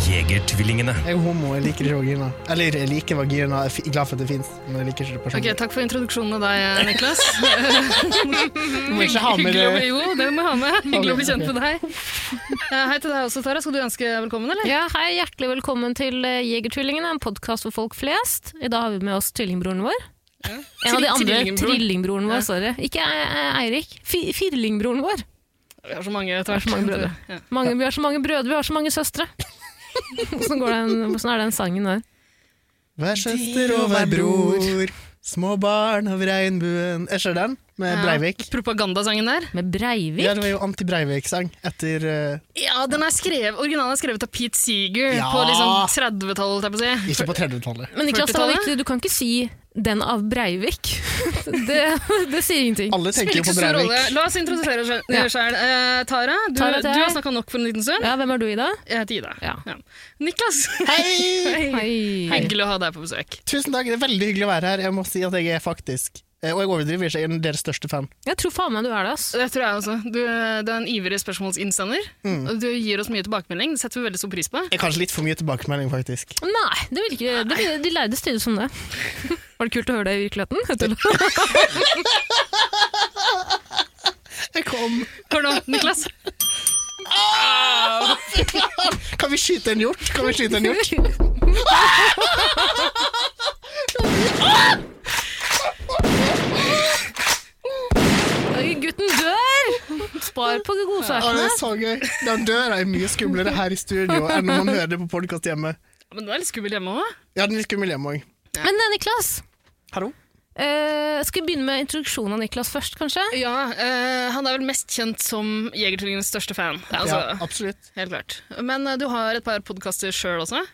Jegertvillingene. Jeg er jo homo, jeg liker ikke vagina. Eller jeg liker vagina, jeg er glad for at det fins, men jeg liker ikke det Ok, personlig. Takk for introduksjonen av deg, Niklas. Du må ikke ha med Hyggelig å bli- det. Jo, det må jeg ha med. Hyggelig å bli Ok, kjent med deg. Eh, Hei til deg også, Tara. Skal du ønske velkommen, eller? Ja, hei, hjertelig velkommen til eh, Jegertvillingene, en podkast for folk flest. I dag har vi med oss tvillingbroren vår. En av de andre Trillingbroren. trillingbroren vår, sorry. Ikke eh, Eirik. Fi firlingbroren vår. Vi har så mange etter hvert. så mange brødre. Ja. Mange, vi har så mange brødre, vi har så mange søstre. Hvordan, går den, hvordan er den sangen der? Vær søster og vær bror, små barn av regnbuen. Jeg ser den, med Ja. Breivik. Propagandasangen der? Med Ja, Breivik? det var jo anti-Breivik-sang etter eh, Ja, den er skrevet, Originalen er skrevet av Pete Seeger Ja. på liksom 30-tallet. holdt jeg på å si. Ikke på 30-tallet. Men Niklas, det var 40-tallet? viktig, du kan ikke si 'den av Breivik'. det, det sier ingenting. Alle Spiller tenker jo ikke på så stor rolle. Breivik. La oss introdusere oss Ja. sjøl. Eh, Tara, du, Tara, det er du har jeg. snakka nok for en liten stund. Ja, hvem er du, Ida? Jeg heter Ida. Ja. Niklas, Hei! Hei. hyggelig å ha deg på besøk. Tusen takk, det er veldig hyggelig å være her. Jeg må si at jeg er faktisk, eh, og jeg overdriver ikke, jeg er deres største fan. Jeg tror faen meg du er det, ass. Det tror jeg også. Du, du er en ivrig spørsmålsinnsender. Mm. og Du gir oss mye tilbakemelding. Det setter vi veldig stor pris på. Jeg er kanskje litt for mye tilbakemelding, faktisk. Nei, det vil ikke, det, de lærde styres som det. Var det kult å høre det i virkeligheten? Jeg kom. Hør nå, Niklas. Kan vi skyte en hjort? Kan vi skyte en hjort? Oi, Gutten dør! Spar på Å, det godsakene. er så gøy. Den døra er mye skumlere her i studio enn når man hører det på podkast hjemme. Men du er litt skummel hjemme òg. Ja, den er litt skummel hjemme òg. Men eh, Niklas, Hallo? eh, skal vi begynne med introduksjonen av Niklas først, kanskje? Ja, eh, han er vel mest kjent som Jegertvillingenes største fan. Altså, ja, absolutt. Helt klart. Men eh, du har et par podkaster sjøl også.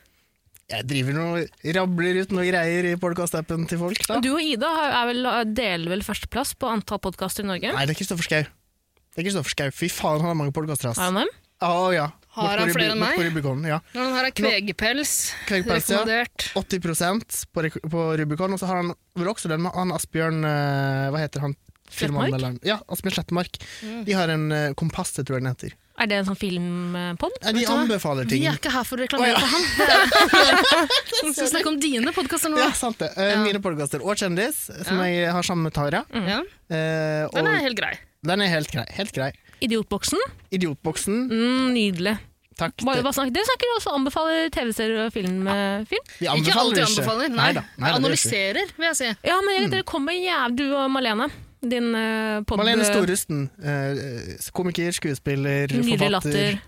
Jeg driver og rabler ut noe greier i podkastappen til folk. da. Du og Ida har- er vel, deler vel førsteplass på antall podkaster i Norge? Nei, det er Kristoffer Schau. Det er Kristoffer Schau. Fy faen, han har mange podkaster. Er han dem? Oh, ja. Har Bort på han Rubi- flere enn bort på meg? Rubicon, ja. Han har ei kvegepels. Kvegepels, ja. rekommendert. 80 på, rek- på Rubicon, og så har han vel også den med han Asbjørn eh, Hva heter han? Slettmark? Filmanmelderen. Ja, Asbjørn Slettmark. Mm. De har en eh, Kompasset, tror jeg den heter. Er det en sånn filmpod? Nei, de du hva? anbefaler Vi ting. er ikke her for å reklamere Å, ja. for han. Vi skal snakke om dine podkaster nå. Ja, sant det. Eh, Mine podkaster og Kjendis, som Ja. jeg har sammen med Tara. Ja, Eh, og den er helt grei. den er helt grei. Helt grei. Idiotboksen? Idiotboksen, Mm, nydelig. takk. Bare, Det- hva snakker, dere snakker også anbefaler TV-serier og film. eh, film. Vi Ikke alltid anbefaler. Nei, Neida, neida, det gjør vi ikke. Analyserer, vil jeg si. Ja, men Mm. jeg, dere kommer jævlig Du og Malene, din uh, pod... Malene Storusten, eh, komiker, skuespiller, Nydelig latter. forfatter.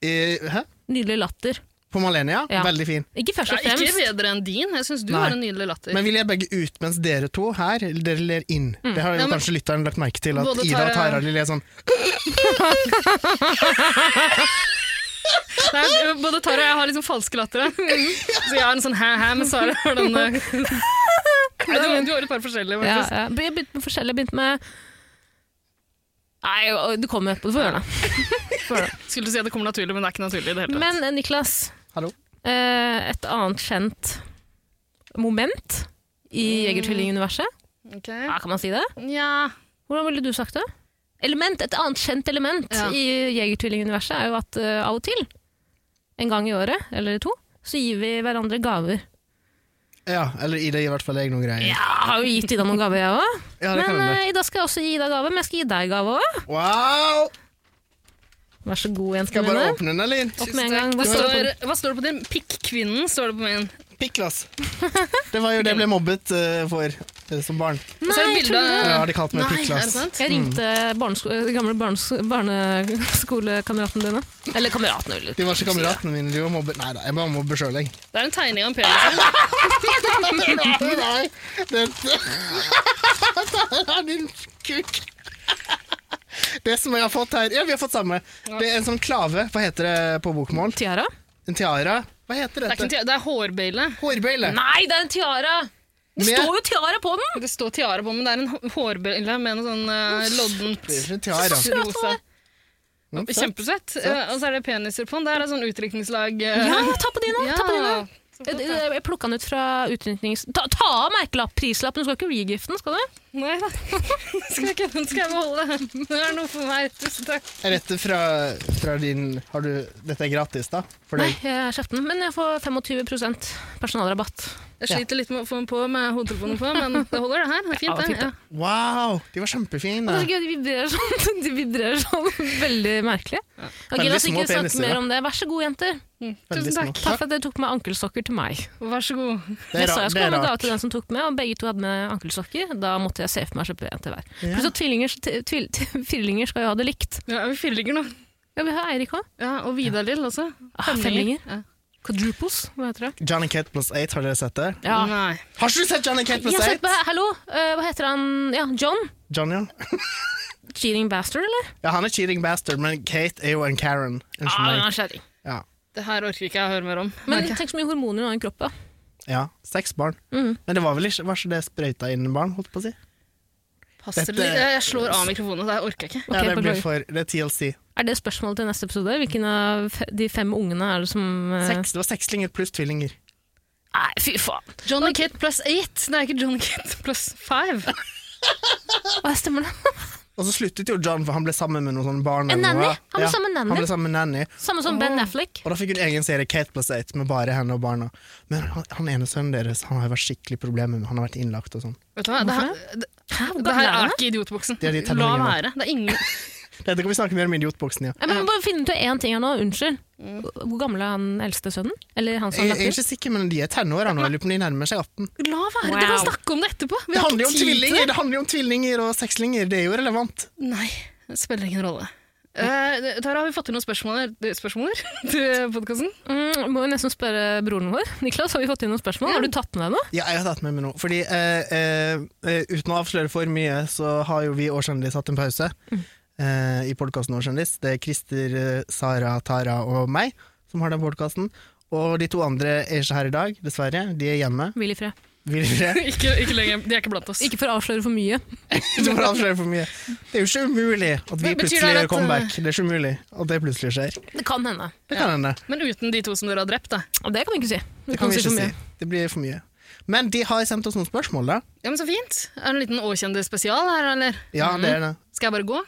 Eh, hæ? Nydelig latter. På Malene, ja. Ja. Veldig fin. Ikke først Ja, og ikke fremst. bedre enn din. Jeg syns du Nei. har en nydelig latter. Men vi ler begge ut, mens dere to her, dere ler inn. Det har jo Mm. Ja, men- kanskje lytteren lagt merke til, at Både Ida og Tara- Tara de ler sånn. Nei, både Tara og jeg har liksom falske latter. Så jeg har en sånn hæ-hæ, men Sara har den eh, Nei, du, du har et par forskjellige, Ja, faktisk. ja. Jeg begynte med forskjellig. Jeg begynte med Nei, å, du kommer etterpå. Du får gjøre det. Får gjøre det. Skulle si at det kommer naturlig, men det er ikke naturlig i det hele tatt. Men eh, Niklas, Hallo. eh, et annet kjent moment i Mm. Jegertvilling-universet? Ok. Ja, kan man si det? Nja Hvordan ville du sagt det? Element, Et annet kjent element Ja. i Jegertvilling-universet er jo at eh, av og til, en gang i året eller to, så gir vi hverandre gaver. Ja, eller Ida gir i hvert fall jeg noen greier. Ja, jeg har jo gitt Ida noen gaver, jeg òg. Ja, det kan Men hende. eh, i dag skal jeg også gi Ida gave, men jeg skal gi deg gave òg. Wow! Vær så god, Skal jentene jeg bare mine. åpne den, eller? Opp med en gang. Hva Hva står det står, hva står det på din? Pikk-kvinnen står det på min. Piklas. Det var jo det jeg ble mobbet eh, for eh, som barn. på? Og så er det Nei, bilde- tuller du? Ja, de kalte meg Nei, er det Piklas. sant? Jeg ringte barnesko eh, gamle barnes- barneskolekameratene dine. Eller kameratene, eller De var ikke kameratene mine, de var mobbet. Nei da, jeg bare mobber sjøl, jeg. Det er en tegning av en penis. liksom. Nei, nei, dette Dette er din kuk. Det som jeg har fått her Ja, vi har fått samme. Det er en sånn klave. Hva heter det på bokmål? Tiara? En tiara? Hva heter Det er, ikke en dette? te- det er hårbeile. Hårbøyle. Nei, det er en tiara! Det Med- står jo tiara på den! Det står tiara på, men det er en hå- hårbølle med noe sånn eh, loddent Det er ikke tiara. Søt han rosa. er. Mm, så- Kjempesøtt. Eh, Og så er det peniser på den. Det er et sånn utdrikningslag. eh, Ja, ta på de nå! Ta på de nå. ja. Jeg, jeg- jeg plukka den ut fra utryknings... Ta, ta av merkelapp, prislappen! Du skal ikke regifte den, skal du? Nei da. Skal jeg ikke, den skal jeg beholde. Det er noe for meg. Tusen takk. Er dette fra, fra din har du, Dette er gratis, da? For Nei, deg? jeg kjøpte den, men jeg får 25 personalrabatt. Jeg sliter litt med å få den på med hodetelefonen på, men det holder, det her. Det er Ja, fint, fint, det. det. Ja. Wow, de var Det kjempefine! er så gøy, de vibrerer sånn, de vibrerer sånn veldig merkelig. Ok, Veldig La oss små ikke snakke peniser, da. mer om det. Vær så god, jenter. Veldig Mm. Tusen små. takk. Takk for at dere tok med ankelsokker til meg. Vær så god. Det jeg er, rart, sa jeg det skulle er ha gave rart. til den som tok med, og begge to hadde med ankelsokker. Da måtte jeg se for meg å kjøpe en til hver. Ja. Pluss at tvillinger, t- tvil, firlinger skal jo ha det likt. Ja, vi firlinger nå. Ja, Vi har Eirik òg. Ja, og Vidar Lill også. Ah, femlinger. Ja. Quadruples, hva heter det? Johnny Cat pluss 8, har dere sett det? Ja. Nei. Har ikke du sett Johnny Cat Jeg pluss har sett på, 8? hallo, eh, hva heter han? Ja, John? Johnny, ja. Cheating bastard, eller? ja, han er cheating bastard, men Kate er jo en Karen. Unnskyld Ah, han meg. er skjæring. Ja. Det her orker ikke jeg å høre mer om. Men Merker jeg. tenk så mye hormoner hun har i kroppen. da. ja. Seks barn. Men det var vel ikke, var ikke det sprøyta inn barn, holdt på å si? passer dette- litt. Jeg jeg slår av mikrofonen, det her orker jeg ikke. Ok, ja, det, blir beklager. for, det er TLC. Er det spørsmålet til neste episode? Hvilken av fe- de fem ungene er det som eh, Seks, det var sekslinger pluss tvillinger. Nei, fy faen. Johnny Kate pluss 8. Det er ikke Johnny Kate pluss 5. Hva stemmer det? Og så sluttet jo John, for han ble sammen med noen sånne barn. En eller noe. nanny? Han ble sammen med nanny. Han ble sammen med nanny. Samme som Ben Affleck. Og da fikk hun egen serie, Kate plus 8, med bare henne og barna. Men han, han ene sønnen deres han har jo vært skikkelig problemer med, han har vært innlagt og sånn. Vet du hva? Det her, det, Hæ, hvor det gammel her er han? er ikke idiotboksen. Det er de La tenåringene. være. Det er ingen Dette kan vi snakke mer om i Idiotboksen, ja. Jeg Eh, må bare finne ut én ting her nå, unnskyld. Hvor gammel er han eldste sønnen? Eller han som Jeg, jeg har er latter? ikke sikker, men de er tenåra nå. Jeg lurer på om de nærmer seg 18. La være. Wow. Dere kan snakke om det etterpå. Vi Det har handler jo ikke om tid til tvillinger, det handler jo om tvillinger og sekslinger, det er jo relevant. Nei, det spiller ingen rolle. Eh, Tara, har vi fått inn noen spørsmål, spørsmål til podkasten? Mm, må jo nesten spørre broren vår. Niklas, har vi fått inn noen spørsmål? Har du tatt med deg noe? Ja, jeg har tatt med meg noe. Fordi eh, eh, eh, uten å avsløre for mye, så har jo vi Årskjendis hatt en pause eh, i podkasten Årskjendis. Det er Christer, eh, Sara, Tara og meg som har den podkasten. Og de to andre er ikke her i dag, dessverre. De er hjemme. Hvil i fred. Vil dere Ikke, ikke lenger. De er ikke blant oss. Ikke for å avsløre for mye. Du får avsløre for mye. Det er jo ikke umulig at eh, vi Men betyr plutselig det gjør at, comeback. Det er ikke umulig at det plutselig skjer. Det kan hende. Det kan hende. Men uten de to som dere har drept, da. Og det kan vi ikke si. Du Det kan vi for ikke si. mye. Det blir for mye. Men de har sendt oss noen spørsmål, da. Ja, men Så fint. Er det en liten åkjendis spesial her, eller? Ja, det er det. Skal jeg bare gå?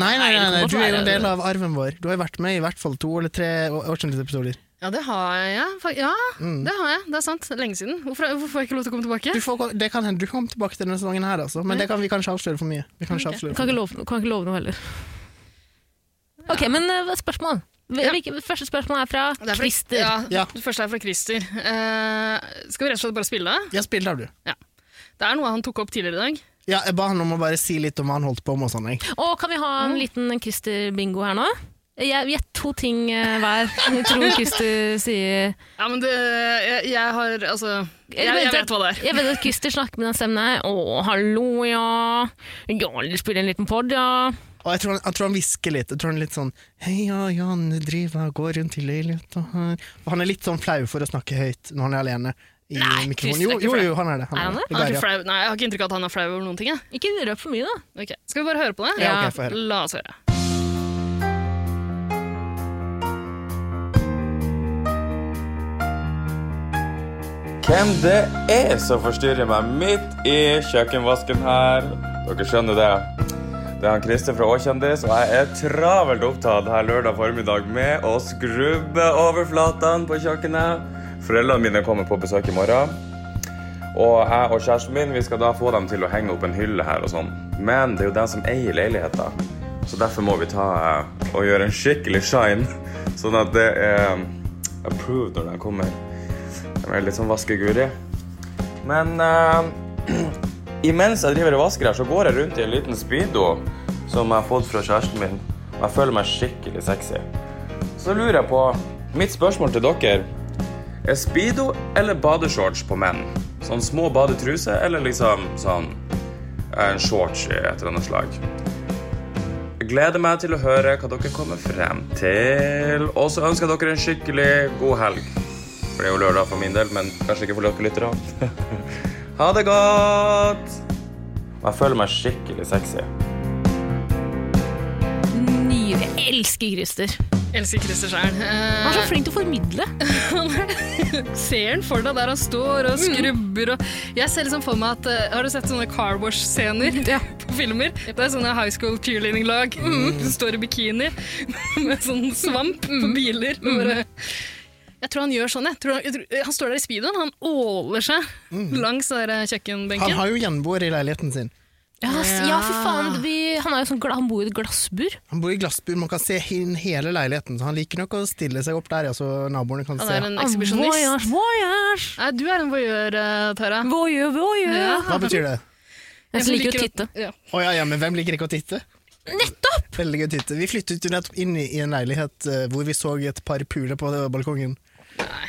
Nei, nei, nei, nei, Nei, det kommer du er jo til å en være- del av arven vår. Du har jo vært med i hvert fall to eller tre årskjendisepisoder. Ja, det har jeg. Fa- Ja, Mm. det har jeg. Det er sant. Lenge siden. Hvorfor, hvorfor får jeg ikke lov til å komme tilbake? Du, får- det kan hende du kommer tilbake til denne sesongen her, altså. Men det kan vi kanskje avsløre for mye. Vi kan ikke avsløre Kan for ikke mye. love, kan ikke love noe heller. Ok, men eh, spørsmål. Hvil- Ja. Hvilke, første spørsmål er fra Det er fra- Christer. Ja, Ja. Det første er fra Christer. Eh, skal vi rett og slett bare spille? Ja, spill av, du. Det er noe han tok opp tidligere i dag. Ja, jeg ba han om å bare si litt om hva han holdt på med og sånn. jeg. Og kan vi ha Mm. en liten Christer-bingo her nå? Jeg Gjett to ting eh, hver. Jeg tror Christer sier Ja, men det Jeg, jeg har Altså, jeg, vet jeg at- vet hå det er. Jeg vet at Christer snakker med den stemmen her. Å, hallo, ja. Ja, vil du spille en liten pod, ja. Og jeg tror, han, jeg tror han hvisker litt. Jeg tror han er litt sånn Hei, ja, Jan, du driver og går rundt i leiligheta her Og han er litt sånn flau for å snakke høyt når han er alene i Nei, mikrofonen. Christer er Jo, ikke jo, flau. jo, han er det. Er han det? det Han er går, ikke ja. flau. Nei, jeg har ikke inntrykk av at han er flau over noen ting. Jeg. Ikke røp for mye, da. Ok, Skal vi bare høre på det? Ja, ok, få høre. La oss høre. Hvem det er som forstyrrer meg midt i kjøkkenvasken her? Dere skjønner det. Det er han Christer fra Åkjendis, og jeg er travelt opptatt her lørdag formiddag med å skrubbe overflatene på kjøkkenet. Foreldrene mine kommer på besøk i morgen. Og jeg og kjæresten min vi skal da få dem til å henge opp en hylle her og sånn. Men det er jo dem som eier leiligheta, så derfor må vi ta eh, og gjøre en skikkelig shine. Sånn at det er approved når de kommer. De er litt sånn vaskeguri. Men eh, imens jeg driver og vasker her, så går jeg rundt i en liten speedo som jeg har fått fra kjæresten min. Og jeg føler meg skikkelig sexy. Så lurer jeg på Mitt spørsmål til dere er speedo eller badeshorts på menn? Sånn små badetruser eller liksom sånn eh, en shorts i et eller annet slag? Jeg gleder meg til å høre hva dere kommer frem til. Og så ønsker jeg dere en skikkelig god helg. For det er jo lørdag for min del, men kanskje ikke for dere lyttere. Ha det godt! Og jeg føler meg skikkelig sexy. Nyr. Jeg elsker Christer. Elsker Christer Skjern. Han er så Eh, flink til å formidle. ser han for deg der han står og Mm. skrubber og Jeg ser liksom for meg at eh, Har du sett sånne car wash-scener på filmer? Det er sånne high school cheerleading-lag Mm. som står i bikini med sånn svamp på biler. Mm. og Bare jeg tror han gjør sånn. Jeg. Tror han, jeg tror, han står der i speedoen, han åler seg langs der eh, Mm. Han kjøkkenbenken. har jo gjenboer i leiligheten sin. Ja, s- ja, for faen. Vi, han, er jo sånn, gla- han bor jo i et glassbur. Han bor i glassbur, man kan se inn hele leiligheten, så han liker nok å stille seg opp der, ja, så naboene kan Han se. er en Han- ekshibisjonist. Voyage, voyage. Nei, Du er en voyeur, eh, Tara. Voyeur, voyeur. Ja. Hva betyr det? Jeg som Jeg liker å titte. Ja. Å ja, ja, men hvem liker ikke å titte? Nettopp! Veldig gøy å titte. Vi flyttet jo nettopp inn i i en leilighet eh, hvor vi så et par puler på eh, balkongen. Nei.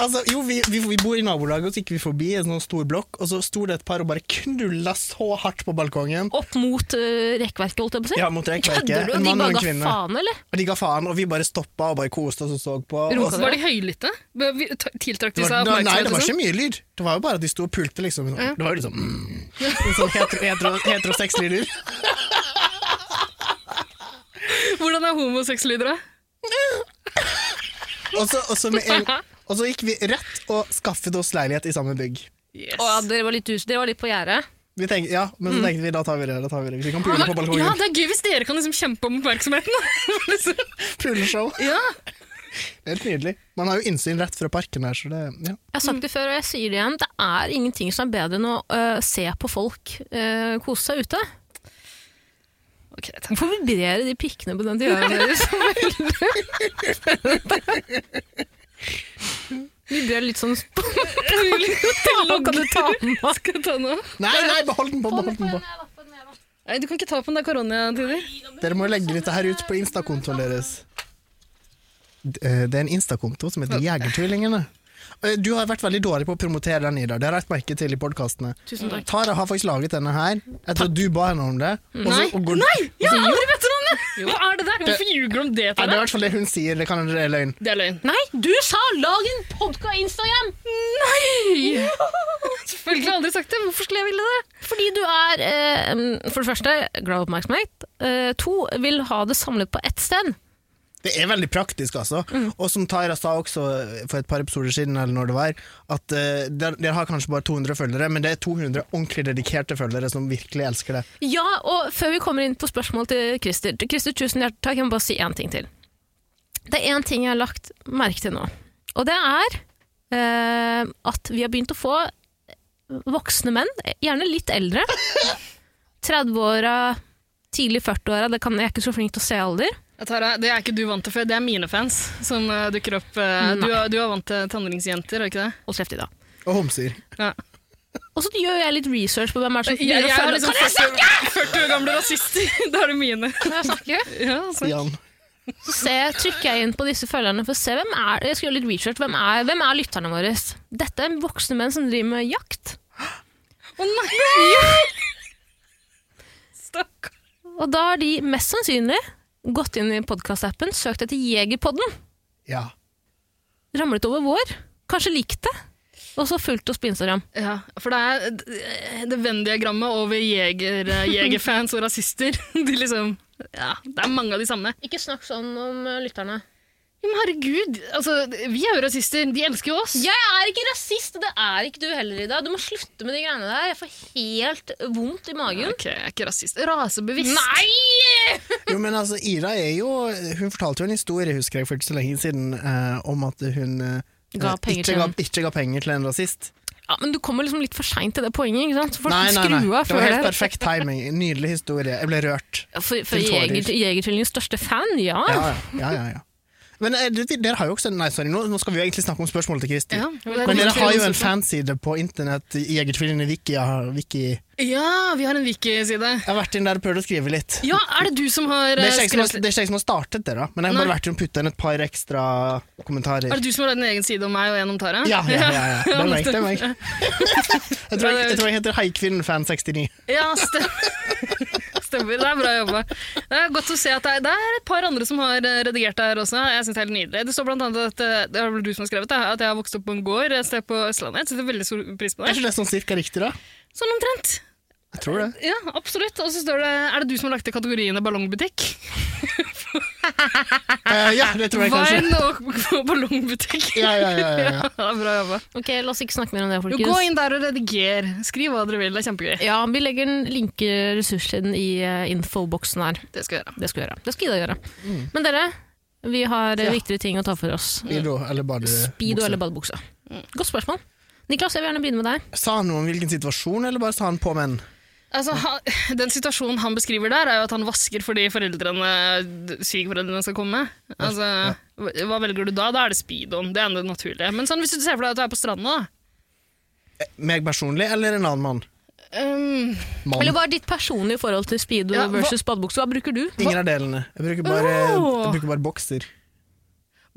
Altså, jo, vi, vi, vi bor i nabolaget, og så gikk vi forbi en sånn stor blokk, og så sto det et par og bare knulla så hardt på balkongen. Opp mot eh, rekkverket, holdt jeg på å si. Ja, mot rekkverket. Kødder du? En De mann og bare en ga kvinne. faen, eller? Og de ga faen, og vi bare stoppa og bare koste oss og så på. Og Runka så- deg? Var de høylytte? Be- vi- t- Tiltrakk de det seg var, nei, det var oppmerksomhet? og ikke sånn? mye lyd. Det var jo bare at de sto og pulte, liksom. Det var jo liksom mm. sånn hetero, hetero, heterosexlyder. Hvordan er homosexlyder, da? Og så- og så med en- og så gikk vi rett og skaffet oss leilighet i samme bygg. Yes. Å, ja, dere var litt, dus- dere var litt på gjerdet. Vi tenkte, ja, men så tenkte vi da tar vi det. da tar Vi det. Vi kan pule på balkongen. Mm. Ja, det er gøy hvis dere kan liksom kjempe om oppmerksomheten. Liksom. Puleshow. ja. Helt nydelig. Man har jo innsyn rett fra parken her, så det ja. Jeg har sagt det før, og jeg sier det igjen. Det er ingenting som er bedre enn å øh, se på folk øh, kose seg ute. Ok, takk. Hvorfor vibrerer de pikkene på den til ørene deres? så veldig? Vibrerer litt sånn sp- Kan du ta den av? Skal jeg ta den av? Nei, nei, behold den på! behold den på. Nei, du kan ikke ta på den, det er koronatider. Dere må legge dette her ut på Insta-kontoen deres. D- eh, Det er en Insta-konto som heter Jegertvillingene. Eh, Du har vært veldig dårlig på å promotere den, Ida. Det har jeg lagt merke til i podkastene. Tusen takk. Tara har faktisk laget denne her etter at du ba henne om det. og så- Nei, og går- Ja, aldri vet du noe! Hva er det der? Hvorfor ljuger du om det Nei, til det er i deg? hvert fall det hun sier. Det kan hende det er løgn. Det er løgn. Nei, du sa lag en podkast Instagram! Selvfølgelig har jeg aldri sagt det. Hvorfor skulle jeg ville det? Fordi du er, øh, for det første, glad i oppmerksomhet. Øh, to, vil ha det samlet på ett sted. Det er veldig praktisk, altså. Og som Tara sa også eh, for et par episoder siden, eller når det var, at eh, dere dere har kanskje bare 200 følgere, men det er 200 ordentlig dedikerte følgere som virkelig elsker det. Ja, og før vi kommer inn på spørsmål til Christer Christer, tusen hjertelig takk. Jeg må bare si én ting til. Det er én ting jeg har lagt merke til nå. Og det er eh, at vi har begynt å få voksne menn, gjerne litt eldre. 30-åra, tidlig 40-åra. det kan- Jeg er ikke så flink til å se alder. Ja, Tara, det er ikke du vant til før. Det er mine fans som eh, dukker opp. eh, du, er- du er vant til tannringsjenter, er du ikke det? Hold kjeft i dag. Og homser. Ja. Og så gjør jeg litt research på hvem er det som Jeg, jeg, begynner er å følge- liksom Kan jeg 40, 40 år gamle rasister. Da er det mine. snakke? Ja, altså. Jan. Så ser- trykker jeg inn på disse følgerne for å se hvem er, jeg skal gjøre litt research, hvem er, hvem er lytterne våre. Dette er voksne menn som driver med jakt. Å nei! Stakkar. Og da har de mest sannsynlig gått inn i podkastappen, søkt etter Jegerpodden, Ja. ramlet over vår, kanskje likt det, og så fulgt oss på Instagram. Ja, for det er d- eh, det Venn-diagrammet over jeger, eh, jegerfans og rasister. De liksom, ja, det er mange av de samme. Ikke snakk sånn om lytterne. Ja, Men herregud, altså, vi er jo rasister. De elsker jo oss. Jeg er ikke rasist, og det er ikke du heller, Ida. Du må slutte med de greiene der. Jeg får helt vondt i magen. Ok, jeg er ikke rasist. Rasebevisst. Nei! Jo, men altså, Ira er jo Hun fortalte jo en historie, husker jeg, for ikke så lenge siden, eh, om at hun eh, Ga penger ikke, til ga, en- ikke ga penger til en rasist. Ja, men du kommer liksom litt for seint til det poenget, ikke sant? Så folk Nei, nei, nei. skru Det var av før helt det. perfekt timing. Nydelig historie. Jeg ble rørt. For, for Til tårer. jeger, Jegertvillingens største fan, ja. Ja, ja, ja. ja, ja. Men eh, dere dere har jo også Nei, sorry, nå, nå skal vi jo egentlig snakke om spørsmålet til Kristin. Ja, Men dere har jo en fanside på internett, Jegertvillingene Wiki. Jeg har, Wiki. Jeg Ja, vi har en wiki-side. har vært inn der og prøvd å skrive litt. Ja, er det du som har Det er ikke eh, jeg som har, skrevet det er ikke jeg som har startet det, da. Men jeg har bare Nei. vært inn og putta inn et par ekstra kommentarer. Er det du som har lagd en egen side om meg og en om Tara? Ja, ja, ja, ja. Det er meg. Det er meg. jeg, tror jeg, Ja, det er- jeg tror jeg heter Haikvinnenfan69. Ja, stemmer. Stemmer. Det er bra jobba. Det er godt å se at det er, det er et par andre som har eh, redigert det her også. Jeg synes Det er helt nydelig. Det står blant annet at eh, det er vel du som har skrevet det, at jeg har vokst opp på en gård et sted på Østlandet. Jeg setter veldig stor pris på Er ikke det. det sånn cirka riktig, da? Sånn omtrent. Jeg tror det. Ja, absolutt. Og så står det Er det du som har lagt til kategoriene ballongbutikk? Eh, ja, det tror jeg kanskje. Vine og og ballongbutikk. Ja, ja, ja, ja, ja. Ja, det er bra jobba. Ok, la oss ikke snakke mer om det, Jo, folkens. gå inn der og rediger. Skriv hva dere vil. Det er kjempegøy. Ja, vi legger en link ressurssiden i eh, infoboksen her. Det skal jeg gjøre. Det skal vi gjøre. Det skal Ida gjøre. Mm. Men dere, vi har eh, viktigere ting å ta for oss. Speedo eller badebukse. Speedo eller badebukse? Mm. Godt spørsmål. Niklas, jeg vil gjerne begynne med deg. Sa han noe om hvilken situasjon, eller bare sa han på menn? Altså, han, den situasjonen han beskriver der, er jo at han vasker fordi foreldrene, svigerforeldrene skal komme. Altså, hva- Hva velger du da? Da er det speedoen. Det er det naturlige. Men sånn, hvis du ser for deg at du er på stranda, da. Meg personlig, eller en annen mann? Um, Eller Mann. hva er ditt personlige forhold til speedo Ja, hva- versus badebukse? Hva bruker du? Hva? Ingen av delene. Jeg bruker bare, Åh. Oh. jeg bruker bare bokser.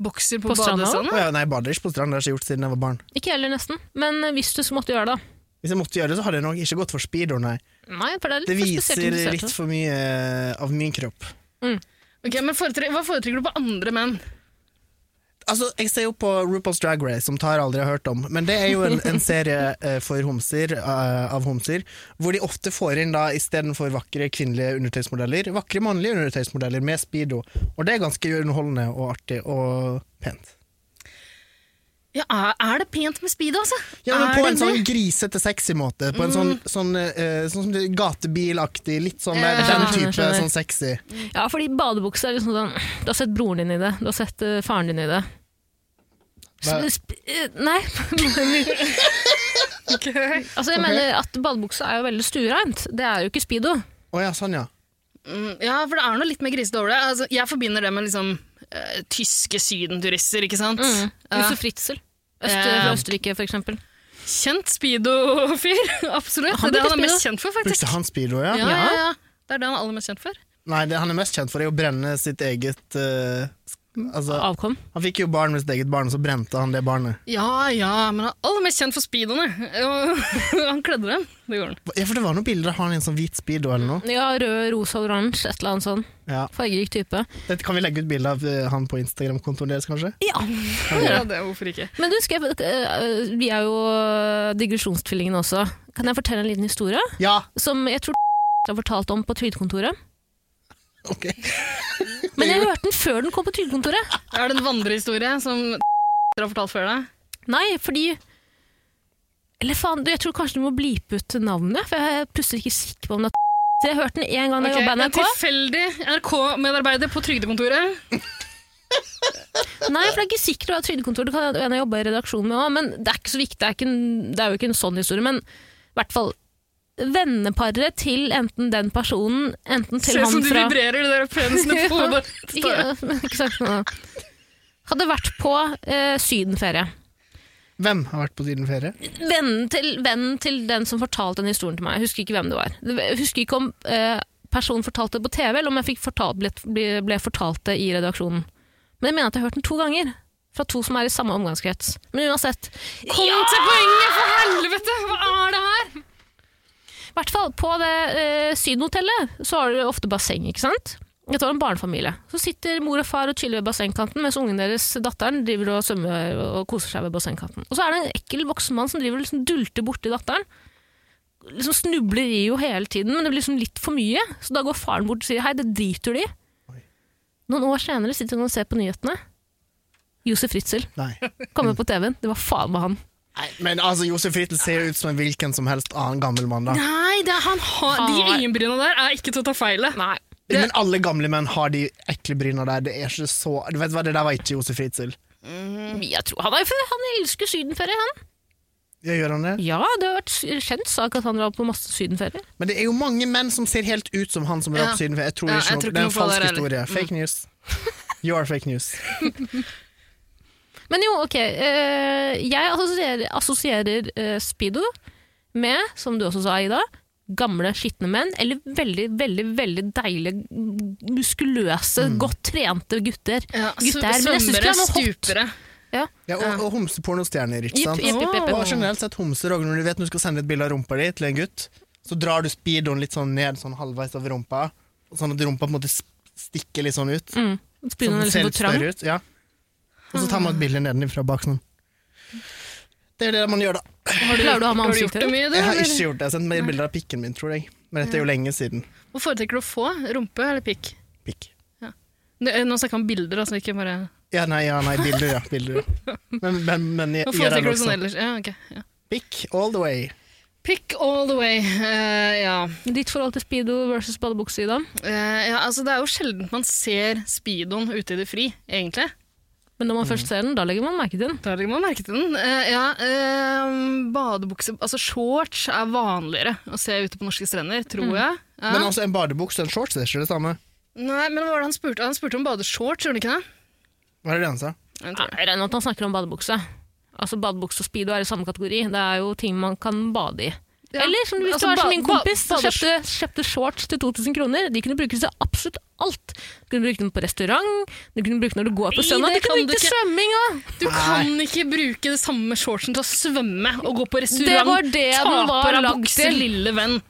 bokser på, På stranda? Å badestranda? ja, nei, jeg bader ikke på stranda, det har jeg ikke gjort siden jeg var barn. Ikke heller, nesten. Men eh, hvis du så måtte gjøre det, da. Hvis jeg måtte gjøre det, så hadde jeg nok ikke gått for speedo, nei. Nei, for det er litt Det for spesielt. viser interessert. litt for mye eh, av min kropp. Ok, men foretre Hva foretrekker du på andre menn? Altså, Jeg ser jo på RuPaul's Drag Race, som Tara aldri har hørt om. Men det er jo en, en serie eh, for homser, eh, av homser, hvor de ofte får inn da istedenfor vakre kvinnelige undertøysmodeller, vakre mannlige undertøysmodeller med speedo. Og det er ganske underholdende og artig og pent. Ja, er, er det pent med speedo, altså? Ja, men er På det en sånn det? grisete, sexy måte. På en sånn, sånn, eh, sånn som det- gatebilaktig, litt sånn der, Ja, den skjønner, type skjønner. sånn sexy. Ja, fordi badebukse er liksom sånn Du har sett broren din i det, du har sett eh, faren din i det. Hva- Sp sp eh, nei Ok. Altså, jeg mener at badebukse er jo veldig stuereint. Det er jo ikke speedo. Å ja, sånn, ja. Mm, Ja, for det er noe litt mer grisete over det. Altså, jeg forbinder det med liksom eh, tyske sydenturister, ikke sant? Ja. Josef Mm. Fritzel. Øst, Ja. fra Østerrike, for eksempel. Kjent speedo-fyr, absolutt. Han det er bruker han er mest speedo. kjent for, Brukte faktisk. han speedo, ja? Ja, ja, ja. Det er det han er aller mest kjent for. Nei, det han er mest kjent for, er å brenne sitt eget eh, altså, Avkom. Han fikk jo barn med sitt eget barn, og så brente han det barnet. Ja, ja, men han er aller mest kjent for speedoene. Og han kledde dem. Det gjorde han. Ja, for det var noen bilder av han i en sånn hvit speedo eller noe. Ja, rød, rosa, oransje, et eller annet sånn. Ja. Fargerik type. Dette kan vi legge ut bilde av eh, han på Instagram-kontoen deres, kanskje? Ja. Ja, det, hvorfor ikke? Men du, skal jeg, eh, vi er jo digresjonstvillingene også. Kan jeg fortelle en liten historie? Ja! Som jeg tror har fortalt om på Trygdekontoret. Ok. Men jeg hørte den før den kom på Trygdekontoret. Er det en vandrehistorie som dere har fortalt før deg? Nei, fordi Eller faen, du, jeg tror kanskje du må blipe ut navnet, for jeg er plutselig ikke sikker på om det er Så jeg hørte den én gang da jeg Ok, jobba i en NRK. tilfeldig NRK-medarbeider på Trygdekontoret. Nei, for det er ikke sikkert å ha trygdekontor. Det kan jeg- en jeg jobber i redaksjonen med òg, men det er ikke så viktig. Det er, ikke en, det er jo ikke en sånn historie, men i hvert fall venneparet til enten den personen, enten til Se han som du fra vibrerer de der pensene på Ja. hodet. Ikke- Ikke sagt noe. Hadde vært på eh, sydenferie. Hvem har vært på sydenferie? Vennen til, vennen til den som fortalte den historien til meg, jeg husker ikke hvem det var. Jeg husker ikke om eh, personen fortalte det på TV, eller om jeg fikk fortalt, ble, ble- ble fortalt det i redaksjonen. Men jeg mener at jeg har hørt den to ganger, fra to som er i samme omgangskrets. Men uansett, Kom til poenget, for helvete! Hva er det her? I hvert fall på det eh, sydenhotellet så har dere ofte basseng, ikke sant? Dette var en barnefamilie. Så sitter mor og far og chiller ved bassengkanten, mens ungen deres, datteren, driver og svømmer og koser seg ved bassengkanten. Og så er det en ekkel voksen mann som driver og liksom dulter borti datteren. Liksom snubler i jo hele tiden, men det blir liksom litt for mye. Så da går faren bort og sier hei, det driter du i. Noen år senere sitter hun og ser på nyhetene. Josef Ritzel Nei. kommer på TV-en. Det var faen meg han. Nei. Men altså, Josef Frittel ser jo ut som en hvilken som helst annen gammel mann, da. Nei, det er han har, de Har- øyenbrynene der er ikke til å ta feil av. Nei. Men alle gamle menn har de ekle bryna der. Det er ikke så Du vet hva, det der var ikke Josef Fritzel. Jeg tror, han, er, jo- han elsker sydenferie, han. Ja, gjør han det? Mm. Ja, det har vært sy- kjent sak at han var på masse sydenferie. Men det er jo mange menn som ser helt ut som han som drar på Ja. sydenferie. Jeg tror Ja, ikke jeg noe tror ikke Det er noe en på det falsk der historie. heller. Mm. Fake news. You are fake news. Men jo, ok. eh, jeg assosierer, assosierer eh, Speedo med, som du også sa, Ida, gamle, skitne menn, eller veldig, veldig veldig deilige, mm, muskuløse, godt trente gutter. Ja, Gutter, men jeg synes ikke det er noe hot. stupere. Ja. Ja, og, og homsepornostjerner, ikke Jipp, sant? jipp, jipp, jipp. Og generelt sett homser og når du vet når du skal sende et bilde av rumpa di til en gutt, så drar du speedoen litt sånn ned sånn halvveis over rumpa, sånn at rumpa på en måte sp- stikker litt sånn ut. Mm. Sånn Begynner at den den liksom ser å litt trang. større ut. Ja. Og så tar man et bilde nedenfra bak sånn. Det er det man gjør, da. Har Klarer du å ha med har du gjort ansiktet det mye, du? Jeg har eller? ikke gjort det. Jeg har sendt mer bilder av pikken min, tror jeg. Men dette er jo lenge siden. Hva foretrekker du å få? Rumpe eller pikk? Pikk. Nå nå snakker jeg om bilder, altså, ikke bare Ja, nei, ja, nei, bilder, ja. Bilder, ja. Men, men, men jeg, Hva jeg er foretrekker du sånn også. ellers? Ja, ok. Ja. Pikk all the way. Pick all the way. eh, ja. Ditt forhold til speedo versus badebukse, Ida. Eh, ja, altså det er jo sjelden man ser speedoen ute i det fri, egentlig. Men Mm. når man først ser den, da legger man merke til den. Da legger man merke til den. Eh, ja, eh, badebukse Altså shorts er vanligere å se ute på norske strender, tror jeg. Ja. Ah. Men altså, en badebukse og en shorts det er ikke det samme. Nei, men hva var det han spurte? Han spurte om badeshorts, gjorde han ikke det? Hva er det han sa? Jeg Ja, tror det. Jeg regner med at han snakker om badebukse. Altså Badebukse og speedo er i samme kategori. Det er jo ting man kan bade i. Ja. Eller som hvis Altså, du er som ba- min ba- kompis, som baders- kjøpte, kjøpte shorts til 2000 kroner. De kunne brukes til absolutt alt. Du kunne bruke dem på restaurant, du kunne bruke når du går på Nei, søndag, det du kunne kan bruke du til ikke. svømming òg! Du kan ikke bruke det samme shortsen til å svømme og gå på restaurant. Det var det den var Taper av lagd bukse, til. lille venn.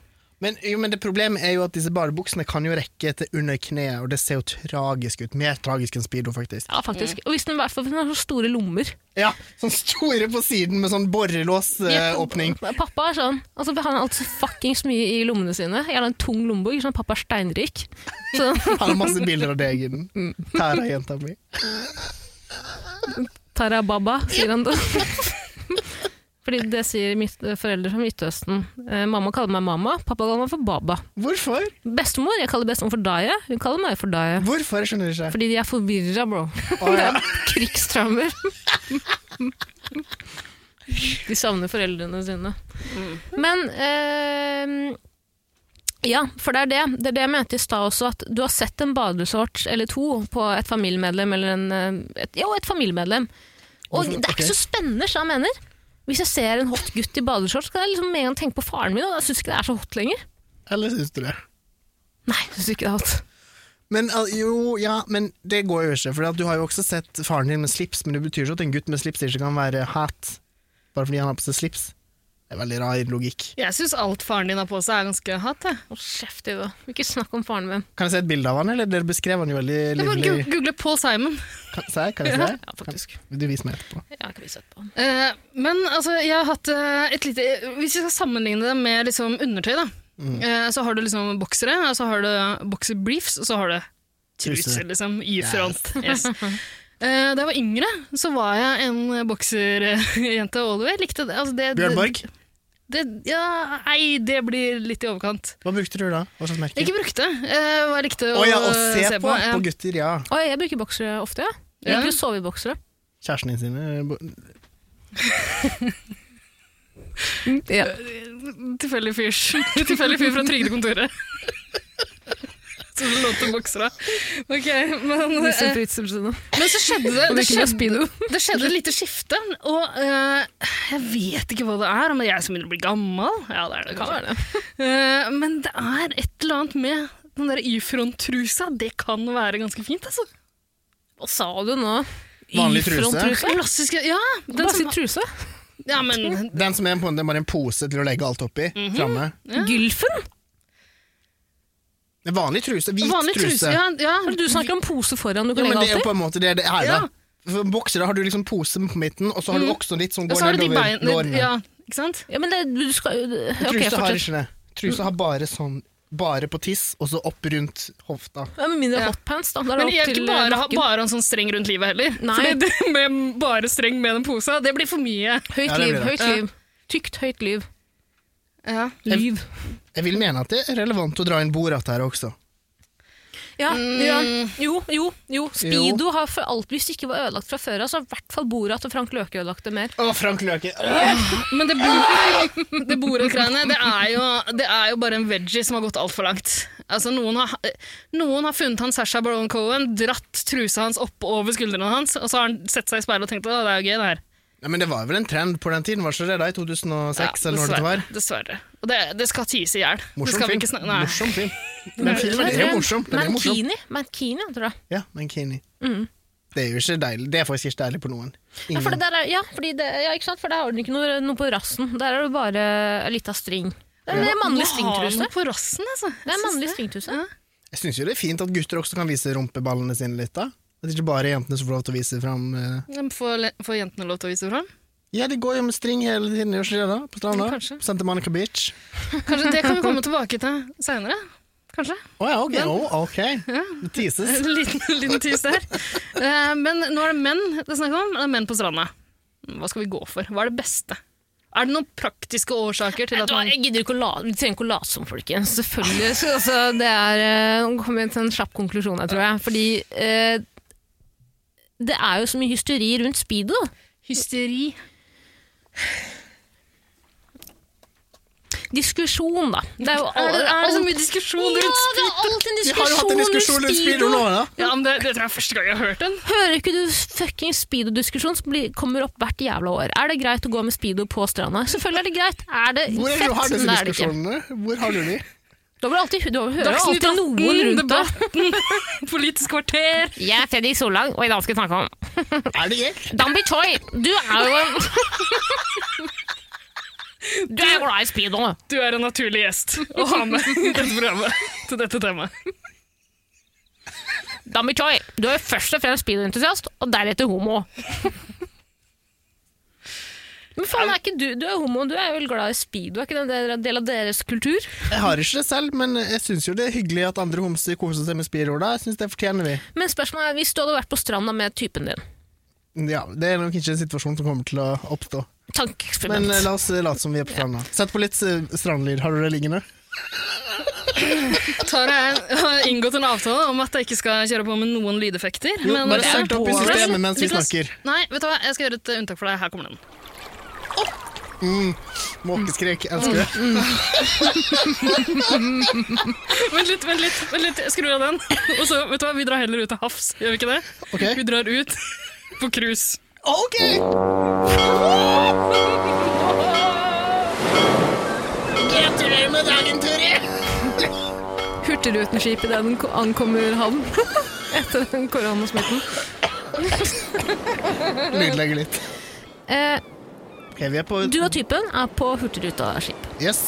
Men, jo, men det problemet er jo at disse badebuksene kan jo rekke til under kneet, og det ser jo tragisk ut. Mer tragisk enn speedo, faktisk. Ja, faktisk. Og hvis den, i hvert fall hvis den har så store lommer. Ja, sånn store på siden med sånn Jeg- borrelåsåpning. Pappa er sånn. Altså, han har alltid så fuckings mye i lommene sine. Jeg har en tung lommebok. Sånn, pappa er steinrik. Så Han har masse bilder av deg i den. Tæra jenta mi. Tara Baba, sier han da. Fordi det sier mitt, foreldre fra Midtøsten. Eh, mamma kaller meg mamma, pappa kaller meg for Baba. Hvorfor? Bestemor, jeg kaller bestemor for Daya, hun kaller meg for Daya. Hvorfor? Jeg skjønner ikke. Fordi de er forvirra, bro. Å, ja. Krigstraumer. De savner foreldrene sine. Mm. Men eh, Ja, for det er det. Det er det jeg mente i stad også, at du har sett en badeshorts eller to på et familiemedlem eller en eh, et, Jo, et familiemedlem. Og det er ikke så spennende, som jeg mener. Hvis jeg ser en hot gutt i badeshorts, kan jeg liksom med en gang tenke på faren min, og da syns jeg ikke det er så hot lenger. Eller syns du det? Nei, jeg synes ikke det er hot. Men al- jo, ja, men det går jo ikke. For du har jo også sett faren din med slips, men det betyr ikke at en gutt med slips ikke kan være hat bare fordi han har på seg slips. Det er veldig rar logikk. Jeg syns alt faren din har på seg, er ganske hatt. Jeg. Å, kjeft, Iva. Ikke snakk om faren min. Kan jeg se et bilde av han, eller? Dere beskrev han jo veldig Jeg får livlig. gu- google Paul Simon. Kan, se, kan jeg se? Ja, faktisk. Vil du vise meg etterpå? Jeg har ikke sett på han. Eh, men altså, jeg har hatt eh, et lite Hvis vi skal sammenligne det med liksom, undertøy, da. Mm. Eh, så har du liksom boksere, og så har du boxer briefs, og så har du Truser. truser, liksom. I front. Yes. Eh, da jeg var yngre, så var jeg en bokserjente all the way. Likte det. Altså, det Bjørn Borg, Det, ja, nei, det blir litt i overkant. hva brukte du da? Hva slags merke? Jeg ikke brukte, eh, hva jeg likte Å å, ja, å se, på, ja. på gutter, ja. Å, jeg bruker boksere ofte, ja. Jeg Ja. liker å sove i boksere. Kjæresten din sine bo- Ja. Eh, Tilfeldig fyr. Tilfeldig fyr fra trygdekontoret. Som det lånte boksere. Ok, men, eh, sånn men så skjedde det det skjedde, det skjedde et lite skifte, og eh, jeg vet ikke hva det er, om det er jeg som begynner å bli gammel. Ja, det er det, kanskje. Eh, men det er et eller annet med den der Y-front-trusa. Det kan være ganske fint, altså. Hva sa du nå? Vanlig Y-front-truse? Klassiske, ja. sånn. Den Bare si som, truse. ja, men Den som er på en, det er bare en pose til å legge alt oppi. Mhm. Framme. Gylfen? Det er Vanlig truse. Hvit Vanlig truse. truse. Ja, ja. Du snakker om pose foran du Jo, kan men legge det er jo alt på i. en måte det det er, da. Ja. For boksere har du liksom pose på midten, og så har du også litt som Og går så har du de nedover beina lårene. ja, Ikke sant? Ja, men det, du skal Ok, Truse har fortsett. ikke det. Truse har bare sånn bare på tiss, og så opp rundt hofta. Ja, Med mindre Ja. hotpants, da. Da er Men det jeg opp vil til ikke eh, bare ha, nakken. bare ha en sånn streng rundt livet heller. Nei. Fordi det med bare streng med den posa, det blir for mye. Høyt Ja, det liv, blir det. høyt liv. Tykt, høyt liv. Ja. Liv. Jeg vil mene at det er relevant å dra inn Borat her også. Ja, ja. Jo, jo, jo. Speedo har for alt, hvis det ikke var ødelagt fra før av, så har i hvert fall Borat og Frank Løke ødelagt det mer. Å, Frank Løke! Men det, bo- det bordet-greiene, det, er jo- det er jo bare en veggie som har gått altfor langt. Altså, noen, har, noen har funnet han Sasha Baron Cohen, dratt trusa hans opp over skuldrene hans, og så har han sett seg i speilet og tenkt at det er jo gøy, det her. Nei, men det var vel en trend på den tiden, var det ikke det? da, I 2006 Ja, eller når det var? Dessverre. Og det, det skal ties i hjel. Det Morsom skal vi ikke film. snakke- nei. Morsom film. Den filmen er jo morsom. Den er morsom. Mankini, Mankini, tror jeg. Ja, Mankini. Det er jo ikke deilig. Det er faktisk ikke deilig på noen. Ja, for det Ingen. der er, ja, fordi det, ja, ikke sant? For der har du ikke noe, noe på rassen. Der er det bare en lita string. Det er en mannlig Har stringtruse. noe på rassen, altså. Det er en mannlig stringtruse. Jeg syns jo det er fint at gutter også kan vise rumpeballene sine litt, da. At ikke bare jentene som får lov til å vise fram eh. Men Får, le- får jentene lov til å vise fram? Ja, de går jo med string hele tiden, gjør ikke det da? På stranda? Kanskje. På Santa Monica Beach. Kanskje det kan vi komme tilbake til seinere? Kanskje? Å ja, ok. Å, ok. Det tises. En liten, liten tis der. Eh, Men nå er det menn det er snakk om. Det er menn på stranda. Hva skal vi gå for? Hva er det beste? Er det noen praktiske årsaker til Vet at du hva, man Jeg gidder ikke å la, vi trenger ikke å late som, folkens. Selvfølgelig. Så, altså, det er eh, Nå kommer vi til en slapp konklusjon her, tror jeg. Fordi eh, det er jo så mye hysteri rundt speedo. Hysteri. Diskusjon, da. Det er jo Er det, er det så alt- mye diskusjon Ja, rundt det er alltid en Vi har jo hatt en diskusjon rundt speedo nå, da. Ja, men det, det tror jeg er første gang jeg har hørt den. Hører ikke du fucking speedo-diskusjon som blir, kommer opp hvert jævla år? Er det greit å gå med speedo på stranda? Selvfølgelig er det greit. Er det Hvor er det fett? du har Nei, disse det er det ikke. diskusjonene? Hvor har du de? Da vil du alltid, da hører du alltid noen rundt deg. Debatten, Politisk kvarter. Jeg er Fredrik Sollang, og i dag skal jeg snakke om Er det jeg? Dambi Choi. Du er jo en Du er jo glad i speedo. Du er en naturlig gjest å ha med i dette programmet til dette temaet. Dambi Choi, du er jo først og fremst speedo-entusiast, og deretter homo. Men faen, er ikke du, du er homo, du er jo vel glad i speedo, er ikke det en del av deres kultur? Jeg har ikke det selv, men jeg syns jo det er hyggelig at andre homser koser seg med speedoer. da. Jeg syns det fortjener vi. Men spørsmålet er, hvis du hadde vært på stranda med typen din, Ja, Det er nok ikke en situasjon som kommer til å oppstå. Men tankeeksperiment, eh, la oss eh, late som vi er på stranda. Sett på litt eh, strandlyd. Har du det liggende? Tara jeg har inngått en avtale om at jeg ikke skal kjøre på med noen lydeffekter. Jo, bare Det er søk det opp i boring. systemet mens vi Niklas, snakker. Nei, vet du hva, jeg skal gjøre et eh, unntak for deg. Her kommer den. Måkeskrek. Elsker det. Vent litt, vent litt, vent litt. jeg skrur av den. Og så, vet du hva, vi drar heller ut til havs, gjør vi ikke det? Mm. Ok. Vi drar ut på cruise. Ok! Gratulerer med dagen, Turi! Hurtigruteskip idet den ko- ankommer havn etter den koronasmitten. Lydlegger litt. Eh, Ok, vi er på du og typen er på hurtigrutaskip Yes.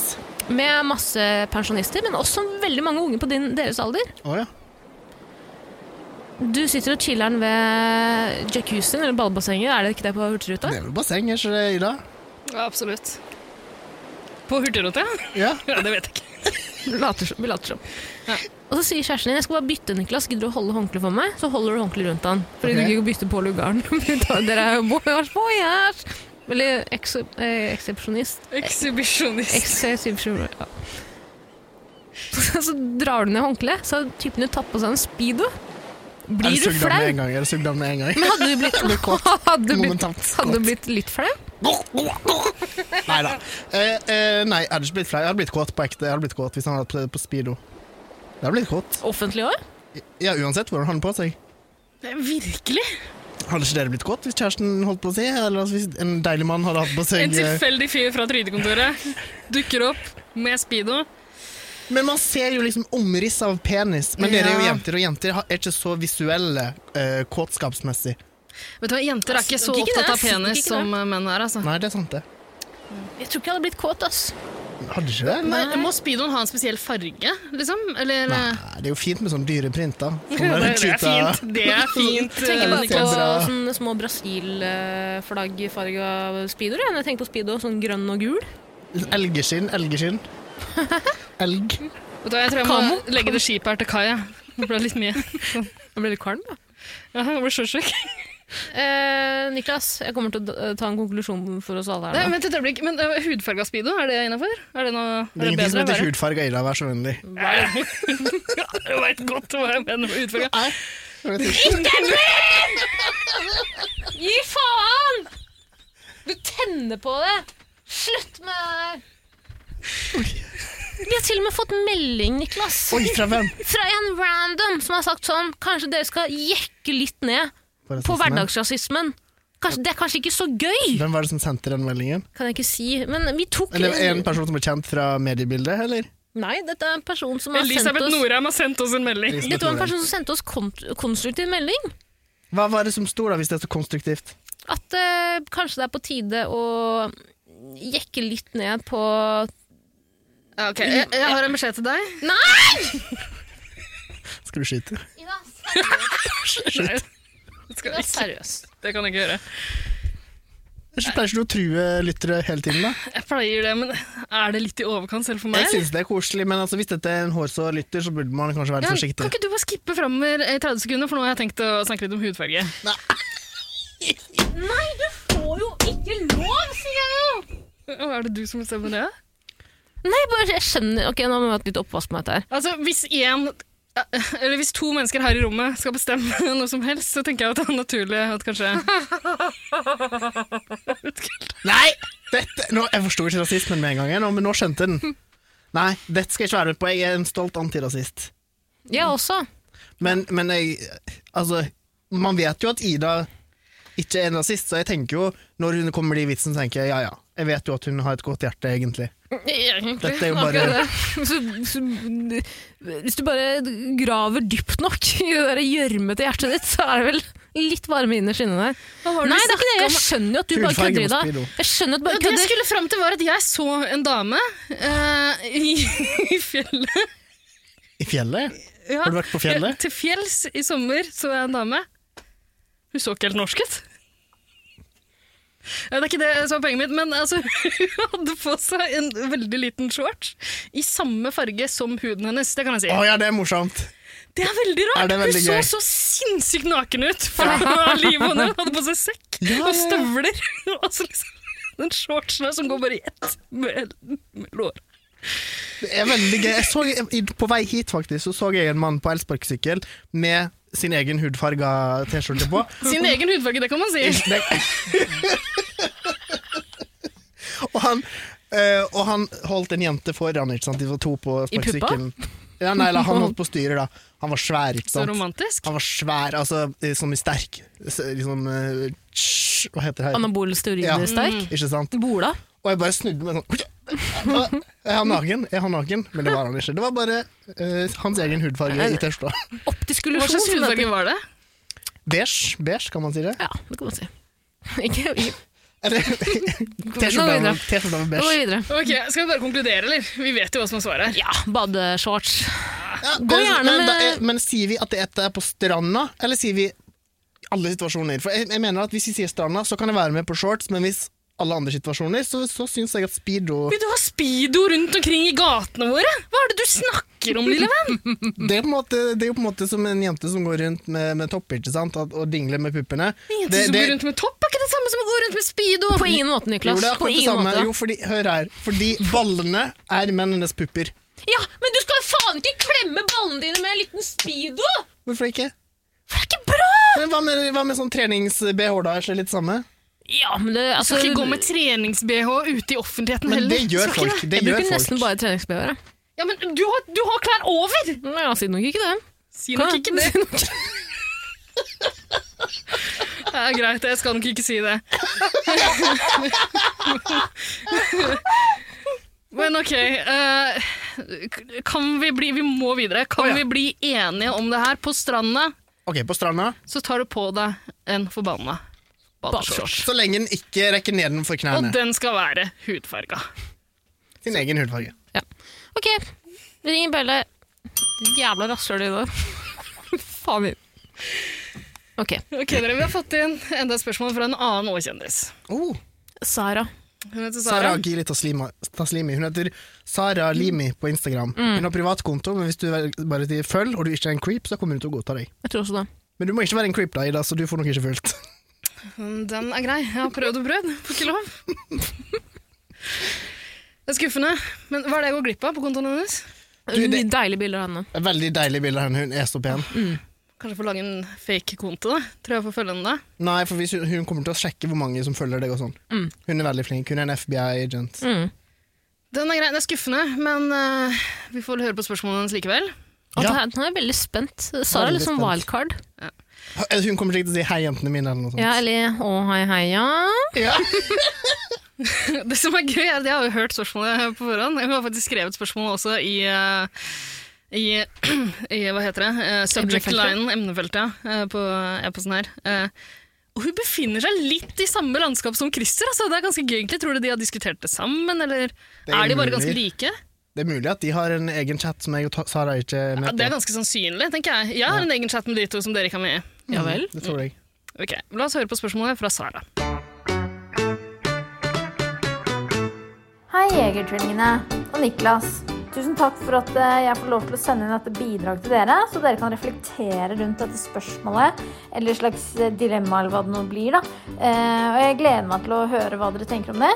med masse pensjonister, men også veldig mange unge på din, deres alder. Å ja. Du sitter og chiller'n ved jacuzzien eller ballbassenget, er det ikke det på Hurtigruta? Det er vel basseng, er ikke det, Ida? Ja, absolutt. På hurtigruta? ja? Ja. Ja, det vet jeg ikke. Vi later som- vi later som. Og så sier kjæresten din 'jeg skal bare bytte, Niklas, gidder du å holde håndkleet for meg?' Så holder du håndkleet rundt han. Fordi du Ok. gidder ikke å bytte på lugaren. Da- Dere er jo voyage, voyage! Veldig ekse- eh, eksepsjonist. Ekshibisjonist. Excessive ja. Så, så drar du ned håndkleet, så har typen du tatt på seg en speedo. Er Blir det du sugd av flau? med en gang? Er det sugd av med en gang? Men hadde du blitt, Blir kåt. hadde du blitt, Momentant kåt. hadde du blitt litt flau? Nei da. Eh, eh, nei, jeg hadde ikke blitt flau. Jeg hadde blitt kåt på ekte. Jeg hadde blitt kåt Hvis han hadde prøvd på speedo. Jeg hadde blitt kåt. Offentlig òg? Ja, uansett hvordan han hadde på seg. Virkelig? Hadde ikke dere blitt kåt hvis kjæresten holdt på å si? Eller altså, hvis en deilig mann hadde hatt på En seg eh, tilfeldig fyr fra trygdekontoret dukker opp med speedo. Men man ser jo liksom omriss av penis. Men dere er jo Ja. jenter, og jenter har- er ikke så visuelle eh, kåtskapsmessig. Vet du hva, Jenter er ikke så Ikke det, opptatt av ikke penis det. som eh, menn er. altså. Nei, det er sant, det. Jeg tror ikke jeg hadde blitt kåt, ass. Hadde ikke det? Nei. Må speedoen ha en spesiell farge, liksom? Eller Nei, eh, det er jo fint med sånn dyreprint, da. Sånn det, der det er cheetah- fint. Det er fint. Jeg tenker eh, bare det er på bra. sånne små Brasil-flaggfarga speedoer. jeg. Når Jeg tenker på speedo, sånn grønn og gul. Elgeskinn, elgeskinn. Elg. Vet du hva, Jeg tror jeg Kamo? må legge det skipet her til kai. jeg. Det ble litt mye. Jeg blir litt kvalm, da. Ja, jeg ble sjøsjuk. Eh, Niklas, jeg kommer til å eh, ta en konklusjon for oss alle her. Nei, nå. Vent et øyeblikk, men uh, hudfarga speedo, er det innafor? Er det noe Det er er det ingenting som bedre? heter hudfarga Ida, vær så vennlig. Jeg veit godt hva jeg mener med hudfarga. Nei, jeg vet ikke. Gi faen! Du tenner på det! Slutt med det der! Vi har til og med fått melding, Niklas, Oi, fra hvem? fra en random som har sagt sånn Kanskje dere skal jekke litt ned På på hverdagsrasismen. Kanskje, det er kanskje ikke så gøy, Hvem var det som sendte den meldingen? kan jeg ikke si. Men vi tok Eller en person som ble kjent fra mediebildet, eller? Nei, dette er en person som har sendt Elisabeth oss Norheim har sendt oss en melding. Dette var en person som sendte oss kont konstruktiv melding. Hva var det som sto da, hvis det er så konstruktivt? At eh, kanskje det er på tide å jekke litt ned på Ja, ok. jeg, jeg har en beskjed til deg. Skal du skyte? Ida, seriøst. Nei, det, skal Ida, jeg ikke. seriøst. det kan jeg ikke gjøre. Ellers pleier ikke du å true lyttere hele tiden, da? Jeg pleier det, men er det litt i overkant selv for meg? Jeg syns det er koselig, men altså, hvis dette er en hårsår lytter, så burde man kanskje være Ja, litt kan forsiktig. ikke du bare skippe framover i 30 sekunder, for nå har jeg tenkt å snakke litt om hudfarge. Nei, du får jo ikke lov, sier jeg jo! Å, Er det du som bestemmer det? Nei, bare jeg skjønner Ok, nå må vi ha et litt oppvask med dette her. Altså, hvis én eller hvis to mennesker her i rommet skal bestemme noe som helst, så tenker jeg at det er naturlig at kanskje Nei! Dette, nå, jeg forsto ikke rasismen med en gang, jeg, nå, men nå skjønte jeg den. Nei, dette skal jeg ikke være med på. Jeg er en stolt antirasist. Jeg også. Men, men jeg Altså, man vet jo at Ida ikke er en rasist, så jeg tenker jo, når hun kommer med de vitsene, tenker jeg ja ja. Jeg vet jo at hun har et godt hjerte, egentlig. Egentlig. Dette er jo bare- akkurat det. så, så, Hvis du bare graver dypt nok i det der gjørmete hjertet ditt, så er det vel litt varme innerst inne der. Nei, det er ikke det. Jeg skjønner jo at du bare Hudfarge kødder i på dag. Speedo. Jeg skjønner at du bare Det jeg kødder. skulle fram til, var at jeg så en dame eh, i, i fjellet. I fjellet? Ja. Har du vært på fjellet? Til fjells i sommer så jeg en dame. Hun så ikke helt norsk ut. Ja, det er ikke det som er poenget mitt, men altså, hun hadde på seg en veldig liten shorts i samme farge som huden hennes. Det kan jeg si. Å ja, det er morsomt. Det er veldig rart! Er det veldig hun gøy? så så sinnssykt naken ut fra livet hennes. Hun hadde på seg sekk Ja, ja, ja. og støvler. og så liksom, den shortsen her som går bare i ett med, med lår. Det er veldig gøy. Jeg så, i- på vei hit faktisk, så så jeg en mann på elsparkesykkel med sin egen hudfarga T-skjorte på. Sin egen hudfarge, det kan man si. Og han, eh, og han holdt en jente foran, ikke sant? De var to på I puppa? sparkesykkelen. Ja, nei, eller han holdt på styret, da. Han var svær, ikke Så sant? romantisk. Han var svær, altså eh, som i sterk. S- Liksom eh, tss, Hva heter det her? Anabole Ja. Mm. steoriner sterk. Ikke sant? Bola. Og jeg bare snudde meg sånn «Åh, Er han naken? Er han naken? Men det var han ikke. Det var bare eh, hans egen hudfarge i T-skjorta. Optisk Hva illusjon. slags som det hudfarge heter. var det? Beige, beige, kan man si det? Ja, det kan man si. Ikke Nå Eller Nå T-skjorta videre. med- T-skjorta med går vi beige. videre. Ok, Skal vi bare konkludere, eller? Vi vet jo hva som er svaret her. Ja, badeshorts. Ja, det- Gå gjerne men, da med- er- men sier vi at dette er eh, på stranda, eller sier vi alle situasjoner? For jeg, jeg mener at hvis vi sier stranda, så kan jeg være med på shorts, men hvis alle andre situasjoner, så, så syns jeg at speedo Vil du ha speedo rundt omkring i gatene våre? Hva er det du snakker om, lille venn? Det er, på en måte, det er jo på en måte som en jente som går rundt med, med topper ikke sant? At, og dingler med puppene. Jenter Det- som det- går rundt med topp, er ikke det samme som å gå rundt med speedo. På ingen måte, Jo, Niklas. det er akkurat På det ingen samme. måte. Jo, fordi, hør her. Fordi ballene er mennenes pupper. Ja, men du skal faen ikke klemme ballene dine med en liten speedo! Hvorfor ikke? Det er ikke bra! Men hva med, hva med sånn trenings-BH, da? Er det litt samme? Ja, men det, Du altså, skal ikke gå med trenings-BH ute i offentligheten Men heller. det gjør Skal ikke folk. Det Jeg gjør bruker nesten folk. bare treningsbehøret. Ja, men du har, du har klær over! Nei, jeg sier nok ikke det. Si nok Hva? ikke det. Det er greit, jeg skal nok ikke si det. Men ok, eh, k- kan vi bli, vi må videre, kan Å, ja. vi bli enige om det her? På stranda Ok, på stranda. så tar du på deg en forbanna badeshorts. Så lenge den ikke rekker nedenfor Og knærne. den skal være hudfarga. Sin egen hudfarge. Ja. Ok, ring Belle. Ditt Jævla rasshøl i dag. Faen min. Ok, Ok, dere, Vi har fått inn enda et spørsmål fra en annen Å-kjendis. Oh, Sara. Hun heter Sara. Sara Gili Taslima- Taslimi. Hun heter Sara Mm. Limi på Instagram. Hun har privatkonto, men hvis du vel- bare sier følg, og du ikke er en creep, så kommer hun til å godta deg. Jeg tror også det. Men du må ikke være en creep, da, Ida, så du får nok ikke fulgt. Den er grei. Jeg har prøvd og prøvd. Får ikke lov. Det er skuffende. Men hva er det jeg går glipp av på kontoen hennes? Du, det- Deilige bilder av henne. Det er Veldig deilig bilde av henne. Hun er så pen. Kanskje få lage en fake konto, da. Tror jeg får følge henne da. Nei, for hvis hun, hun kommer til å sjekke hvor mange som følger deg og sånn. Hun er veldig flink. Hun er en FBI-agent. Mm. Den er grei. Det er skuffende, men eh, vi får høre på spørsmålene hennes likevel. Og Ja. det her- Nå er jeg veldig spent. Sara Veldig er litt sånn spent. wildcard. Hun kommer sikkert til å si 'hei, jentene mine' eller noe sånt. Ja, eller å hei hei, ja. Det som er gøy, er at jeg har jo hørt spørsmålet på forhånd. Hun har faktisk skrevet spørsmålet også i eh, i, i hva heter det? Eh, subject Emnefeltet. linen, emnefeltet, ja, eh, på e-posten her. Eh, og hun befinner seg litt i samme landskap som Christer. Altså. Det er ganske gøy egentlig. Tror du de har diskutert det sammen, er eller er, de bare mulig. ganske like? Det er mulig at de har en egen chat som jeg og Ta- Sara ikke Ja, det er møter. ganske sannsynlig, tenker jeg. Jeg har en egen chat med de to som dere ikke har med i. Mm. Ja vel. Mm, Det tror jeg. Ok, La oss høre på spørsmålet fra Sara. Hei, Jegertvillingene og Niklas. Tusen takk for at eh, jeg får lov til å sende inn dette bidraget til dere, så dere kan reflektere rundt dette spørsmålet, eller slags eh, dilemma, eller hva det nå blir. da. Eh, Og jeg gleder meg til å høre hva dere tenker om det.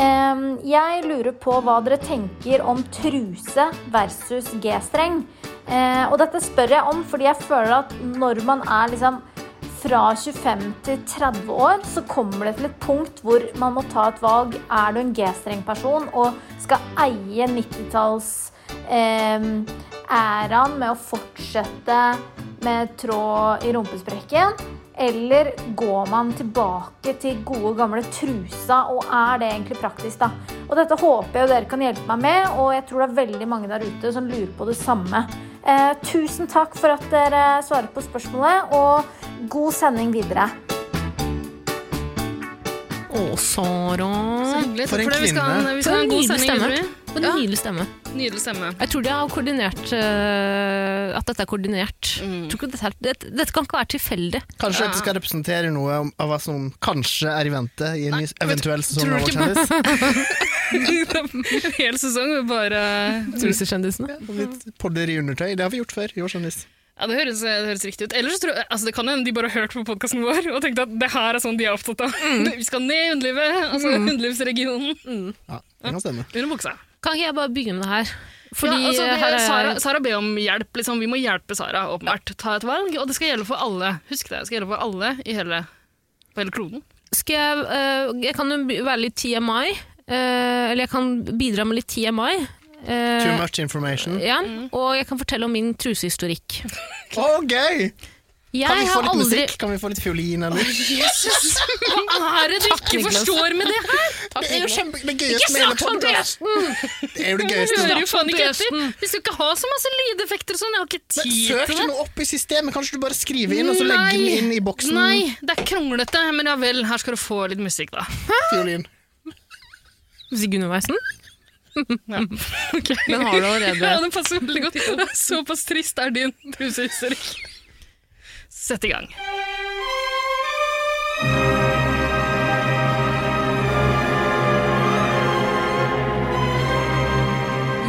Eh, Jeg lurer på hva dere tenker om truse versus G-streng. Eh, Og dette spør jeg om fordi jeg føler at når man er liksom fra 25 til 30 år så kommer det til et punkt hvor man må ta et valg. Er du en G-streng person og skal eie 90-talls eh, æraen med å fortsette med tråd i rumpesprekken? Eller går man tilbake til gode gamle trusa, og er det egentlig praktisk, da? Og dette håper jeg dere kan hjelpe meg med, og jeg tror det er veldig mange der ute som lurer på det samme. Eh, tusen takk for at dere svarer på spørsmålet, og god sending videre. Å, Sara. Så hyggelig. For Takk en for det. Vi skal, ha en- vi For skal ha en en god nydelig sending stemme. videre. For en Ja, nydelig stemme. nydelig stemme. Jeg tror de har koordinert øh, At dette er koordinert. Jeg Tror ikke dette, er- dette, dette kan ikke være tilfeldig. Kanskje dette skal representere noe om- av hva som kanskje er i vente i en ny eventuell sesong tror av Vår du ikke- kjendis. en hel sesong med bare Mm. Trusekjendisene. Litt podder i undertøy. Det har vi gjort før i Vår kjendis. Ja, det høres, det høres riktig ut. Ellers tror jeg, altså Det kan hende de bare har hørt på podkasten vår og tenkte at det her er sånn de er opptatt av. Vi skal ned i underlivet, altså underlivsregionen. Ja, det kan stemme. Under buksa. Kan ikke jeg bare begynne med det her? Fordi ja, altså, det, her er Sara, Sara ber om hjelp. liksom. Vi må hjelpe Sara, åpenbart. Ta et valg, og det skal gjelde for alle. Husk det. Det skal gjelde for alle i hele, på hele kloden. Skal jeg, øh, jeg kan jo by- være litt TMI. øh, eller jeg kan bidra med litt TMI. øh, Too much information. ja, og jeg kan fortelle om min trusehistorikk. Å, gøy! Jeg Kan vi få har litt aldri musikk? Kan vi få litt fiolin, eller? Hva er det du ikke Niklas. forstår med det her? Det er jo kjempe... Det gøyeste med hele podcasten! Det er jo det Du gøyeste. hører jo faen ikke etter. Forresten. Vi skal ikke ha så masse lydeffekter og sånn. Jeg har ikke Men tid søk til det det. noe opp i systemet. Kanskje du bare skriver inn, og så legger den inn i boksen Nei, det er kronglete, men ja vel, her skal du få litt musikk, da. fiolin. Sigurd Underveisen. Ok. Den har du allerede. Ja, den passer veldig godt. Såpass trist er din trusehistorikk. Sett i gang.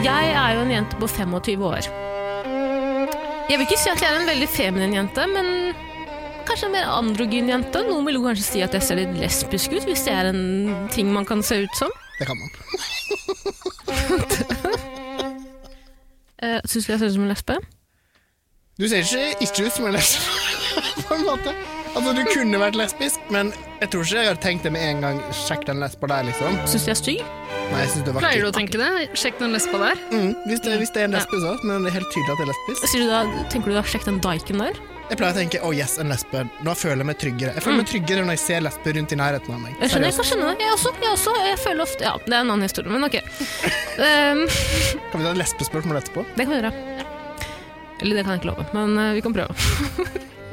Jeg er jo en jente på 25 år. Jeg vil ikke si at jeg er en veldig feminin jente, men kanskje en mer androgyn jente. Noen vil jo kanskje si at jeg ser litt lesbisk ut, hvis det er en ting man kan se ut som. Det kan man. Uh, Syns du jeg ser ut som en lesbe? Du ser ikke ikke ut som en lesbisk, på en måte. Altså, du kunne vært lesbisk, men jeg tror ikke jeg hadde tenkt det med en gang. Sjekk den lesba der, liksom. Syns du jeg er stygg? Nei, jeg synes det er Pleier du å vakkert. tenke det? Sjekk den lesba der. Mm, hvis, det, hvis det er en lesbe, så. Men det er helt tydelig at det er lesbisk. Sier du da, tenker du da sjekk den daiken der? Jeg pleier å tenke 'å yes, en lesbe'. Nå føler jeg meg tryggere. Jeg føler Mm. meg tryggere når jeg ser lesber rundt i nærheten av meg. Jeg skjønner, jeg Seriøst. kan skjønne det. Jeg også. Jeg også. og Jeg føler ofte Ja, det er en annen historie, men ok. Ehm, Kan vi ta et lesbespørsmål etterpå? det kan vi gjøre. Eller det kan jeg ikke love, men eh, vi kan prøve.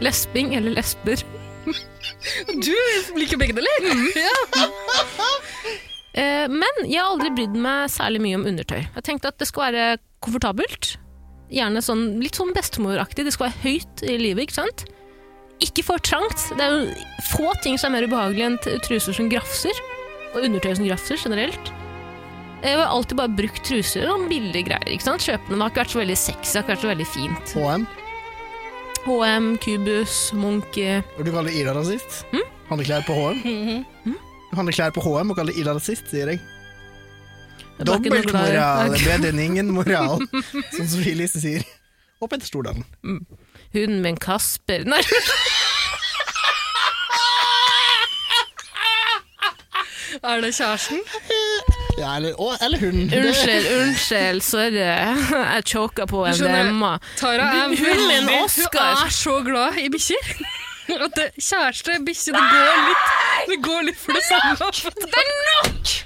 Lesbing eller lesber? Mm. Du liker begge deler. Eh, men jeg har aldri brydd meg særlig mye om undertøy. Jeg tenkte at det skulle være komfortabelt. Gjerne sånn, litt sånn bestemoraktig. Det skal være høyt i livet, ikke sant? Ikke for trangt. Det er jo få ting som er mer ubehagelig enn t- truser som grafser. Og undertøy som grafser generelt. Jeg har alltid bare brukt truser og billige greier. ikke sant? Kjøpende det har ikke vært så veldig sexy, det har ikke vært så veldig fint. HM. HM, Cubus, Munch eh, Og du kaller Ida rasist? Mm. Han hadde klær på HM. Du handler klær på HM og kaller Ida rasist, sier jeg. jeg var ikke noe glad i- Dobbeltmoral. Det er den ingen moral, sånn som Elise sier. Og Petter Stordalen. Hun med en Kasper Nei. Er det kjæresten? Ja, eller, å, eller hun. Det- Unnskyld, unnskyld, sorry. Jeg choka på en Skjønner. demma. Tara er Hun- hun med en veldig- Oscar. Hun er så glad i bikkjer. At det, kjæreste, bikkje, det går litt Det går litt for det samme. Det er nok! Det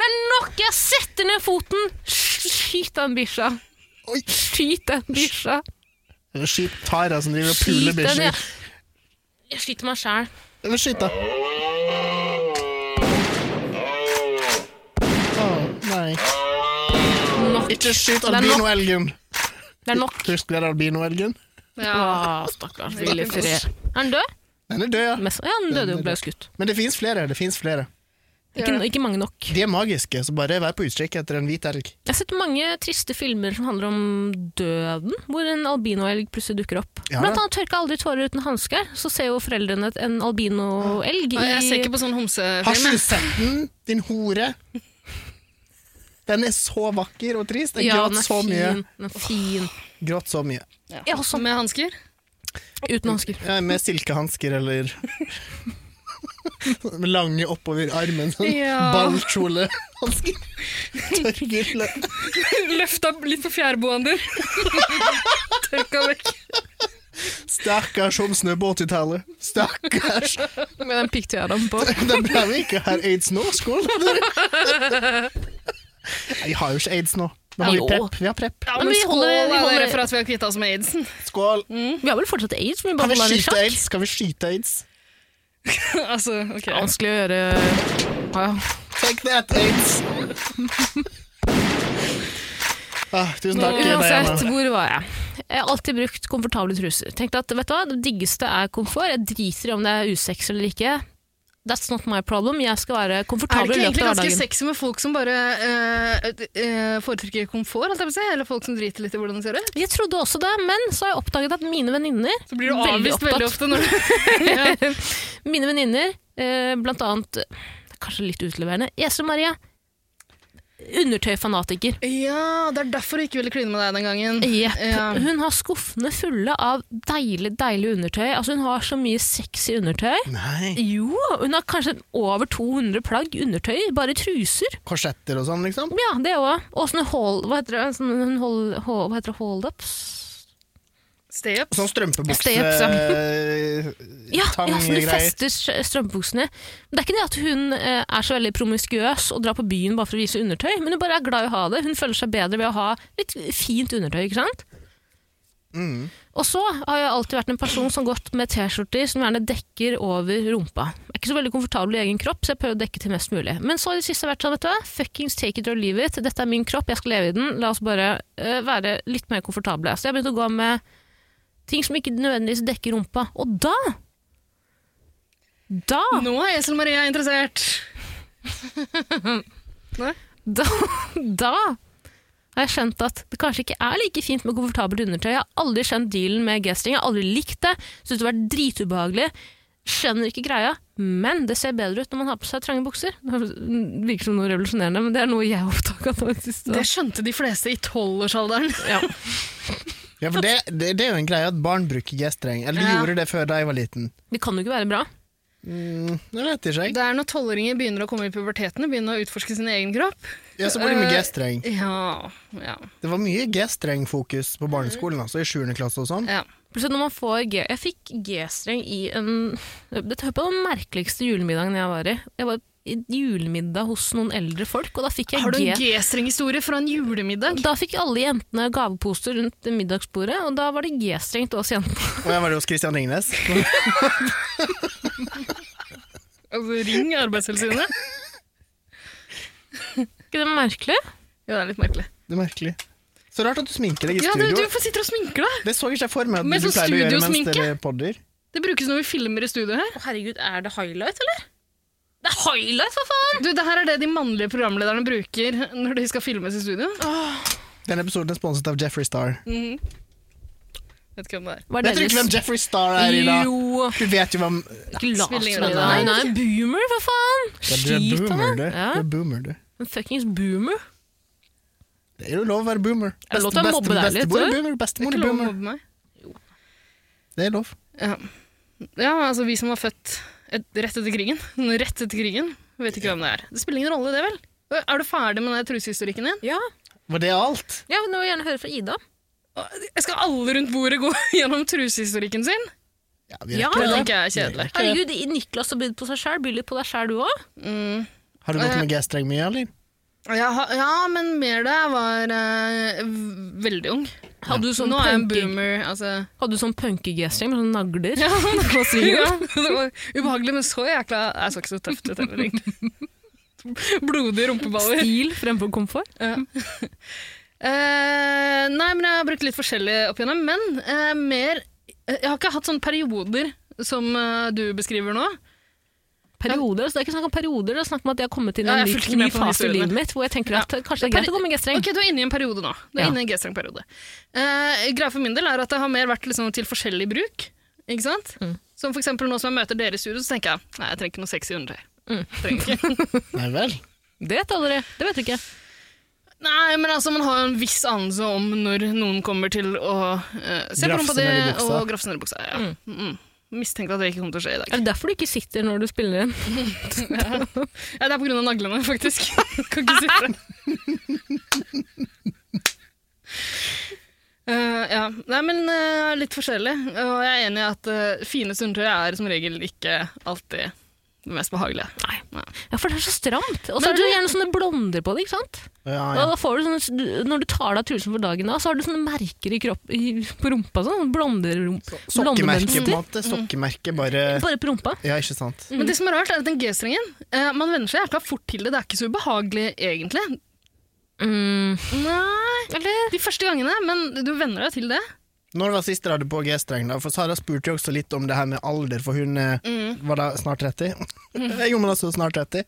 er nok! Jeg setter ned foten! Skyt den bikkja. Oi. Skyt den bikkja. Skyt Tara som driver og puler Skyt den bikkjer. jeg. Jeg skyter meg sjæl. Men Skyt, da. Å, nei. Nok nok. Ikke skyt Det er nok. albinoelgen. Det er nok. Husker dere albinoelgen? Ja. Å, stakkars lille fred. Er han død? Den er død, ja. Mest- Ja, han døde jo, ble jo skutt. Men det fins flere. det finnes flere. Ikke, ikke mange nok. De er magiske, så bare vær på utkikk etter en hvit elg. Jeg har sett mange triste filmer som handler om døden, hvor en albinoelg pludselig dukker opp. Ja, Blant ja. annet tørka aldri tårer uten hansker, så ser jo foreldrene et- en albinoelg Og Jeg ser i ikke på sånn Har homsefilm. ikke du jeg. sett den, din hore? Den er så vakker og trist. Jeg Ja, den gråt er så mye. fin. Den er fin. Gråt så mye. Ja, også Med hansker. uten hansker. Ja, med silkehansker eller Med lange oppover armen. Sånn Ja. Ballkjolehansker. Tørrgulle. Løfta litt på fjærboaen din. Tørka vekk. Stakkars homsene på 80-tallet. Stakkars. Med den pikktiaraen på. Det er bra vi ikke har aids nå. Skål. da, dere. Nei, Vi har jo ikke aids nå. Nå har vi Jo. prep. Vi har prep. Ja, men men vi skål holder- vi da, holder- dere for at vi har kvitta oss med aidsen. Skål. Vi har vel fortsatt aids, men vi bare Kan vi holder den i skyte sjakk. aids? Kan vi skyte aids? altså, ok. Det er vanskelig å gjøre ja. Take that, aids. ah, tusen takk. Uansett, Diana. hvor var jeg? Jeg har alltid brukt komfortable truser. Tenkte at, vet du hva, Det diggeste er komfort. Jeg driter i om det er usexy eller ikke. That's not my problem. Jeg skal være Er det komfortabel i ikke løpet egentlig av ganske hverdagen. sexy med folk som bare eh, eh, foretrekker komfort, holdt jeg på å si, eller folk som driter litt i hvordan de ser ut? Jeg trodde også det, men så har jeg oppdaget at mine venninner Så blir du Veldig avvist veldig opptatt. ofte når du ja. Mine venninner, eh, blant annet det er Kanskje litt utleverende. Jesle Marie. Undertøyfanatiker. ja, det er derfor jeg ikke ville kline med deg den gangen. Jepp. Ja. Hun har skuffene fulle av deilig, deilig undertøy. Altså, hun har så mye sexy undertøy. Nei, Jo, hun har kanskje over 200 plagg undertøy, bare truser. korsetter og sånn, liksom? Ja, det òg. Og sånne hold... Hva heter det? Sånne hold, hold, hva heter det? Holdups? Stay up. Sånn strømpebukse... Stay-ups, ja. Ja, ja sånn du Tanggreier. fester str- strømpebuksene. Men Det er ikke det at hun eh, er så veldig promiskuøs og drar på byen bare for å vise undertøy, men hun bare er glad i å ha det. Hun føler seg bedre ved å ha litt fint undertøy, ikke sant? Og så har jeg alltid vært en person som gått med T-skjorter som gjerne dekker over rumpa. Jeg er ikke så veldig komfortabel i egen kropp, så jeg prøver å dekke til mest mulig. Men så i det siste har jeg vært sånn, vet du hva, fuckings take it or leave it. Dette er min kropp, jeg skal leve i den. La oss bare eh, være litt mer komfortable. Så jeg begynte å gå med ting som ikke nødvendigvis dekker rumpa. Og da da, Nå er Esel Maria interessert. da, da har jeg skjønt at det kanskje ikke er like fint med komfortabelt undertøy. Jeg har aldri skjønt dealen med G-string, jeg har aldri likt det. Syns det har vært dritubehagelig. Skjønner ikke greia, men det ser bedre ut når man har på seg trange bukser. Det virker som noe revolusjonerende, men det er noe jeg har oppdaga nå i det siste. Det skjønte de fleste i tolvårsalderen. Ja. Ja, for det, det, det er jo en greie at barn bruker G-streng. Eller de Ja. gjorde det før da jeg var liten. Det kan jo ikke være bra. Jeg vet ikke, jeg. Det er når tolvåringer begynner å komme i puberteten og begynner å utforske sin egen kropp. Ja, så var det med Eh, G-streng. Ja, ja, Det var mye G-streng-fokus på barneskolen, altså i 7. klasse og sånn. ja. Plutselig når man får G Jeg fikk G-streng i en Dette hører på den merkeligste julemiddagen jeg var i. Jeg var i julemiddag hos noen eldre folk, og da fikk jeg Har du G. en G-streng-historie fra en julemiddag? Da fikk alle jentene gaveposer rundt middagsbordet, og da var det G-streng til oss jentene. Og jeg var det hos Christian Ringnes. Altså, ring Arbeidstilsynet. Ikke det merkelig? Ja, det er litt merkelig. Det er merkelig. Så rart at du sminker deg i Ja, du, studio. du får sitte og sminke deg. Det så ikke jeg for meg at Men du sånn pleier å gjøre mens studiosminke? dere podder. Det brukes når vi filmer i studio her. Å herregud, er det highlight, eller? Det er highlight, for faen! Du, det her er det de mannlige programlederne bruker når de skal filmes i studio. Denne episoden er sponset av Jeffrey Star. Mm, Vet ikke hvem det er. Var Vet du ikke hvem Jeffrey Star er i dag? Jo, Du vet jo hvem ikke lat som Spiller ingen det. rolle. Nei, Nei, nei, boomer, for faen! ja, Du er Skit av boomer, meg. du. Ja, Du er boomer, du. en fuckings boomer. Det er jo lov å være boomer. Er det lov til å mobbe deg litt, Bestemor eller? er boomer. Det er Bestemor ikke er lov å boomer. mobbe meg. Det er lov. Ja. ja, altså vi som var født et, rett etter krigen. Sånn Rett etter krigen. Vet ikke hvem det er. Det spiller ingen rolle, det vel? Ø, Er du ferdig med den der trusehistorikken din? Ja, Var det alt? ja men nå vil jeg gjerne høre fra Ida. Å, Jeg skal alle rundt bordet gå gjennom trusehistorikken sin? Ja, vi rekker Ja, Det det. tenker jeg er kjedelig. Herregud, i- Niklas har bydd på seg sjæl. By litt på deg sjæl, du òg. Mm. Har du gått med G-streng mye, eller? Ja, ha- ja, men mer da jeg var eh, v- veldig ung. Hadde du sånn Nå er jeg en punke- boomer, altså. hadde du sånn punke-G-streng med sånne nagler? Ja, Hva sier du? det var ubehagelig, men så jækla Jeg så ikke så tøft ut heller, egentlig. Blodige rumpeballer. Stil fremfor komfort? Ja. Eh, nei, men jeg har brukt litt forskjellig opp igjennom. Men eh, mer eh, Jeg har ikke hatt sånne perioder som eh, du beskriver nå. Perioder, så Det er ikke snakk om perioder, det er snakk om at jeg har kommet inn i Ja, en jeg ny, fulgte ikke ny med på den fase i historien. livet mitt hvor jeg tenker at kanskje det er greit å gå med G-streng. Ok, Du er inne i en periode nå. Du er Ja. inne i en G-streng-periode. Eh, greia for min del er at det har mer vært liksom til forskjellig bruk. Ikke sant? Mm. Som for eksempel nå som jeg møter dere i studio, så tenker jeg nei, jeg trenger ikke noe sexy undertøy. Mm. Trenger ikke. Nei vel. Det vet aldri. Det vet du ikke. Nei, men altså, man har jo en viss anelse om når noen kommer til å eh, se Grafse på noen på det ned i buksa. og grafse ned i buksa. Ja. Mm. Mistenkte at det ikke kommer til å skje i dag. Er det derfor du ikke sitter når du spiller inn? Ja, det er på grunn av naglene, faktisk. kan ikke sitte. Eh, ja, Nei, men eh, litt forskjellig. Og jeg er enig i at uh, fine undertøy er som regel ikke alltid det mest behagelige. Nei. Nei. Mm. Ja, for det er så stramt. Og så Men er det jo du- Ah, gjerne sånne blonder på det, ikke sant? Ja, Og ja. da får du sånne, når du tar deg av trusen for dagen, da, så har du sånne merker i kropp, i, på rumpa. Sånn, blonder, Sokkemerke, på en blondemenster. måte. Sokkemerke, bare Bare på rumpa. Ja, ikke sant. Men det som er rart, er at den G-strengen eh, Man venner seg jævla fort til det. Det er ikke så ubehagelig, egentlig. Mm. Nei, Eller De første gangene, men du venner deg til det. Når var sist dere hadde på G-streng? da? For Sara spurte jo også litt om det her med alder, for hun eh, Mm. var da snart 30. Jeg var også snart 30,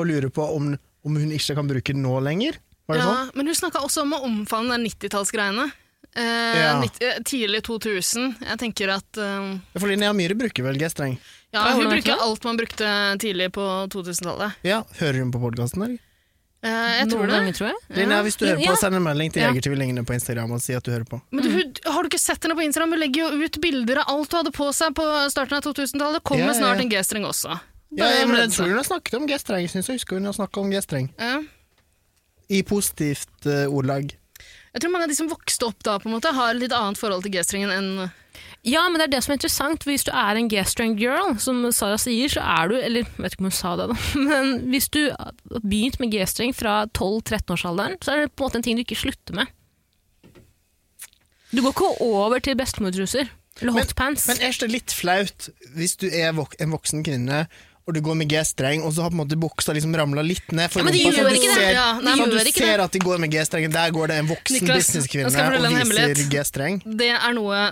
og lurer på om, om hun ikke kan bruke den nå lenger. Var det Ja, sånn? men hun snakka også om å omfavne den 90-tallsgreiene. Eh, Ja. 90 eh, tidlig 2000. Jeg tenker at eh, For Linnea Myhre bruker vel G-streng? Ja, Ja, hun hvordan er det bruker da? alt man brukte tidlig på 2000-tallet. Ja, Hører hun på podkasten? eller? Eh, jeg tror noen det. ganger, tror jeg. Linnea, hvis du hører på, Ja. send en melding til Ja. Jegertvillingene på Instagram og si at du hører på. Men du, hun, har du ikke sett henne på Instagram? Hun legger jo ut bilder av alt hun hadde på seg på starten av Ja, 2000-tallet. ja, Kommer snart ja. en G-streng også. Ja, Bare ja, men glede Jeg seg. tror hun har snakket om G-streng. Jeg synes jeg husker hun har snakket om G-streng. Ja. I positivt eh, ordlag. Jeg tror mange av de som vokste opp da, på en måte, har litt annet forhold til G-strengen enn Ja, men det er det som er interessant. Hvis du er en G-streng girl, som Sara sier, så er du Eller jeg vet ikke om hun sa det, da. Men hvis du har begynt med G-streng fra 12-13-årsalderen, så er det på en måte en ting du ikke slutter med. Du går ikke over til bestemortruser eller hotpants. Men er ikke det litt flaut hvis du er vok en voksen kvinne, og du går med G-streng, og så har på en måte buksa liksom ramla litt ned for Ja, men det rumpa, gjør sånn at du ikke det. ser, Ja, nei, sånn at gjør du ikke ser det. at de går med G-strengen. Der går det en voksen Niklas, businesskvinne jeg skal fortelle og en viser hemmelighet. G-streng. Det er noe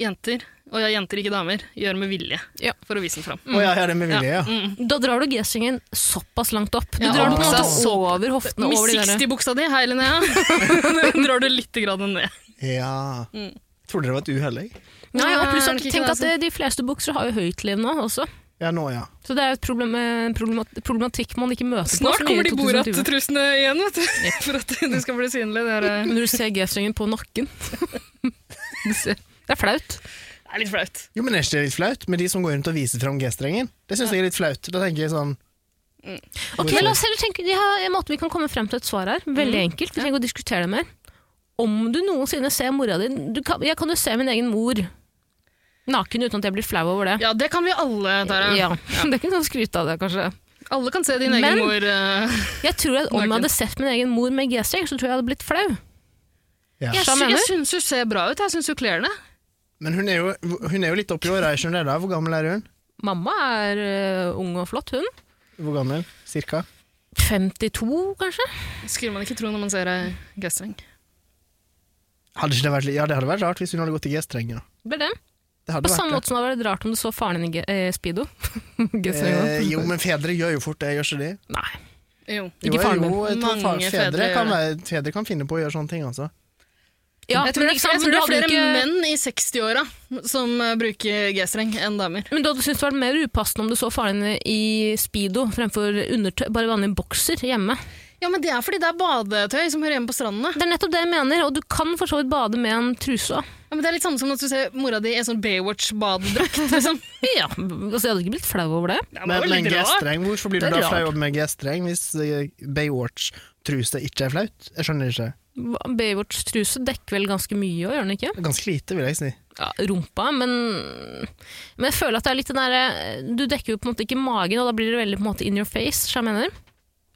jenter, og ja, jenter ikke damer, gjør med vilje Ja. Mm. for å vise den fram. Å ja, ja, det er med vilje, ja. mm. da drar du G-strengen såpass langt opp. Du Ja, drar den og på en måte buksa så- over hoftene. Med Over de der. 60-buksa di, hei Linnea, Den drar du litt grann ned. ja. Mm. Jeg trodde det var et uhell, jeg. Nei, og Nei, pluss at, det er nok ikke tenk det, at eh, De fleste bukser har jo høytliv nå også. Ja, nå, ja. Så det er jo et problem, eh, problemat- problematikk man ikke møter Snart på. så mye kommer de i 2020. Borat-trusene igjen, vet du. For at du skal bli synlig. Det er, eh, Når du ser G-strengen på nakken. Du ser- det er flaut. det er litt flaut. Jo, men er ikke det litt flaut med de som går rundt og viser fram G-strengen? Det syns jeg er litt flaut. Da tenker jeg sånn Ok, la oss heller tenke, De har en måte vi kan komme frem til et svar her. Veldig Mm. enkelt. Vi trenger ikke å diskutere det mer. Om du noensinne ser mora di du kan, Jeg kan jo se min egen mor naken uten at jeg blir flau over det. Ja, det kan vi alle, Tara. Ja, Det er ikke noe å skryte av det, kanskje. Alle kan se din egen Men- mor. eh, Jeg tror at Om jeg Naken. hadde sett min egen mor med G-streng, så tror jeg jeg hadde blitt flau. Ja. jeg Hva sy mener jeg du? syns hun ser bra ut. Jeg syns hun kler det. Men hun er jo, hun er jo litt oppi åra, jeg skjønner det da. Hvor gammel er hun? Mamma er eh, ung og flott, hun. Hvor gammel? Cirka? 52, kanskje? Skulle man ikke tro når man ser ei G-streng. Hadde ikke det vært, litt- ja, det hadde vært rart hvis hun hadde gått i G-streng. Ja. Ble det. Det hadde På samme vært det. måte som det hadde vært rart om du så faren din i G- eh, speedo. Eh, G-streng. jo, men fedre gjør jo fort det, gjør ikke de? Nei. Jo. Ikke Jo, faren min. Jo, jeg tror Mange fa- fedre, fedre kan gjør være, fedre kan finne på å gjøre sånne ting, altså. Ja, jeg tror det men er, ikke sant, jeg men tror det du er flere hadde ikke- menn i 60-åra som eh, bruker G-streng, enn damer. Men du hadde syntes det var mer upassende om du så faren din i speedo fremfor undertøy, bare vanlig bokser hjemme. Ja, men det er fordi det er badetøy som hører hjemme på strandene. Det er nettopp det jeg mener, og du kan for så vidt bade med en truse òg. Ja, men det er litt samme som at du ser mora di i en sånn Baywatch-badedrakt. Liksom. Ja, altså jeg hadde ikke blitt flau over det. Ja, Men, det var men litt rart. G-streng, hvorfor blir Det du er da rart. flau med G-streng hvis eh, Baywatch-truse ikke er flaut? Jeg skjønner ikke. Hva- Baywatch-truse dekker vel ganske mye òg, gjør den ikke? Ganske lite, vil jeg si. Ja, rumpa, men, men jeg føler at det er litt den derre Du dekker jo på en måte ikke magen, og da blir det veldig på en måte in your face, som jeg mener.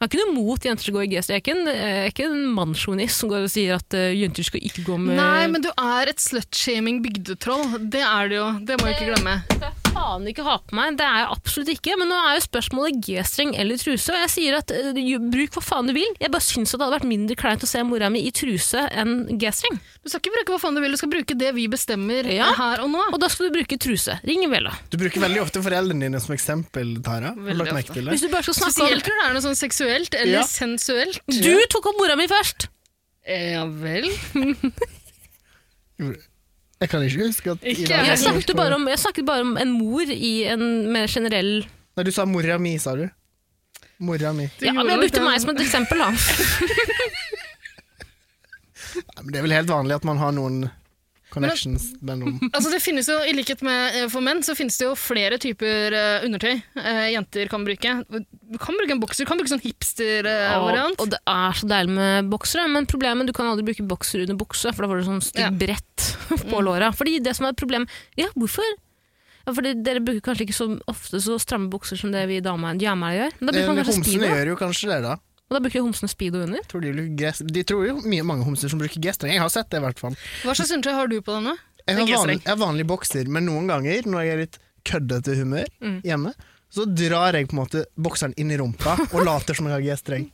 Jeg har ikke noe mot jenter som går i G-streken. Jeg er ikke en mannssjåvinist som går og sier at eh, jenter skal ikke gå med Nei, men du er et slutshaming bygdetroll. Det er det jo. Det må vi ikke glemme. Det er faen ikke ha på meg. Det er jeg absolutt ikke. Men nå er jo spørsmålet G-streng eller truse, og jeg sier at eh, ju- bruk hva faen du vil. Jeg bare syns at det hadde vært mindre kleint å se mora mi i truse enn G-streng. Du skal ikke bruke hva faen du vil, du skal bruke det vi bestemmer Ja. her og nå. Og da skal du bruke truse. Ring Vella. Du bruker veldig ofte foreldrene dine som eksempel, Tara. Har du Veldig lagt merke til det? Hvis du bare skal snakke Spesielt når om det er noe sånn seksuelt eller Ja. sensuelt. Du tok opp mora mi først! Ja vel. Jeg kan ikke huske at Ikke Ida- Ja, Jeg jeg snakket, jo bare om, jeg snakket bare om en mor i en mer generell Nei, du sa mora mi, sa du. Mora mi. Du Ja, men gjorde jeg nok det. brukte meg som et eksempel, da. Nei, men Det er vel helt vanlig at man har noen connections mellom Altså det finnes jo, I likhet med eh, for menn så finnes det jo flere typer eh, undertøy eh, jenter kan bruke. Du kan bruke en bokser, du kan bruke sånn hipster-variant. Og det er så deilig med boksere, men problemet du kan aldri bruke bokser under bukse, for da får du sånn stygg Ja. brett på Mm. låra. Fordi det som er et problem Ja, hvorfor? Ja, fordi Dere bruker kanskje ikke så ofte så stramme bukser som det vi damer damer gjør. Men da Eh, bruker man kanskje Homsene speedo, gjør jo kanskje det, da. og da bruker homsene speedo under. Tror de, bruker G de tror jo mye, mange homser som bruker G-streng. Jeg har sett det, i hvert fall. Hva slags undertøy har du på deg nå? Jeg har, Det er G-streng. vanlig, jeg har vanlig bokser, men noen ganger når jeg er litt køddete humør Mm. hjemme, så drar jeg på en måte bokseren inn i rumpa og later som jeg har G-streng.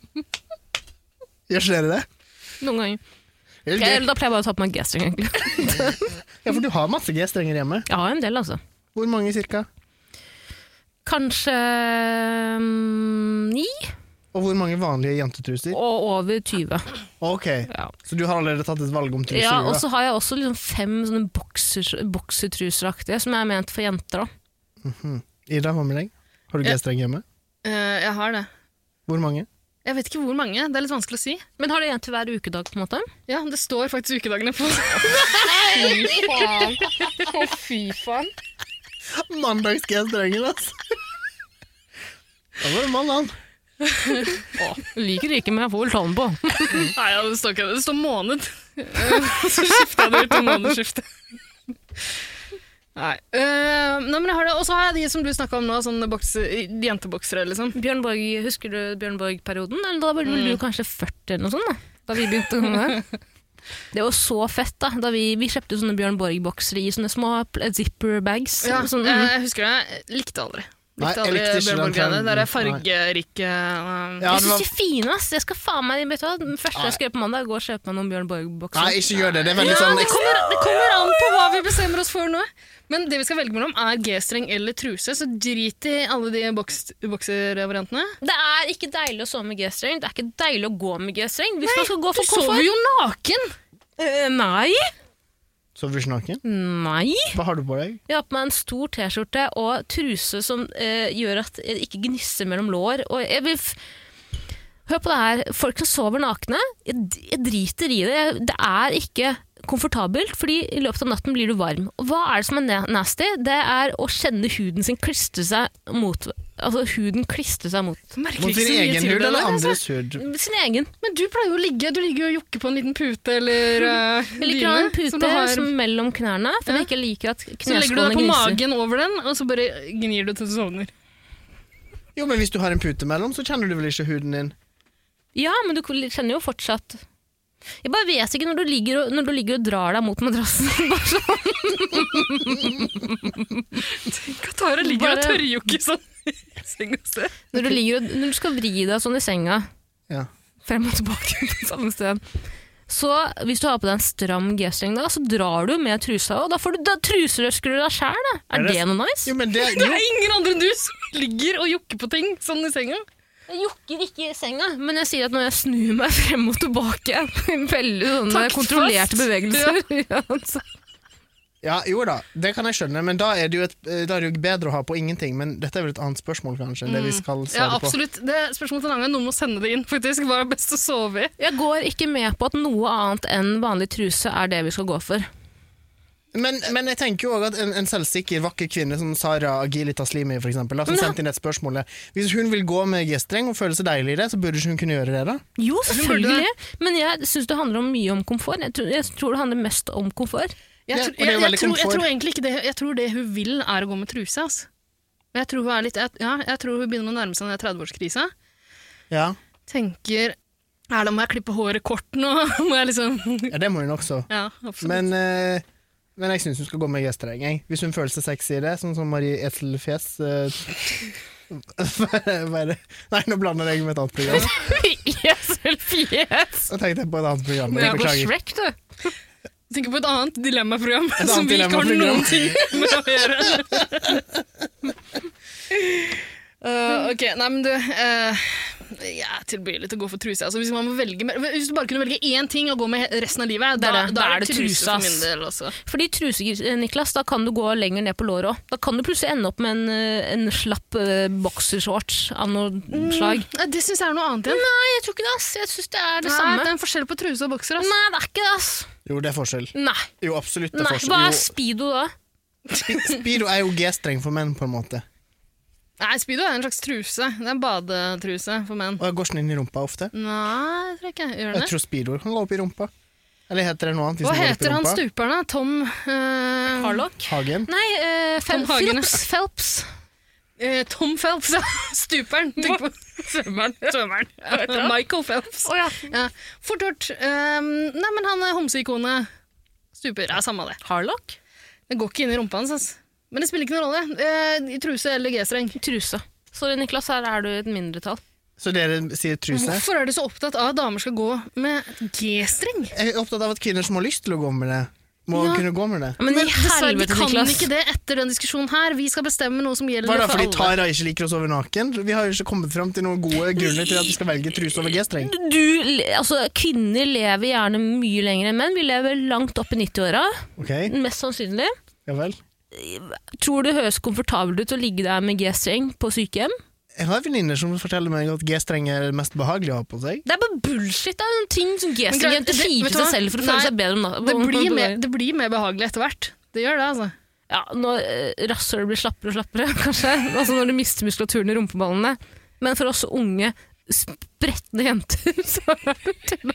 Gjør ikke dere det? Noen ganger. Eller Jeg, det? da pleier jeg bare å ta på meg G-streng, egentlig. Ja, for du har masse G-strenger hjemme. Jeg har en del, altså. Hvor mange cirka? Kanskje mm, ni Og hvor mange vanlige jentetruser? og over 20. Ok, Ja. så du har allerede tatt et valg om truser? Ja, du, da. og så har jeg også liksom fem sånne boksers, boksetruseraktige som er ment for jenter. Da. Ida, hva med deg? Har du Ja. G-streng hjemme? Eh, jeg har det. Hvor mange? Jeg vet ikke hvor mange, det er litt vanskelig å si. Men har du en til hver ukedag, på en måte? Ja, det står faktisk ukedagene på. Fy faen. Å, fy faen. Mandags G-strenger, altså! Da var det mandag. Liker det ikke, men jeg får vel ta den på. Nei, ja, det står ikke det. Det står måned. Eh, så skifta jeg det ut til månedsskifte. Nei. Eh, nei, men jeg har det. Og så har jeg de som du snakka om nå, sånne bokse, jenteboksere, liksom. Bjørn Borg, husker du Bjørn Borg-perioden? Eller Da var vel du kanskje 40 eller noe sånt? Da, da vi begynte å komme her. Det var så fett, da. da vi, vi kjøpte sånne Bjørn Borg-boksere i sånne små pl- zipper-bags. Ja, sånn, eh, mm. jeg husker det. Jeg Likte aldri. Nei, jeg Likte aldri likte ikke Bjørn den Borg-greiene. Det er trenden. fargerike eh, Ja, det jeg syns var... de er fine, ass. Jeg skal faen meg vet du hva, Den første jeg skal gjøre på mandag, gå og kjøpe meg noen Bjørn Borg-boksere. Nei, ikke gjør det. Det er veldig sånn det, kommer, det kommer an på hva vi bestemmer oss for nå. Men det vi skal velge mellom, er G-streng eller truse. Så drit i alle de boks, bokservariantene. Det er ikke deilig å sove med G-streng. Det er ikke deilig å gå med G-streng. Hvis man skal gå Du for sover komfort jo naken! Eh, Nei. Sover du ikke naken? Nei. Hva har du på deg? Jeg har på meg en stor T-skjorte og truse som eh, gjør at jeg ikke gnisser mellom lår. Og jeg vil f Hør på det her. Folk som sover nakne, jeg, d- jeg driter i det. Jeg, det er ikke komfortabelt, fordi i løpet av natten blir du varm. Og hva er det som er na- nasty? Det er å kjenne huden sin klistre seg mot Altså huden klistre seg mot Merker Mot ikke din så mye egen til hud det, eller altså. andres hud? sin egen. Men du pleier jo å ligge Du ligger jo og jokker på en liten pute eller uh, Jeg liker å ha en pute som du har. som mellom knærne, for jeg ikke liker at Så legger du kneskålene deg på gniser. magen over den, og så bare gnir du til du sovner. Jo, men hvis du har en pute mellom, så kjenner du vel ikke huden din? Ja, men du kjenner jo fortsatt Jeg bare vet ikke når du ligger og, når du ligger og drar deg mot madrassen. Bare sånn. Katara ligger Bare- og tørrjokker sånn i seng og sted. når, du ligger og, når du skal vri deg sånn i senga, Ja. frem og tilbake på samme sted. Så hvis du har på deg en stram G-streng, da, så drar du med trusa, og da, får du, da truserøsker du deg sjæl. da. Er Er det- det noe nice? Jo, men det, Det jo. er ingen andre enn du som ligger og jokker på ting sånn i senga. Jeg jokker ikke i senga, men jeg sier at når jeg snur meg frem og tilbake Veldig sånne Taktfast. kontrollerte bevegelser. Ja. altså. Ja, jo da, det kan jeg skjønne, men da er det jo, et, eh, da er det jo bedre å ha på ingenting. Men dette er vel et annet spørsmål, kanskje, enn det vi skal Mm. Ja, svare på. absolutt. Det er spørsmål til en annen gang. Noen må sende det inn, faktisk. Hva er best å sove i? Jeg går ikke med på at noe annet enn vanlig truse er det vi skal gå for. Men, men jeg tenker jo òg at en, en selvsikker, vakker kvinne som Sara Agilita Slimi, for eksempel, da, som sendte inn et spørsmål eh, Hvis hun vil gå med G-streng og føle seg deilig i det, så burde ikke hun kunne gjøre det, da? Jo, burde selvfølgelig. Men jeg syns det handler om mye om komfort. Jeg tror, jeg tror det handler mest om komfort. Ja, Jeg, og tror- det er jo jeg, veldig jeg, tror, jeg komfort. tror egentlig ikke det Jeg tror det hun vil, er å gå med truse. Altså. Men Jeg tror hun, er litt, jeg, ja, jeg tror hun begynner å nærme seg den 30-årskrisa. Ja, Tenker Er det må jeg klippe håret kort nå? Må jeg liksom ja det må hun også. Ja, absolutt. Men, eh, Men jeg syns hun skal gå med i gjesstereng. jeg. Hvis hun føler seg sexy i det, sånn som Marie Ethel Fjes eh, Hva er det? Nei, nå blander jeg med et annet program. Yes, Jeg tenkte på et annet program. Du Jeg er på beklager. Shrek, du. Tenker på et annet dilemmaprogram annet som vi ikke har dilemmaprogram. noen ting med å gjøre. Uh, ok, nei, men du uh, Jeg er tilbøyelig til å gå for truse. Altså, hvis, man må velge, med- hvis du bare kunne velge én ting å gå med resten av livet, Det er da, det. da Da er det truse for ass. min del altså. også. Fordi truser, eh, Niklas, da kan du gå lenger ned på låret òg. Da kan du plutselig ende opp med en, eh, en slapp eh, boksershorts av noe slag. Nei, Det syns jeg er noe annet igjen. Mm. Nei, jeg tror ikke det, ass. Jeg syns det er Det, det er samme. det er en forskjell på truse og bokser. Ass. Nei, det er ikke det, ass. Jo, det er forskjell. Nei. Jo, absolutt. det er Nei. forskjell. Hva er Jo, speedo da? Speedo er jo G-streng for menn, på en måte. Nei, Speedo er en slags truse. Det er en badetruse for menn. Og jeg går sånn inn i rumpa ofte. Nei, jeg tror ikke Gjør den Jeg det? tror speedoer kan gå opp i rumpa. Eller heter det noe annet? hvis Hva den går opp i heter han rumpa? stuperen, da? Tom eh, Harlock? Hagen? Mm. Nei, eh, Fel Tom Hagen, ja. Phelps. Phelps. Eh, Tom Phelps, ja. Stuperen. Tenk på svømmeren. Michael Phelps. Å ja. Ja. Fort gjort. Ehm, nei, men han eh, homseikonet stuper. Ja, samme det. Harlock? Det går ikke inn i rumpa hans. ass. Men det spiller ikke noen rolle. Eh, I truse eller G-streng. Truse. Sorry, Niklas, her er du i et mindretall. Så dere sier truse? Hvorfor er du så opptatt av at damer skal gå med G-streng? Jeg er opptatt av at kvinner som har lyst til å gå med det, må Ja. kunne gå med det. Men, i dessverre, vi helvete, kan Niklas. ikke det etter den diskusjonen her. Vi skal bestemme noe som Hva gjelder er det for fordi alle. Tara ikke liker å sove naken? Vi har jo ikke kommet fram til noen gode grunner til at vi skal velge truse over G-streng. Du, le- altså, kvinner lever gjerne mye lenger enn menn. Vi lever langt opp i 90-åra, Ok, mest sannsynlig. ja vel. Tror det høres komfortabelt ut å ligge der med G-streng på sykehjem? Jeg har venninner som forteller meg at G-streng er det mest behagelige å ha på seg. Det er bare bullshit. Det er noen ting som Men G-streng greit, jenter det- sier vet til du seg hva? selv for å Nei, føle seg bedre om natta. Det blir, mer, det blir mer behagelig etter hvert. Det gjør det, altså. Ja, når eh, rasshølet blir slappere og slappere, kanskje. Altså når du mister muskulaturen i rumpeballene. Men for oss unge, spretne jenter, så er det tull.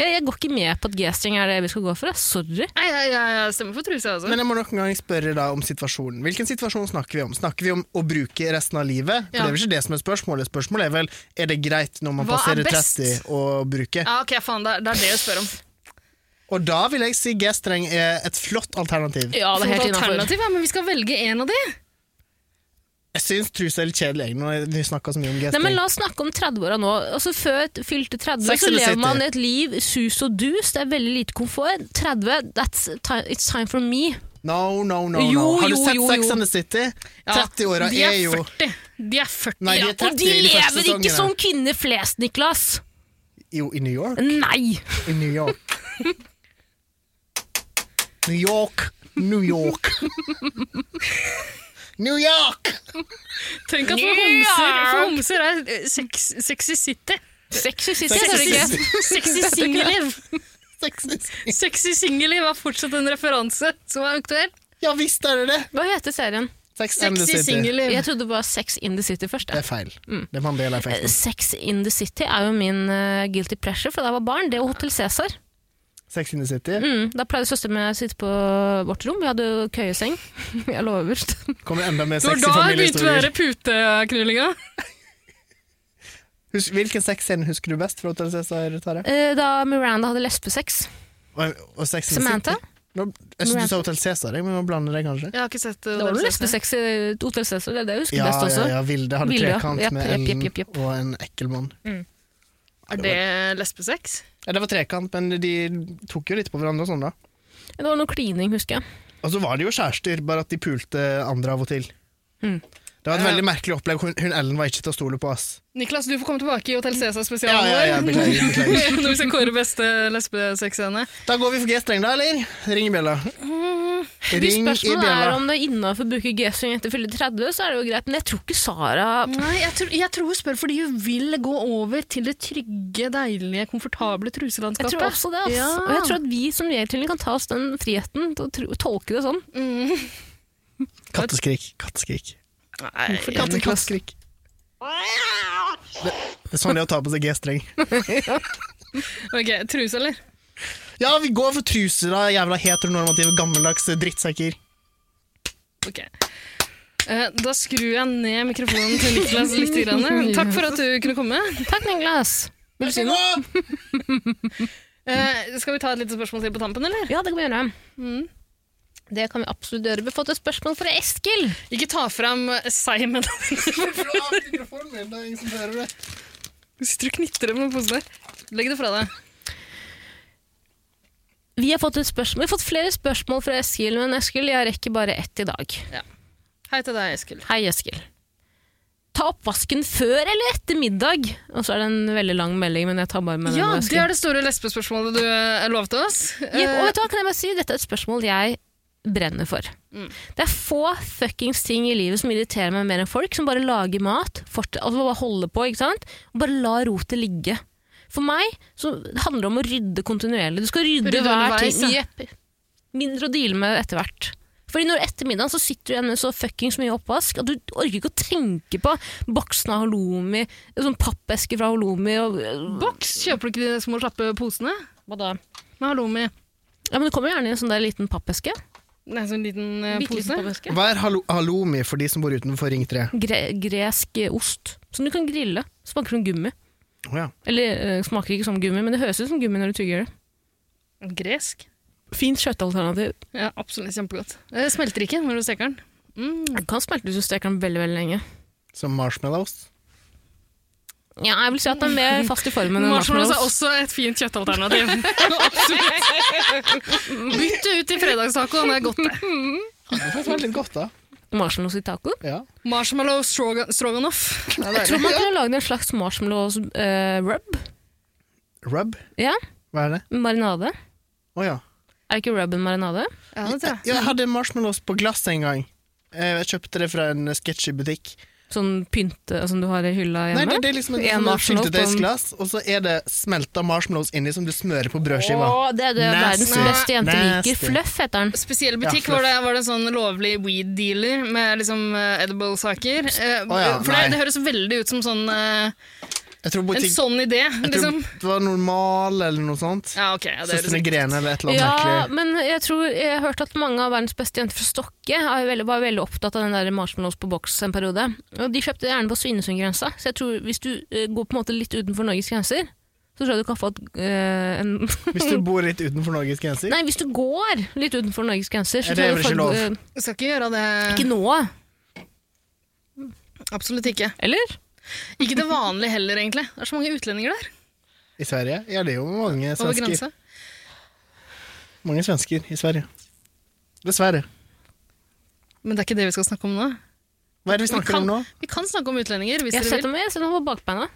Jeg, jeg går ikke med på at G-streng er det vi skal gå for. jeg. Sorry. Nei, jeg, jeg, jeg stemmer for truse, altså. Men jeg må nok en gang spørre da om situasjonen. Hvilken situasjon snakker vi om? Snakker vi om å bruke resten av livet? For Ja. Det er vel ikke det som er spørsmålet. Spørsmålet er vel er det greit når man Hva er passerer best? 30 å bruke? ja, ok, faen, det er det er det jeg spør om. Og da vil jeg si G-streng er et flott alternativ. Ja, det er helt Sånn innafor. alternativ, ja, men vi skal velge en av de. Jeg syns truse er litt kjedelig jeg, når vi snakka så mye om Nei, men G-streng. La oss snakke om 30-åra nå. Altså Før et fylte 30 Sex så and the lever City. man et liv sus og dus. Det er veldig lite komfort. 30, that's ti- it's time for me. No, no, no. no. Jo, Har du jo, sett jo, Sex jo. and the City? Ja, 30-åra de er jo 40. De er 40. Nei, de ja. er 30 Og de i de første lever ikke sånn. sesongene. som kvinner flest, Niklas! Jo, i New York. Nei! I New York. New York, New York. New York! Tenk at for New homser, York! for homser er eh, sex, sexy city. Sexy sitter, Sexy er det ikke? sitter. Sexy singelliv. Sexy singelliv er fortsatt en referanse som er aktuell. Ja visst er det det! Hva heter serien? Sex and the Sexy City. singelliv. Jeg trodde det var Sex in the City først. Det jeg. er feil. Det er Mandela-effekten. Sex in the City er jo min eh, guilty pleasure fra da jeg var barn. Det og Hotell Cæsar. Sex in the City. Mm, da pleide søsteren min å sitte på vårt rom. Vi hadde jo køyeseng. Jeg lover. Kommer enda mer Det var sexy da jeg begynte å være familiehistorier. puteknullinga. Husk, hvilken sexscene husker du best fra Hotel Cæsar, Tara? Eh, da Miranda hadde lesbesex. Og, og Sex and the Samantha. City? Nå, jeg syns du sa Hotel Cæsar, jeg, men nå blander jeg kanskje. Jeg har ikke sett eh, Det var noe lesbesex i Hotell Cæsar, eh, det er det jeg husker Ja, best også. ja, ja, Vilde hadde Vilde, ja. trekant Jepp, med jepp, Ellen jepp, jepp, jepp. og en ekkel mann. Er det lesbesex? Ja, det var trekant, men de tok jo litt på hverandre og sånn, da. Det var noe klining, husker jeg. Og så var det jo kjærester, bare at de pulte andre av og til. Mm. Det var et Ja. veldig merkelig opplegg. Hun, hun Ellen var ikke til å stole på, ass. Niklas, du får komme tilbake i Hotell Ja, Cæsar-spesialen ja, ja, beklager, beklager. Når vi skal kåre beste lesbesexscene. Da går vi for G-streng, da, eller? Ring i bjella. Hvis Ring i spørsmålet Mm. er bjella. om det er innafor å bruke G-string etter fylte 30, så er det jo greit. Men jeg tror ikke Sara Nei, jeg tror, jeg tror hun spør fordi hun vil gå over til det trygge, deilige, komfortable Jeg truselandskapet. tror også det, ass. Ja. Og jeg tror at vi som gjelder kan ta oss den friheten til å tro- tolke det sånn. Katteskrik. Katteskrik. Nei, Katte- Katteskrik. Det, det er sånn det er å ta på seg G-streng. Ok, truse, eller? Ja, vi går for truser, da, jævla heteronormative, gammeldagse drittsekker. Ok. Eh, da skrur jeg ned mikrofonen til Niklas litt. Grann. Takk for at du kunne komme. Takk, Niklas. Vil du si noe? Eh, skal vi ta et lite spørsmål til på tampen, eller? Ja, det kan vi gjøre. Det kan vi absolutt gjøre. Vi har fått et spørsmål fra Eskil. Ikke ta fram seimen. mikrofonen min, det er ingen som hører det. Du sitter og knitrer med posen der. Legg det fra deg. Vi har fått, et spørsmål. Vi har fått flere spørsmål fra Eskil, men Eskil, jeg rekker bare ett i dag. Hei til deg, Eskil. Hei, Eskil. Ta oppvasken før eller etter middag? Og så er det en veldig lang melding, men jeg tar bare med den. Ja, det Eskil. er det store lesbespørsmålet du eh, lovte oss. Ja, og Eh, vet du hva, kan jeg bare si, dette er et spørsmål jeg brenner for. Det er få fuckings ting i livet som irriterer meg mer enn folk som bare lager mat, fort, altså bare holder på, ikke sant? Og bare la rotet ligge. For meg så handler det om å rydde kontinuerlig. Du skal rydde, Rydde hver underveis, ting. Jepp. Mindre å deale med etter hvert. Fordi når etter middagen så sitter du igjen med så fuckings mye oppvask at du orker ikke å tenke på boksen av halloumi, sånn pappeske fra halloumi og boks kjøper du ikke de små slappe posene Hva da? med halloumi. Ja, men det kommer gjerne i en sånn der liten pappeske. Nei, sånn liten eh, Bitte liten pose. pappeske. Hva er hallo halloumi for de som bor utenfor Ring 3? gre gresk ost som du kan grille. Smaker som gummi. Å ja. Eller eh, smaker ikke som gummi, men det høres ut som gummi når du tygger det. Gresk. Fint kjøttalternativ. Ja, absolutt kjempegodt. Det smelter ikke når du steker den. Mm. Det kan smelte hvis du steker den veldig veldig lenge. Som marshmallows? Ja, jeg vil si at den er mer fast i formen enn Marshmallows er marshmallows. også et fint kjøttalternativ. absolutt. Bytt det ut til fredagstaco, det er godt det. Det får være litt godt, da. Marshmallows i taco. Ja. Marshmallow stroga- stroganoff. Jeg tror man kunne lagd en slags marshmallows eh, rub. Rub? Ja, Hva er det? Marinade. Å ja. Er ikke rub en marinade? Ja, det tror jeg. Jeg hadde marshmallows på glass en gang. Eh, Jeg kjøpte det fra en sketchy butikk. Sånn pynte som du har i hylla Nei, hjemme? det, det er liksom en, En en marshmallow på en- syltetøysglass, og så er det smelta marshmallows inni som du smører på brødskiva. Å, det er det verdens Nasty. beste jente Nasty. liker. Fluff heter den. Spesiell Ja, butikk fluff. hvor det var det en sånn lovlig weed dealer med liksom eh, edible-saker. Eh, Å ja, for det, nei. det høres veldig ut som sånn, eh, Jeg tror, en butikk, sånn idé, jeg tror liksom. det var normal eller noe sånt. Ja, ok. Ja, det liksom- høres Søstrene Grene eller et eller annet Ja, merkelig. men jeg tror jeg har hørt at mange av verdens beste jenter fra Stokke er veldig, var veldig opptatt av den der marshmallows på boks en periode. Og de kjøpte gjerne på Svinesundgrensa, så jeg tror hvis du eh, går på en måte litt utenfor Norges grenser, så tror jeg du kan få et, eh, en Hvis du bor litt utenfor Norges grenser. Nei, hvis du går litt utenfor Norges grenser, Er så det tror jeg du vel får ikke lov? eh, Du skal ikke gjøre det. Ikke nå, Absolutt ikke. eller? Ikke det vanlige heller, egentlig. Det er så mange utlendinger der. I Sverige? Ja, det er jo mange Over svensker. grensa. Mange svensker i Sverige. Dessverre. Men det er ikke det vi skal snakke om nå. Hva er det vi snakker kan, om nå? vi kan snakke om utlendinger, hvis Jeg dere setter vil. meg, jeg setter meg på bakbeina.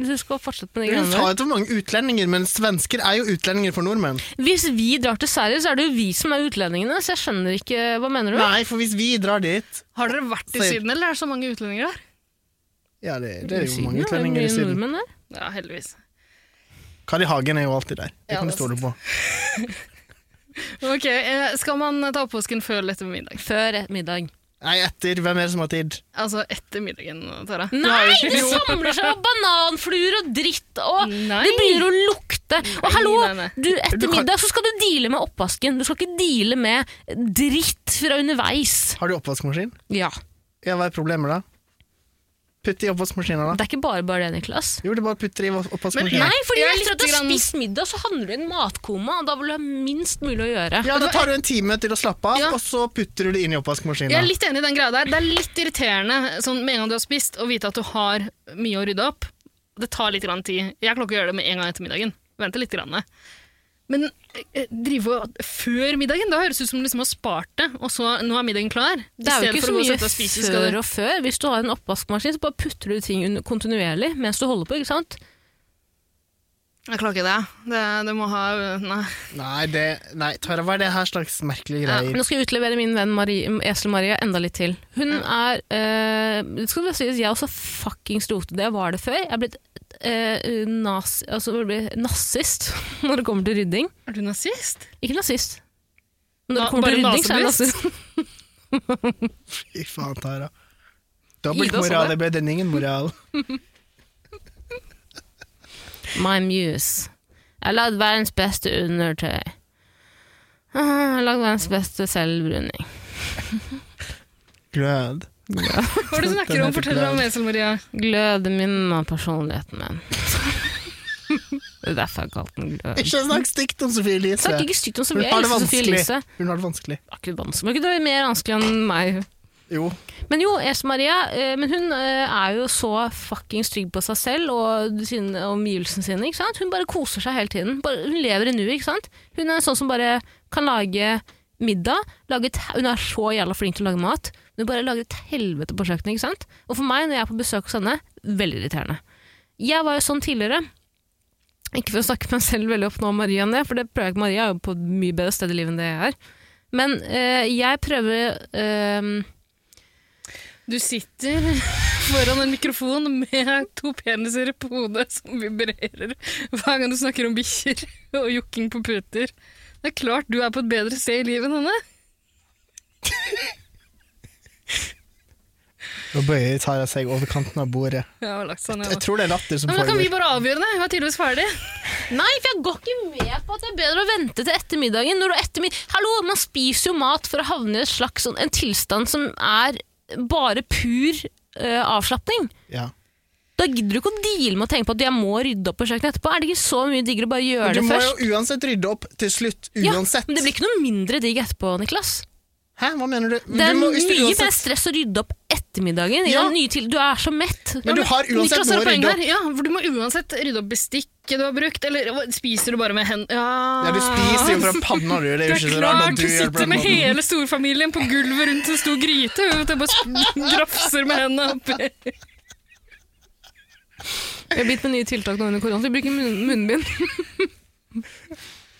Hvis du skal fortsette på de Du greiene sa der. ikke hvor mange utlendinger, men svensker er jo utlendinger for nordmenn. Hvis vi drar til Sverige, så er det jo vi som er utlendingene, så jeg skjønner ikke Hva mener du? Nei, for hvis vi drar dit Har dere vært i Sier- Syden, eller er det så mange utlendinger der? Ja, det, det er jo Syden, mange ja, det er utlendinger i mye Syden. nordmenn der. Ja, heldigvis. Kari Hagen er jo alltid der. Det Ja, kan du det er stole på. Ok, eh, Skal man ta oppvasken før eller etter middag? Før middag. Nei, etter. Hvem er det som har tid? Altså etter middagen, Tara. Nei, det samler seg opp bananfluer og dritt, og Nei. det begynner å lukte. Og hallo, nei, nei. du, etter Du kan- middag så skal du deale med oppvasken. Du skal ikke deale med dritt fra underveis. Har du oppvaskmaskin? Ja. Ja, hva er problemet da? Putt i oppvaskmaskinen da. Det er ikke bare bare det, Niklas. Jo, det er bare å putte det i oppvaskmaskinen. Nei, fordi Jeg er etter at du litt har grann- spist middag, så handler du i en matkoma, og da vil du ha minst mulig å gjøre. Ja, da tar du en time til å slappe av, Ja. og så putter du det inn i Jeg er oppvaskmaskinen. litt enig i den greia der. Det er litt irriterende sånn, med en gang du har spist, å vite at du har mye å rydde opp. Det tar litt grann tid. Jeg klarer ikke å gjøre det med en gang etter middagen. Vente litt. Grann. Men eh, drive og før middagen? Da høres det ut som du liksom har spart det, og så nå er middagen klar. Det er jo ikke så mye før før. og før. Hvis du har en oppvaskmaskin, så bare putter du ting under- kontinuerlig mens du holder på, ikke sant? Jeg klarer ikke det. det. Det må ha Nei. Nei, det, nei, Tara, hva er det her slags merkelige Ja, greier? nå skal jeg utlevere min venn Marie, Esel-Maria enda litt til. Hun er eh, Det skal bare sies, jeg er også fuckings rotet. Det var det før. Jeg er blitt eh, nas, altså, jeg blir nazist når det kommer til rydding. Er du nazist? Ikke nazist. Men når Na- det kommer til bare rydding, så er jeg nasebust? nazist. Fy faen, Tara. Ida sa Dobbeltmoral, det. det ble den ingen moral. My muse. Jeg har lagd verdens beste undertøy. Ah, Jeg har lagd verdens beste selvbruning. Glød. Hva er det du snakker om? Fortell meg om Esel Maria. Gløder min av personligheten min. Det er derfor jeg kalte den glø- Ikke snakk stygt om Sofie Elise. Snakk ikke stygt om Hun Sofie. Jeg har det elsker Sofie vanskelig. Elise. Hun har det vanskelig. Akkurat vanskelig. Må ikke det være mer vanskelig enn meg? Jo. Men jo, Else Maria eh, men hun eh, er jo så fuckings trygg på seg selv og sin, og omgivelsene sine. ikke sant? Hun bare koser seg hele tiden. Bare, hun lever i nuet. ikke sant? Hun er sånn som bare kan lage middag. Lage et, hun er så jævla flink til å lage mat. Hun bare lager et helvete på kjøkkenet. ikke sant? Og for meg, når jeg er på besøk hos henne, veldig irriterende. Jeg var jo sånn tidligere. Ikke for å snakke meg selv veldig opp nå, Maria, enn det, for det prøver jeg ikke. Maria er jo på et mye bedre sted i livet enn det jeg er. Men eh, jeg prøver eh, Du sitter foran en mikrofon med to peniser på hodet som vibrerer hver gang du snakker om bikkjer og jokking på puter. Det er klart du er på et bedre sted i livet enn henne. Nå bøyer Tara seg over kanten av bordet. Ja, og lagt sånn, ja. Jeg tror det er latter som Ja, men da kan vi foregår. bare avgjøre det. Hun er tydeligvis ferdig. Nei, for jeg går ikke med på at det er bedre å vente til ettermiddagen. Når du ettermid Hallo, man spiser jo mat for å havne i et slags, sånn, en tilstand som er bare pur eh, avslapning. Ja. Da gidder du ikke å deale med å tenke på at jeg må rydde opp på kjøkkenet etterpå. Er det ikke så mye diggere å bare gjøre Du det må først? jo uansett rydde opp til slutt. Ja, Uansett. men det blir ikke noe mindre digg etterpå, Niklas. Hæ, hva mener du? Det er du må- hvis du mye uansett- mer stress å rydde opp ettermiddagen. i Ja. den nye til du er så mett. Men du har uansett Niklas noe å har et poeng rydde her. opp. Ja, for du må uansett rydde opp bestikket du har brukt, eller hva, spiser du bare med hendene? Ja. Ja, du spiser jo fra panna, du. Det er Det jo er ikke så rart klart at du du gjør det på sitter den med måten. hele storfamilien på gulvet rundt en stor gryte. Hun vet, jeg bare grafser med hendene oppi. Vi har begynt med nye tiltak nå under korona. Vi bruker munn munnbind.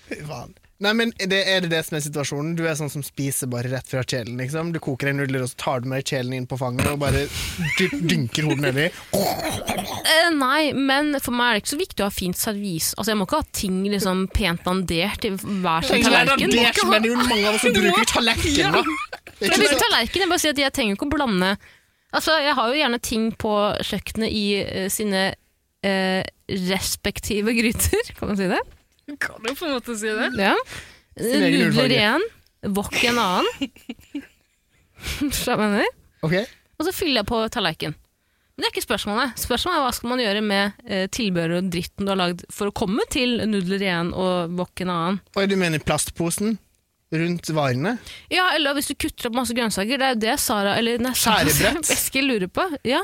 Fy faen. Nei, men det, Er det det som er situasjonen? Du er sånn som spiser bare rett fra kjelen. liksom. Du koker en nudler, og så tar du med kjelen inn på fanget og bare dy- dynker hodet nedi. Eh, nei, men for meg er det ikke så viktig å ha fint servis. Altså, jeg må ikke ha ting liksom, pent dandert i hver sin tallerken. Det som er det jo mange av oss som bruker tallerken, da. Det er Jeg ikke bruker så- tallerken, jeg bare sier at jeg trenger ikke å blande. Altså, jeg har jo gjerne ting på kjøkkenet i eh, sine eh, respektive gryter, kan man si det? Kan jo på en måte si det. Ja. Sin egen Nudler urfarge. i en, wok i en annen. Skjønner du? Ok. Og så fyller jeg på tallerken. Men det er ikke spørsmålet. Spørsmålet er hva skal man gjøre med eh, tilbehøret og dritten du har lagd for å komme til nudler igjen og wok en annen. Oi, du mener plastposen rundt varene? Ja, eller hvis du kutter opp masse grønnsaker. Det er jo det Sara eller nei, Sara- Skjærebrett. Eskil lurer på. Ja.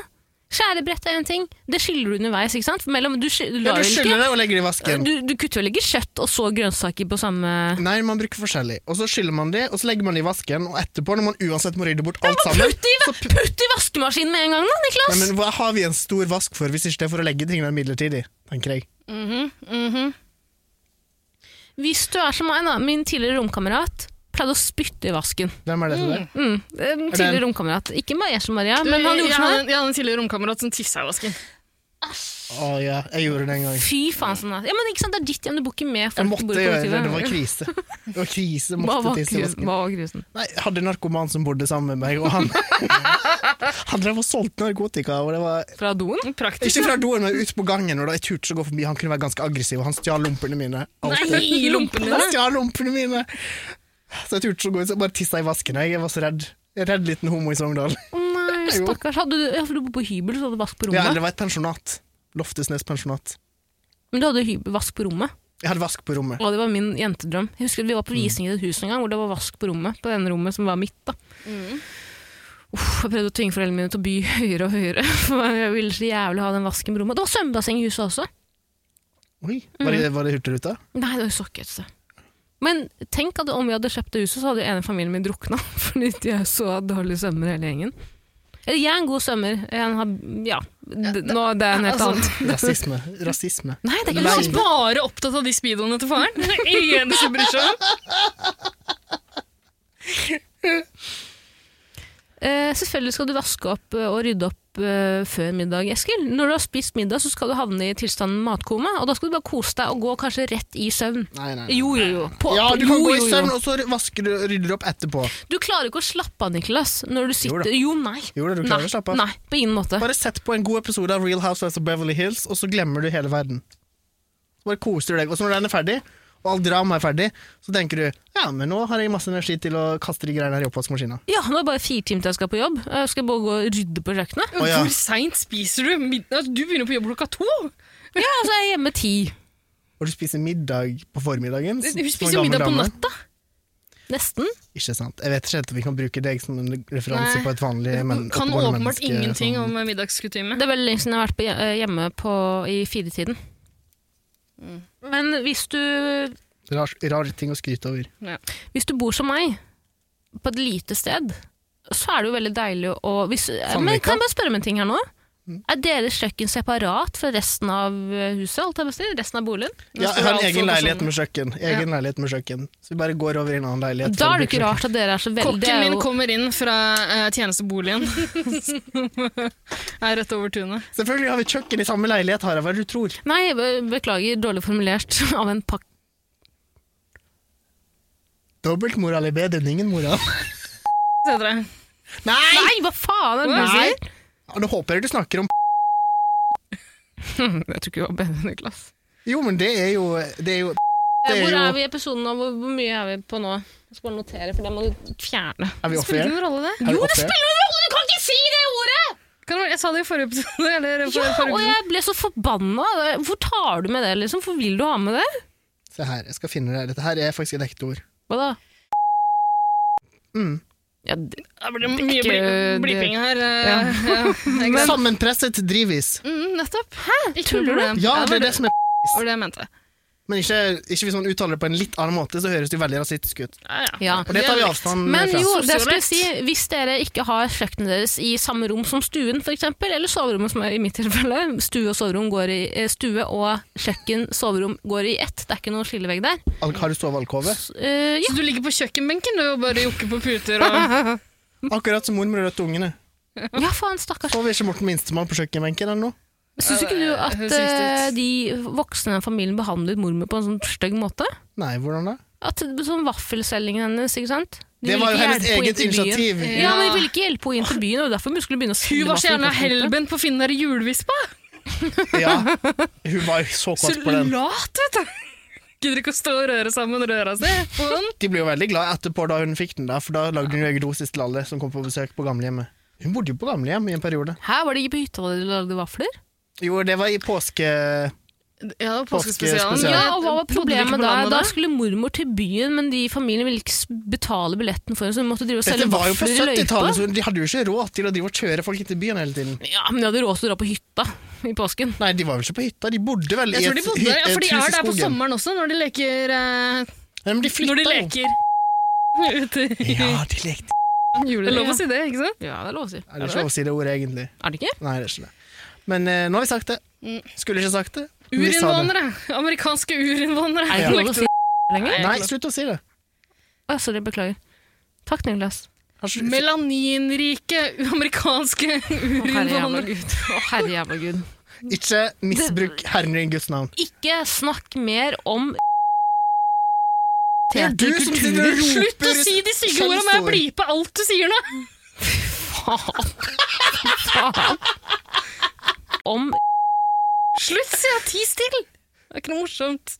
Skjærebrett er en ting. Det skiller du underveis. ikke sant? For mellom, du, skil- du, Ja, lar du vel skyller ikke, det og legger det i vasken. du, du kutter vel ikke kjøtt og så grønnsaker på samme Nei, man bruker forskjellig. Og så skyller man det, og så legger man det i vasken, og etterpå, når man uansett må rydde bort alt sammen Putt i, va- så pu- putt i vaskemaskinen med en gang, da, Niklas! Nei, men Hva har vi en stor vask for, hvis ikke det er for å legge tingene midlertidig? tenker jeg. Hvis du er som meg, da. Min tidligere romkamerat pleide å spytte i vasken. Hvem er det som er? Mm. En tidligere romkamerat. Ikke Maria som Maria, men han jeg, gjorde sånn. hadde, her. jeg hadde en tidligere romkamerat som tissa i vasken. Å ja, jeg gjorde det en gang. Fy faen sånn her. Ja, men ikke sant, det er ditt hjem, du bor ikke med Jeg folk. måtte gjøre det, det var krise. Det var krise, jeg Hva måtte var tisse i vasken. grusen? Hva var grusen? Nei, jeg hadde en narkoman som bodde sammen med meg, og han Han drev og solgte narkotika, og det var Fra doen? Praktisk. Ikke fra doen, men ut på gangen, og da jeg turte ikke å gå forbi. Han kunne være ganske aggressiv, og han stjal lompene mine. Alltid. I lompene Han dine. stjal lompene mine! Så jeg turte ikke å gå ut, så jeg bare tissa i vasken. Jeg Jeg var så redd. En Redd liten homo i Sogndal. Å nei, Jo. stakkars. Hadde du, ja, for du bodde på hybel, så hadde du vask på Ja, rommet. det var et pensjonat. Loftesnes pensjonat. Men du hadde hybel, vask på rommet. Jeg hadde vask på rommet. Og det var min jentedrøm. Jeg husker at Vi var på Mm. visning i et hus en gang hvor det var vask på rommet. På denne rommet som var mitt. da. Mm. Uff, jeg prøvde å tvinge foreldrene mine til å by høyere og høyere. For jeg ville så jævlig ha den vasken på rommet. Det var svømmebasseng i huset også. Oi, Var det, var det Hurtigruta? Nei, det var jo sokkete. Men tenk at om vi hadde kjøpt det huset, så hadde jo ene familien min drukna. Fordi de er så dårlige svømmere, hele gjengen. Eller jeg er en god svømmer. Jeg har, ja, d- nå det er en helt altså- annet. Rasisme. Rasisme. Nei, det Hun er ikke var rasisme. sånn bare opptatt av de speedoene til faren. Ingen som bryr seg om. Eh, selvfølgelig skal du vaske opp eh, og rydde opp eh, før middag, Eskil. Når du har spist middag, så skal du havne i tilstanden matkoma, og da skal du bare kose deg og gå kanskje rett i søvn. Nei, nei. nei. Jo, jo, jo. På, Ja, du jo, kan gå i jo, jo. søvn, og så vasker du rydder du opp etterpå. Du klarer ikke å slappe av, Niklas, når du sitter da. Jo, nei. Jo da, du nei. klarer å slappe av. Nei, på ingen måte. Bare sett på en god episode av Real Housewives of Beverly Hills, og så glemmer du hele verden. Så bare koser du deg. Og så når den er ferdig, og all drama er ferdig, så tenker du ja, men nå har jeg masse energi til å kaste de greiene her i oppvaskmaskina. Ja, nå er det bare fire timer til jeg skal på jobb. Jeg skal bare gå og rydde på kjøkkenet. Å, ja. altså, altså, Hvor seint spiser du? Midnatt? Du begynner på jobb klokka to. Ja, så er jeg hjemme ti. hvor du spiser middag på formiddagen. som- Hun som en spiser jo gammel middag på dame. natta. Nesten. Ikke sant. Jeg vet ikke helt om vi kan bruke deg som en referanse Nei. på et vanlig men, Kan oppegående åpenbart menneske sånn. ingenting som- om middagskutime. Det er veldig lenge siden jeg har vært på hje- eh, hjemme på, i firetiden. Men hvis du, rar, rar ting å skryte over. hvis du bor som meg, på et lite sted, så er det jo veldig deilig å hvis, eh, Men Sandvika? kan jeg bare spørre om en ting her nå? Er deres kjøkken separat fra resten av eh, huset? Alt jeg vil si, resten av boligen? Ja, jeg har en egen leilighet med kjøkken. Egen leilighet med kjøkken. Så vi bare går over i en annen leilighet. Da er det for å ikke bruke rart at dere er så veldig det Kokken er min jo- kommer inn fra eh, tjenesteboligen, som er rett over tunet. kjøkken. Selvfølgelig har vi kjøkken i samme leilighet, Harald. Hva er det du tror? Nei, be- beklager, dårlig formulert av en pakk. Dobbeltmoral er bedre enn ingen moral. heter det. Nei! Nei, hva faen er det du Nei! sier? Ja, Nå håper jeg du snakker om Jeg tror ikke det var bedre enn Niklas. Jo, men det er jo Det er jo, det er Hvor jo er vi i episoden nå? Hvor, hvor mye er vi på nå? Jeg skal bare notere, for det må du fjerne. Er vi off Spiller ikke air? noen rolle, det. Er vi Jo, off det air? spiller noen rolle! Du kan ikke si det ordet! Kan det være- Jeg sa det i forrige episode. Eller for, Ja, forrige og episode. jeg ble så forbanna. Hvor tar du med det, liksom? Hvor vil du ha med det? Se her, jeg skal finne det. Dette her er faktisk et ekte ord. Hva da? Mm. Ja, d- Det blir mye ikke- bli- bliping her. eh, ja. Sammenpresset drivis. Mm, nettopp. Hæ? Ikke Tuller noe du? problem. Ja, det var er det som er det var det jeg mente. Men ikke, ikke hvis man uttaler det på en litt annen måte, så høres det jo veldig rasistisk ut. Ja, ja. ja. Og det tar vi avstand Men fra. jo, det skal Sosiolekt. jeg si, hvis dere ikke har kjøkkenet deres i samme rom som stuen, for eksempel, eller soverommet som er i mitt tilfelle, stue og, soverom går i, eh, stue og kjøkken, soverom går i ett, det er ikke noen skillevegg der. Al- Har du sovealkove? S- eh, ja. Så du ligger på kjøkkenbenken du, og bare jokker på puter og Akkurat som mormor og rødt ungene. ja, faen, stakkars. Sover ikke Morten Minstemann på kjøkkenbenken eller noe? Syns ikke du at høres riktig ut. eh, de voksne i den familien behandlet mormor på en sånn stygg måte? Nei, hvordan da? At sånn Vaffelselgingen hennes, ikke sant? De Det ville var jo ikke hennes hjelpe henne eget inn til byen. initiativ. Ja, men de ville ikke hjelpe henne inn til byen, og derfor vi skulle begynne å Hun selge var så vaffel i gjerne utgangspunktet. helben på å finne den der julevispa! Ja, hun var jo så Så kåt på den. lat, vet du! Gidder ikke å stå og røre sammen røra si på den. De ble jo veldig glad etterpå da hun fikk den, der, for da lagde hun jo egen dosis til alle som kom på besøk på gamlehjemmet. Hun bodde jo på gamlehjem i en periode. Hæ, var det ikke på hytta hvor de lagde vafler? Jo, det var i påske... Ja, påskespesialen. påskespesialen. Ja, Ja, og hva var problemet da? Da Da skulle mormor til byen, men de i familien ville ikke s- betale billetten for henne, så hun måtte drive og Dette selge var jo på vafler i 70-tallet, løypa. så de hadde jo ikke råd til å drive og kjøre folk inn til byen hele tiden. Ja, men de hadde råd til å dra på hytta i påsken. Nei, de var vel ikke på hytta, de bodde vel i jeg et, tror de bodde hy- ja, et For de hus er i der på skogen. sommeren også, når de leker eh, Nei, men de Når flytta de leker ute i jo. Ja, de lekte. Det er lov å si det, ikke sant? Ja, det er lov å si. Er det ikke lov å si det ordet, egentlig? Er det ikke? Nei, det er ikke det. Men eh, nå har vi sagt det. Skulle ikke sagt det. men vi sa det. Urinnvånere! Amerikanske urinnvånere. Er det ikke lov å si lenger? Nei, slutt å si det. Å, sorry, Altså, beklager. Takk, Niklas. Har ikke- Melaninrike amerikanske urinnvånere. Å, herre jævla gud. Ikke misbruk Herren din Guds navn. Ikke snakk mer om Det er du som sitter og roper Slutt å si de stygge ordene, må jeg skjellsord. blipe alt du sier nå! Faen. Faen. Om Slutt, sier jeg. Ti stille! Det er ikke noe morsomt.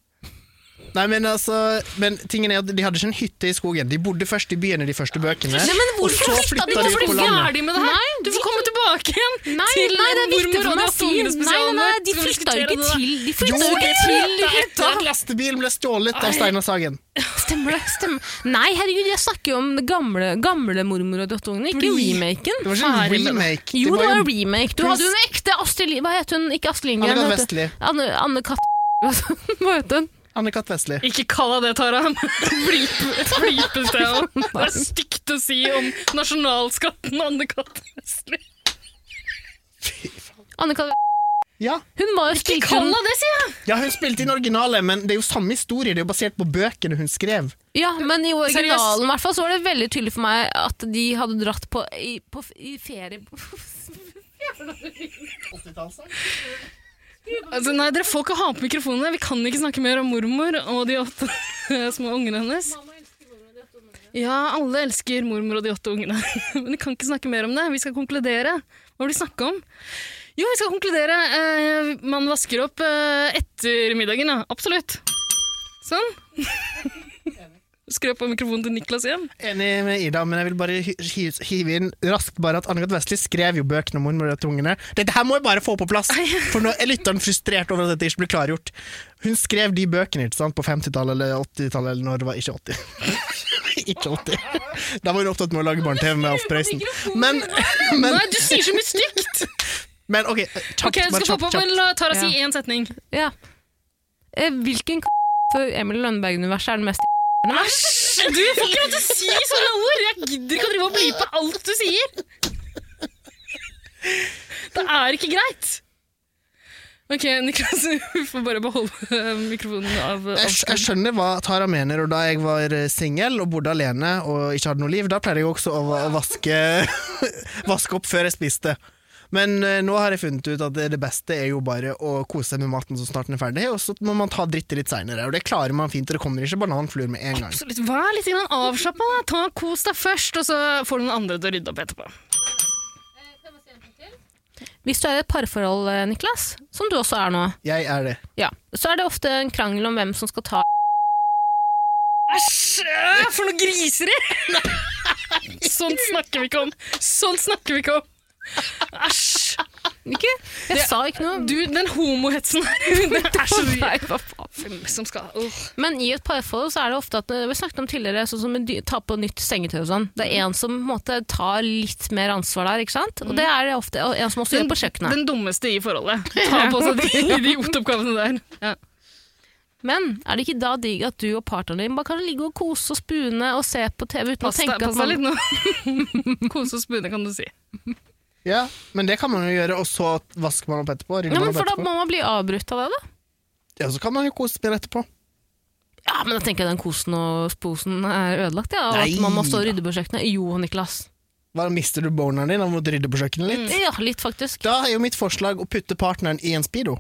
Nei, men altså Men tingen er at de hadde ikke en hytte i skogen. De bodde først i byen i de første bøkene. Nei, men hvorfor og så flytta flytta de de hvorfor ut på de landet. Ferdig med det her! Nei, du får komme tilbake igjen! Nei, til nei, det er viktig mormor og for meg å de si. andre Nei, nei, nei, de spesialene. flytta jo ikke Skal vi til De Jo, flytta jo ikke til etter hytta! at lastebilen ble stjålet av Steinar Sagen. Stemmer det? stemmer. Nei, herregud, jeg snakker jo om det gamle, gamle mormor og døttungene, ikke remaken. Det var ikke en Ferdig med det. remake. Jo, det var var en remake. Du hadde jo en ekte Astrid Li- Hva het hun? Ikke Astrid Lindgren. Anne-Kat. vet du. Vestli. Anne, Anne Kat... Hva het hun? Anne-Kat. Vestli. Ikke kall deg det, Tara. Blip, blipes det av. Det er stygt å si om nasjonalskatten Anne-Kat. Vestli. Anne Kat... Ja. Hun var jo Ikke spilte kall hun deg det, sier jeg! ja, hun spilte inn originalet, men det er jo samme historie. Det er jo basert på bøkene hun skrev. Ja, men i Seriøst? originalen i hvert fall så var det veldig tydelig for meg at de hadde dratt på i, på, f- i ferie Altså, nei, dere får ikke ha på mikrofonene. Vi kan ikke snakke mer om mormor og de åtte små ungene hennes. Ja, alle elsker mormor og de åtte ungene. Men vi kan ikke snakke mer om det. Vi skal konkludere. Hva vil du snakke om? Jo, vi skal konkludere. Eh, man vasker opp eh, etter middagen, ja. Absolutt. Sånn. Skru på mikrofonen til Niklas igjen. Enig med Ida, men jeg vil bare hy- hy- hive inn raskt bare at Anne-Gat. Vestli skrev jo bøkene om hormonene. Dette her må jeg bare få på plass, for nå er lytteren frustrert over at dette ikke blir klargjort. Hun skrev de bøkene ikke sant, på 50-tallet eller 80-tallet, eller når det var ikke 80. ikke 80. Da var hun opptatt med å lage barne-TV med Alf Prøysen. Men, men, Nei, du sier så mye stygt! men OK, Ok, kjapt, jeg bare skal kjapt. få på kjapt. La Tara si én setning. Ja. Eh, Hvilken k*** for Emil Lønneberg-universet er den mest Æsj! Du får ikke lov til å si sånne ord! Jeg gidder ikke å drive og bli på alt du sier! Det er ikke greit. Ok, Niklas, vi får bare beholde eh, mikrofonen av Jeg, skj- jeg skjønner hva Tara mener, og da jeg var eh, singel og bodde alene og ikke hadde noe liv, da pleide jeg også å, va- å vaske, vaske opp før jeg spiste. Men eh, nå har jeg funnet ut at det- det beste er jo bare å kose seg med maten så snart den er ferdig, og så må man ta drittet litt seinere. Og det klarer man fint, og det kommer ikke bananfluer med en gang. Absolutt. Vær litt grann avslappa. da. Ta Kos deg først, og så får du noen andre til å rydde opp etterpå. Hvis du er i et parforhold, eh, Niklas, som du også er nå, Jeg er det. ja, så er det ofte en krangel om hvem som skal ta Æsj! øh, For noe griseri! Sånt snakker vi ikke om. Sånt snakker vi ikke om. Æsj! Ikke? Jeg sa ikke noe. Du, den homohetsen her, det er så Nei, hva faen. Hvem som skal Åh. Men i et parforhold så er det ofte at vi snakket om tidligere, sånn som med dy- ta på nytt sengetøy og sånn. Det er en som på en måte tar litt mer ansvar der, ikke sant? Og det er det ofte og en som også gjør på kjøkkenet. Den dummeste i forholdet. Ta på seg de idiotoppgavene der. Ja. Men er det ikke da digg at du og partneren din bare kan ligge og kose og spune og se på TV uten Pass å deg tenke pass at deg man litt nå. Kose og spune, kan du si. Ja, men det kan man jo gjøre, og så vasker man opp etterpå. rydder Ja, man men opp for da etterpå. må man bli avbrutt av det, da. Ja, så kan man jo kose seg etterpå. Ja, men da tenker jeg den kosen og posen er ødelagt, ja. Og Nei at man må stå og da. rydde på kjøkkenet. Jo, Niklas. Hva, mister du boneren din av å måtte rydde på kjøkkenet litt? Ja, litt faktisk. Da er jo mitt forslag å putte partneren i en speedo.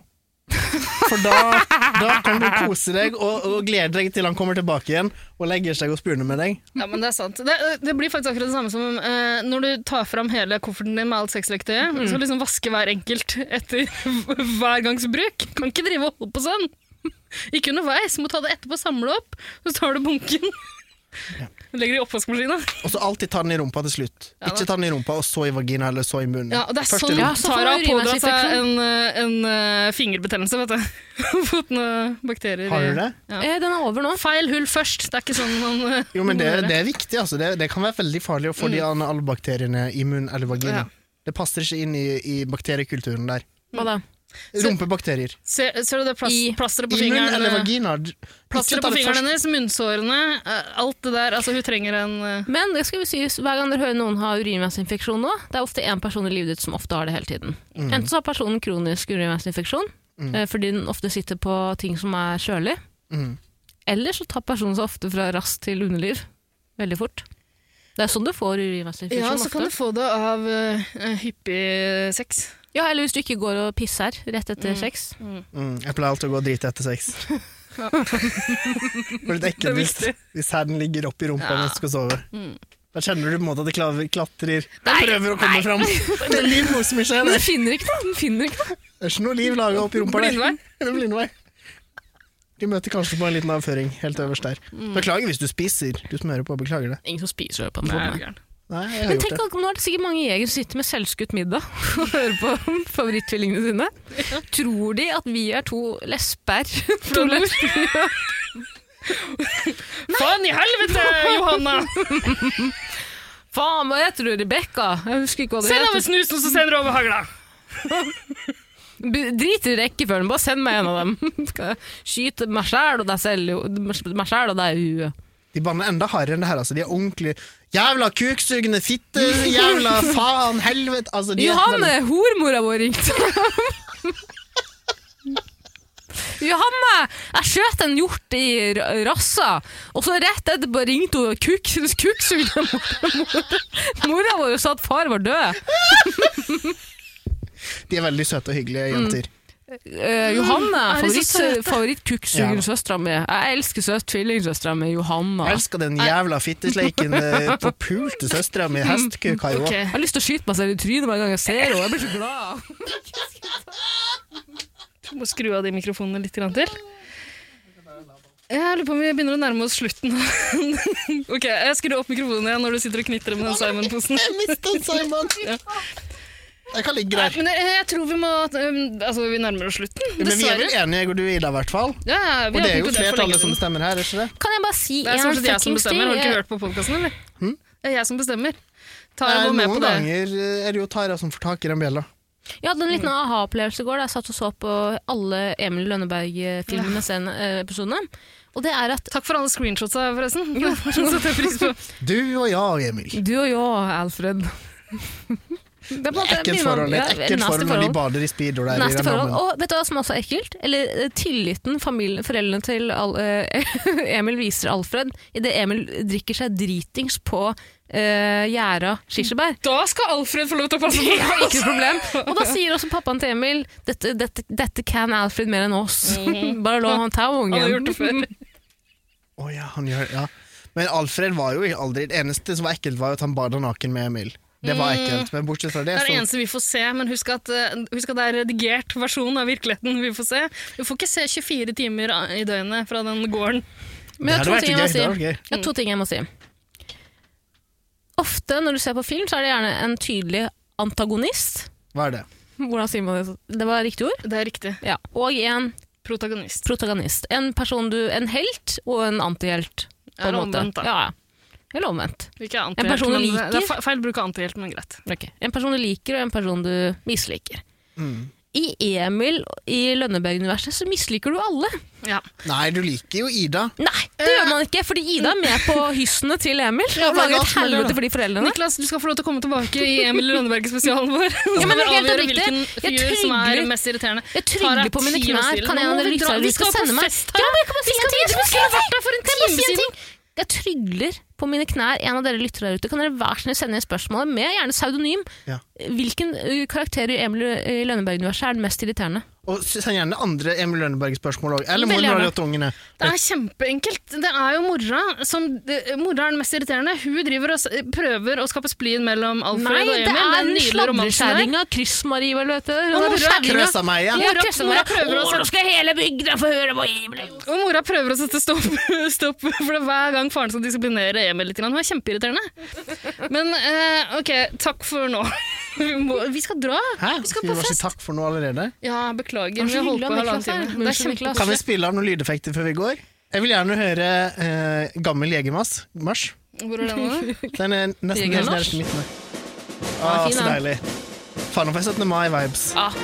For da, da kan du kose deg og, og glede deg til han kommer tilbake igjen og legger seg og spurner med deg. Ja, men Det er sant. Det, eh, det blir faktisk akkurat det samme som eh, når du tar fram hele kofferten din med alt sexleketøyet. Du skal liksom vaske hver enkelt etter hver gangs bruk. Kan ikke drive og holde på sånn. Ikke underveis. Må ta det etterpå, samle opp. Så tar du bunken. Legger det i oppvaskmaskina. Og så alltid ta den i rumpa til slutt. Ja, da. Ikke ta den i rumpa og så i vagina eller så i munnen. Ja, og det er Først i sånn rumpa. Ja, så får Tara man pådra seg en, urinveisinfeksjon. eh, en eh, fingerbetennelse, vet du. Fått noen bakterier. i- Har du det? Ja. Eh, den er over nå. Feil hull først. Det er ikke sånn man eh, Jo, men det, må gjøre. Mm. det er viktig, altså. Det, det kan være veldig farlig å få de analbakteriene i munn eller vagina. Ja. Det passer ikke inn i, i bakteriekulturen der. Hva da? Rumpebakterier. Ser, ser du det I- plast, plasteret på I munn fingeren? eh, eller vagina. d- Plasteret ikke ta på det fingeren først. hennes, munnsårene, eh, alt det der. Altså, hun trenger en eh, Men det skal vi si, hver gang dere hører noen ha urinveisinfeksjon nå, det er ofte én person i livet ditt som ofte har det hele tiden. Enten så har personen kronisk urinveisinfeksjon, eh, fordi den ofte sitter på ting som er kjølig, Mm. eller så tar personen seg ofte fra rass til underliv veldig fort. Det er sånn du får urinveisinfeksjon Ja, så kan du ofte. få det av eh, hyppig sex. Ja, eller hvis du ikke går og pisser rett etter sex. Mm, jeg pleier alltid å gå og drite etter sex. det er litt ekkelt hvis, hvis herden ligger oppi rumpa mens du skal sove. Mm. Da kjenner du på en måte at det klaver, klatrer. Den prøver å komme fram. Det er liv hos Michelle. Den finner ikke noe! Den finner ikke noe. Det er ikke noe liv laga oppi rumpa der. Blindvei. Det er blindvei. De møter kanskje på en liten avføring helt øverst der. Mm. Beklager hvis du spiser. Du som hører på, beklager det. Ingen som spiser på den formen. Nei, jeg har Men gjort tenk, det. at nå er det sikkert mange jegere som sitter med selvskutt middag og hører på favoritttvillingene sine. Tror de at vi er to lesber? To Faen i helvete, Johanna! Faen, hva heter du? Rebekka? Jeg husker ikke hva du Send over heter. snusen, så sender du over hagla! B- Drit i rekkefølgen, bare send meg en av dem. Skal jeg Skyte meg sjæl og deg selv meg selv og deg i huet. De banner enda hardere enn det her. Altså. De er ordentlig Jævla kuksugende fitte, jævla faen, helvete altså, de er Johanne, hormora eh, vår ringte. Johanne, eh, jeg skjøt en hjort i r- rassa, og så rett etterpå ringte hun og kuk, kuksugde mor- mora vår og sa at far var død. veldig- De er veldig søte og hyggelige jenter. Eh, Johanne, er de så søte? favoritt- favorittkuksugende Ja. søstera mi. Jeg elsker søs- tvillingsøstera mi, Johanna. Jeg elsker den jævla fittesleiken eh, på pul til søstera mi, hestkuk har jo Ok. også. Jeg har lyst til å skyte meg selv i trynet hver gang jeg ser henne. Jeg blir så glad. Du må skru av de mikrofonene litt grann til. Jeg lurer på om vi begynner å nærme oss slutten. ok, Jeg skrur opp mikrofonen igjen når du sitter og knitrer med den Simon-posen. Jeg mistet Simon! Ja. Jeg kan ligge Nei, der. men jeg, jeg tror vi må um, Altså, vi nærmer oss slutten, Men vi er dessverre. vel enige, Egor, du og Ida, i hvert fall? Ja, ja, Og vi det har er jo konkludert for flertallet lenge som siden. bestemmer her, er ikke det? Kan jeg bare si Det er stort sett jeg som fuckings ting? bestemmer. Har du Jeg- ikke hørt på podkasten, eller? Det er jeg som bestemmer. Ta Hm? Nei, og gå med noen på det. ganger eh, er det jo Tara som får tak i den bjella. Jeg hadde en liten aha-opplevelse i går da jeg satt og så på alle Emil Lønneberg-filmene, scenen- eh, episodene. Og det er at Takk for alle screenshotsa, forresten. Jo, setter jeg pris på. Du og jeg, Emil. Du og jeg, Alfred Det er blant Ekkelt forhold. Et ekkelt forhold når de bader i speedo der i Neste den forhold. dammen. Og vet du hva som også er ekkelt? Eller eh, tilliten familien, foreldrene til Al eh, Emil viser Alfred idet Emil drikker seg dritings på eh, gjæra kirsebær. Da skal Alfred få lov til å passe på! Ikke noe problem. Og da sier også pappaen til Emil dette, dette, dette kan Alfred mer enn oss. Bare la han ta Han har gjort ungen. det før. Å ja, han gjør ja. Men Alfred var jo aldri Det eneste som var ekkelt, var jo at han bada naken med Emil. Det var ekkelt. Men bortsett fra det, Mm. Det er det så eneste vi får se, men husk at, eh, husk at det er redigert versjon av virkeligheten vi får se. Vi får ikke se 24 timer a- i døgnet fra den gården. Men jeg Det har to hadde vært ting jeg gøy, må si. det hadde vært gøy. Jeg har to ting jeg må si. Ofte når du ser på film, så er det gjerne en tydelig antagonist. Hva er det? Hvordan sier man det? Det var riktig ord. Det er riktig. Ja. Og en Protagonist. protagonist. En person du En helt og en antihelt, på Eller en måte. omvendt, da. Ja, ja. Eller omvendt. Ikke antihelt, En person du men det- liker? Det er fe- feil bruk av antihelt, men greit. Ok. En person du liker, og en person du misliker. Mm. I Emil i Lønneberg-universet så misliker du alle. Ja. Nei, du liker jo Ida. Nei, det gjør man ikke, fordi Ida er med på hyssene til Emil Eh. Ja, og men hva lager et smeller det, da? helvete for de foreldrene. Niklas, du skal få lov til å komme tilbake i Emil Lønneberg-spesialen vår. Ja, men Så skal vi helt avgjøre oppriktig, hvilken jeg figur som er trygler- mest irriterende. Jeg Tara, trygler på mine ti år knær. siden. Kan Nå jeg må vi dra. Riksager, Vi du skal skal sende på meg fest Ja, her. men jeg kan bare si Vi skal en dit. ting. Vi Jeg skal skulle si- vært der for en Kan jeg bare time si en siden. ting? Jeg trygler på mine knær. En av dere lyttere der ute, kan dere hver sin sende inn spørsmålet med gjerne pseudonym? Ja. Hvilken ø, karakter i Emil ø, i Lønneberg-universet er den mest irriterende? Og send gjerne andre Emil Lønneberg-spørsmål òg. Eller hvor Veldig har de gjerne. hatt ungene? Det er kjempeenkelt. Det er jo mora som det- Mora er den mest irriterende. Hun driver og s- prøver å skape splid mellom Alfred Nei, og Emil. det er den den nydelige romansen der. sladrekjerringa, kryssmarie, vel, vet du. Og mora Kjerringa. Krøsa meg igjen. Ja, Mora- krøssa mora meg. prøver å Å, nå skal hele bygda få høre hva Emil har gjort. Og mora prøver å sette stopp, stopp for det er hver gang faren skal disiplinere Emil litt. grann. Hun er kjempeirriterende. Men eh, ok, takk for nå. Vi, må, vi skal dra. Hæ? Vi Skal skal vi på bare si fest. takk for nå allerede? Ja, beklager. Det var Vi så har holdt på hyggelig av halvannen Niklas her. time. Det er Unnskyld, Niklas. Kan vi kjempekoselig. spille av noen lydeffekter før vi går? Jeg vil gjerne høre eh, gammel jegermass. Marsj. Hvor er den nå? Den er nesten helt nederst Jegermarsj? i midten. der. Å, fin, så da. deilig. Faen, nå får jeg 17. mai-vibes. Ah.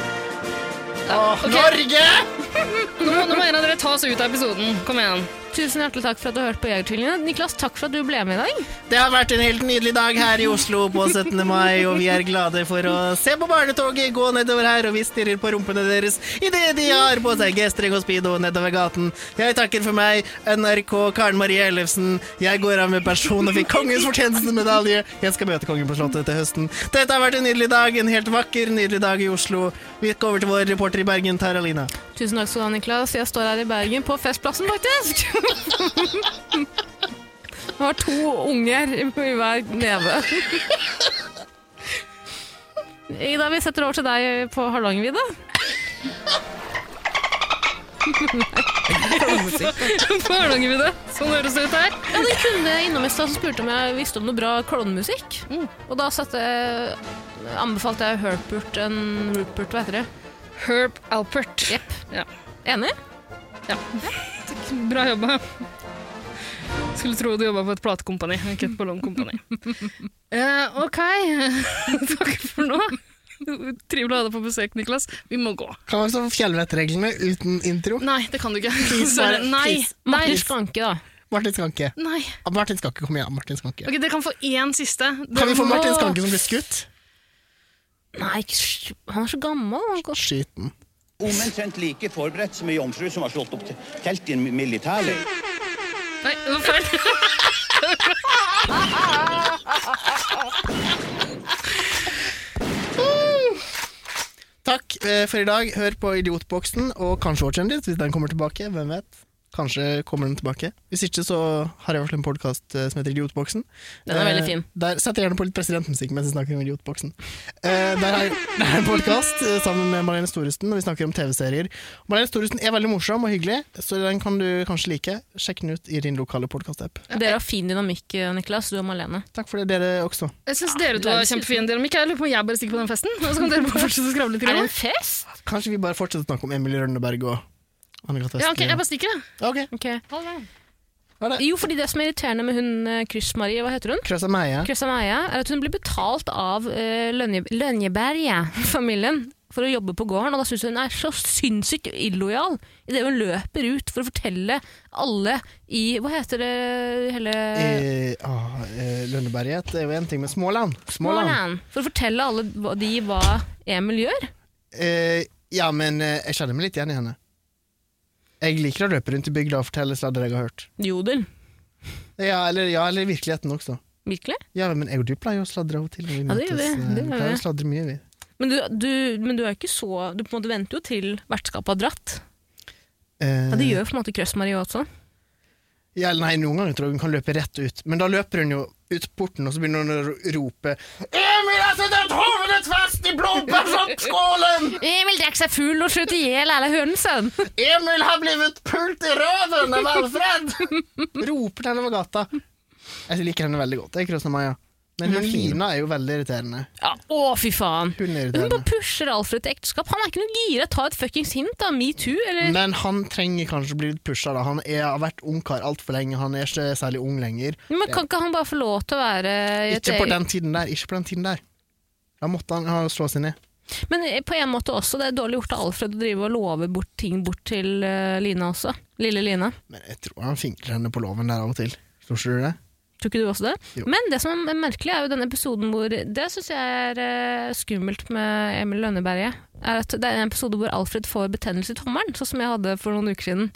Åh, Ok. Norge! Nå må, nå må en av dere ta oss ut av episoden. Kom igjen. Tusen hjertelig takk for at du hørte på Jegertvillingene. Niklas, takk for at du ble med i dag. Det har vært en helt nydelig dag her i Oslo på 17. mai, og vi er glade for å se på barnetoget gå nedover her, og vi stirrer på rumpene deres idet de har på seg G-streng og speedo nedover gaten. Jeg takker for meg, NRK Karen Marie Ellefsen. Jeg går av med person og fikk kongens fortjenestemedalje. Jeg skal møte kongen på Slottet til høsten. Dette har vært en nydelig dag, en helt vakker, nydelig dag i Oslo. Vi går over til vår reporter i Bergen, Taralina. Tusen takk skal du ha, Niklas. Jeg står her i Bergen, på Festplassen, faktisk. Det var to unger i hver neve. Ida, vi setter over til deg på Hardangervidda. På Hardangervidda. Sånn høres det ut her. Jeg hadde en kunde innom i stad som spurte om jeg visste om noe bra klovnemusikk. Og da satte jeg, anbefalte jeg Herpert en Rupert, hva heter det? Herb Alpert. Jepp. Ja. Enig? Bra jobba. Skulle tro du jobba på et platekompani, ikke et ballongkompani. Eh, ok, takk for nå. Trivelig å ha deg på besøk, Niklas. Vi må gå. Kan man stå for fjellvettreglene uten intro? Nei, det kan du ikke. Please, Sorry. bare- Nei. please. Nei. Martin Skanke, da. Martin Skanke. Ah, Nei. Martin Skanke, kom igjen. Martin Skanke. Ok, Dere kan få én siste. Kan vi få Dere må- Martin Skanke som ble skutt? Nei, hysj, han er så gammel. Han kan- Skyt den. Omtrent like forberedt som ei jomfru som har slått opp telt i en militærleir. Nei, det var feil. Takk eh, for i dag. Hør på Idiotboksen og kanskje Vår kjendis hvis den kommer tilbake. Hvem vet? Kanskje kommer den tilbake. Hvis ikke, så har jeg varslet en podkast som heter Idiotboksen. Den er Eh, veldig fin. Der setter jeg gjerne på litt presidentmusikk mens jeg snakker om Idiotboksen. Eh, der er det er en podkast sammen med Marlene Storesen, og vi snakker om TV-serier. Marlene Storesen er veldig morsom og hyggelig, så den kan du kanskje like. Sjekk den ut i din lokale podkast-app. Dere har fin dynamikk, Niklas. Du og Malene. Takk for det, dere også. Jeg syns dere to har kjempefin dynamikk. Jeg lurer på om jeg bare stikker på den festen. Og så kan dere bare fortsette å skravle litt. Er grann. det en fest? Kanskje vi bare fortsetter å snakke om Emilie Rønneberg og Anne-Cath. Ja, ok, jeg bare stikker, jeg. Ok, Ok. ha det. Jo, fordi det som er irriterende med hun eh, Kryss-Marie, hva heter hun? Krøss av Meie. Krøssa Meia, er at hun blir betalt av uh, Lønjeberget-familien for å jobbe på gården, og da syns hun hun er så sinnssykt illojal idet hun løper ut for å fortelle alle i Hva heter det hele Eh, ah, eh, Lønneberget det er jo en ting, men Småland. Småland. Småland. For å fortelle alle hva- de hva Emil gjør. Eh, ja, men eh, jeg kjenner meg litt igjen i henne. Jeg liker å løpe rundt i bygda og fortelle sladder jeg har hørt. Jodel. Ja, eller, ja, eller i virkeligheten også. Virkelig? Ja, men jeg og du pleier jo å sladre av og til. når Vi Ja, det møtes, gjør vi. eh, Det gjør vi pleier vi. å sladre mye, vi. Men du, du, men du er ikke så Du på en måte venter jo til vertskapet har dratt. Eh, Ja, Det gjør jo på en måte Krøss-Marie også. Ja, eller nei, Noen ganger tror jeg hun kan løpe rett ut, men da løper hun jo ut porten, og så begynner hun å ro- rope Emil har sett et hovedfest i blåbærsoppskålen! Emil drakk seg full og sløt i hjel alle hønsene! Emil har blitt pult i røven av Alfred! Roper den over gata. Jeg liker henne veldig godt, jeg krøsner Maja. Men hun Lina er jo veldig irriterende. Ja, å, fy faen! Hun er Hun bare irriterende. pusher Alfred til ekteskap. Han er ikke noe gira. Ta et fuckings hint, da. Metoo, eller Men han trenger kanskje å bli litt pusha, da. Han er, har vært ungkar altfor lenge, han er ikke særlig ung lenger. Men kan ikke han bare få lov til å være i et Ikke på eget- den tiden der. Ikke på den tiden der. Da måtte han ha slå seg ned. Men eh, på en måte også. Det er dårlig gjort av Alfred å drive og love bort ting bort til eh, Lina også. Lille Lina. Men jeg tror han finkler henne på låven der av og til. Tror ikke du det? Tror ikke du også det? Jo. Men det som er merkelig, er jo den episoden hvor Det syns jeg er eh, skummelt med Emil Lønneberget. Er at det er en episode hvor Alfred får betennelse i tommelen, sånn som jeg hadde for noen uker siden.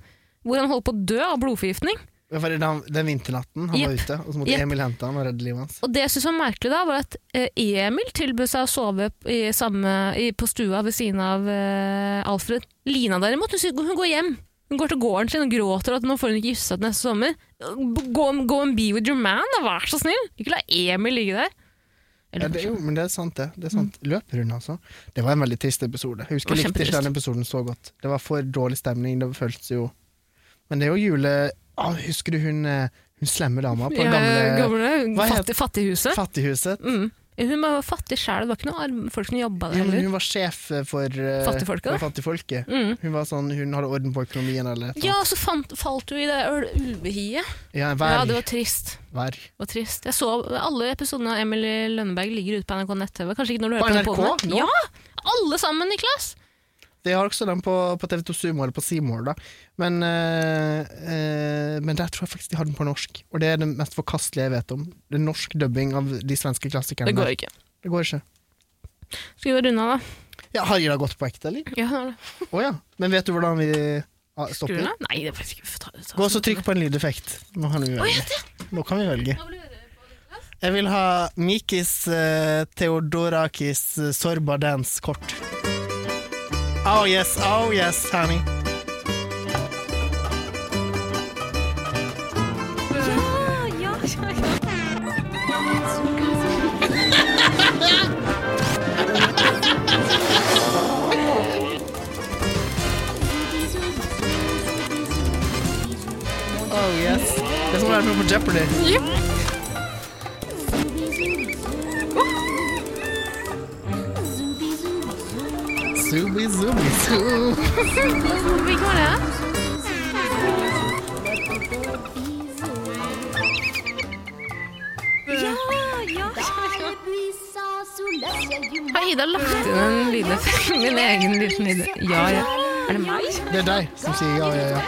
Hvor han holder på å dø av blodforgiftning. Det var den, den vinternatten han var Jepp. ute, og så måtte Jepp. Emil hente han og redde livet hans. Og det jeg syntes var merkelig da, var at eh, Emil tilbød seg å sove i samme, i, på stua ved siden av eh, Alfred. Lina derimot, hun, sier- hun går hjem. Hun går til gården sin og gråter at nå får hun ikke gifte seg til neste sommer. Gå gå and be with your man, da, vær så snill! Ikke la Emil ligge der. Ja, det, er jo, men det er sant, det. det er sant. Løper hun, altså? Det var en veldig trist episode. Jeg husker Mm. Det var jeg likte ikke kjempetrist. den episoden så godt. Det var for dårlig stemning. Det føltes jo Men det er jo jule... Ah, husker du hun, eh, hun slemme dama på Ja, gamle, gamle Hva fattig, fattighuset. Fattighuset? Mm. Hun var jo fattig sjæl, det var ikke noe arm- folk som jobba der Ja, men heller. hun var sjef eh, for, eh, Fattigfolket, da. for fattigfolket. Mm. Hun var sånn, hun hadde orden på økonomien eller noe. Ja, og så fant, falt du i det øl- ulvehiet. Ja, Ja, vær, det var trist. vær. Det var trist. Jeg så alle episodene av Emily Lønneberg ligger ute på NRK nett-TV. Kanskje ikke når du På hører NRK på den. nå? Ja! Alle sammen, Niklas! De har også den på, på TV2 Sumo eller på Seymour, da. Men, eh, eh, men der tror jeg faktisk de har den på norsk. Og det er den mest forkastelige jeg vet om. Det er norsk dubbing av de svenske klassikerne. Det går ikke. der. Det går ikke. Skal vi runde av, da? Ja, har de da gått på ekte, eller? Ja, det er det. Å ja. Men vet du hvordan vi ah, Skal vi stopper? runde av? Nei, det vet jeg ikke. Vi får ta- ta- ta- Gå så trykk på en lydeffekt. Nå kan vi velge. Nå kan vi velge. Jeg vil ha Mikis eh, Theodorakis eh, Sorba Dance-kort. Oh yes, oh yes, honey. Oh yes. Det er som å være med på Jeopardy. Zooby, zooby, zoo. Hvilken var det? Har Ida lagt inn en lydeffekt? Min egen liten lyd. Ja, ja. Er det meg? Det er deg som sier ja, ja, ja.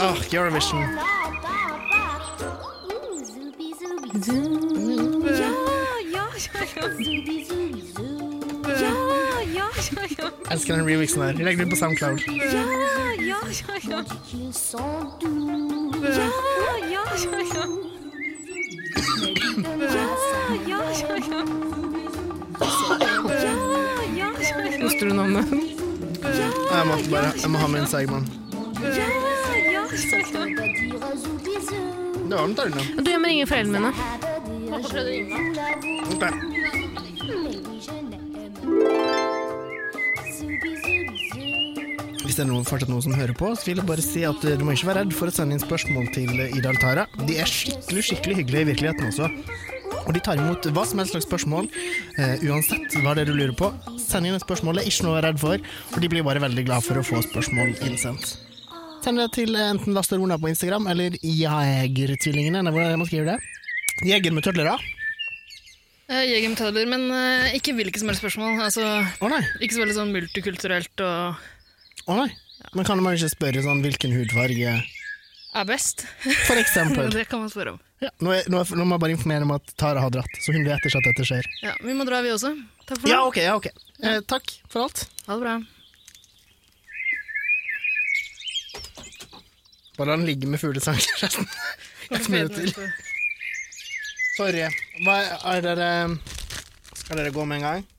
Åh, Ah, Eurovision. Jeg elsker den remixen her. Legg den på SoundCloud. Koster du noe med Jeg måtte bare, jeg må ha med en segmann. Det var den tørne. Og du gjemmer ingen foreldrene mine. Hvorfor prøvde du Yngve? Ok. Hvis det er noen, fortsatt noen som hører på, så vil jeg bare si at eh, du må ikke være redd for å sende inn spørsmål til eh, Ida Altara. De er skikkelig, skikkelig hyggelige i virkeligheten også. Og de tar imot hva som helst slags spørsmål, eh, uansett hva det er du lurer på. Send inn et spørsmål, det er ikke noe å være redd for, for de blir bare veldig glad for å få spørsmål innsendt. Send det til eh, enten Lasterona på Instagram eller Jegertvillingene, eller hvordan er det man skriver det. Jeger med tødler, da? Eh, Jeger med tødler, men eh, ikke hvilke som helst spørsmål. Altså, Å nei, ikke så veldig sånn multikulturelt og å nei. Men kan man ikke spørre sånn hvilken hudfarge er best. For eksempel. det kan man spørre om. Ja. Nå, er, nå, er, nå må jeg bare informere om at Tara har dratt, så hun vet ikke at dette skjer. Ja, vi må dra, vi også. Takk for Ja, nå. ok, ja, ok. Eh, takk for alt. Ha det bra. Bare la den ligge med fuglesang resten. Jeg får det til. Sorry. Hva er dere Skal dere gå med en gang?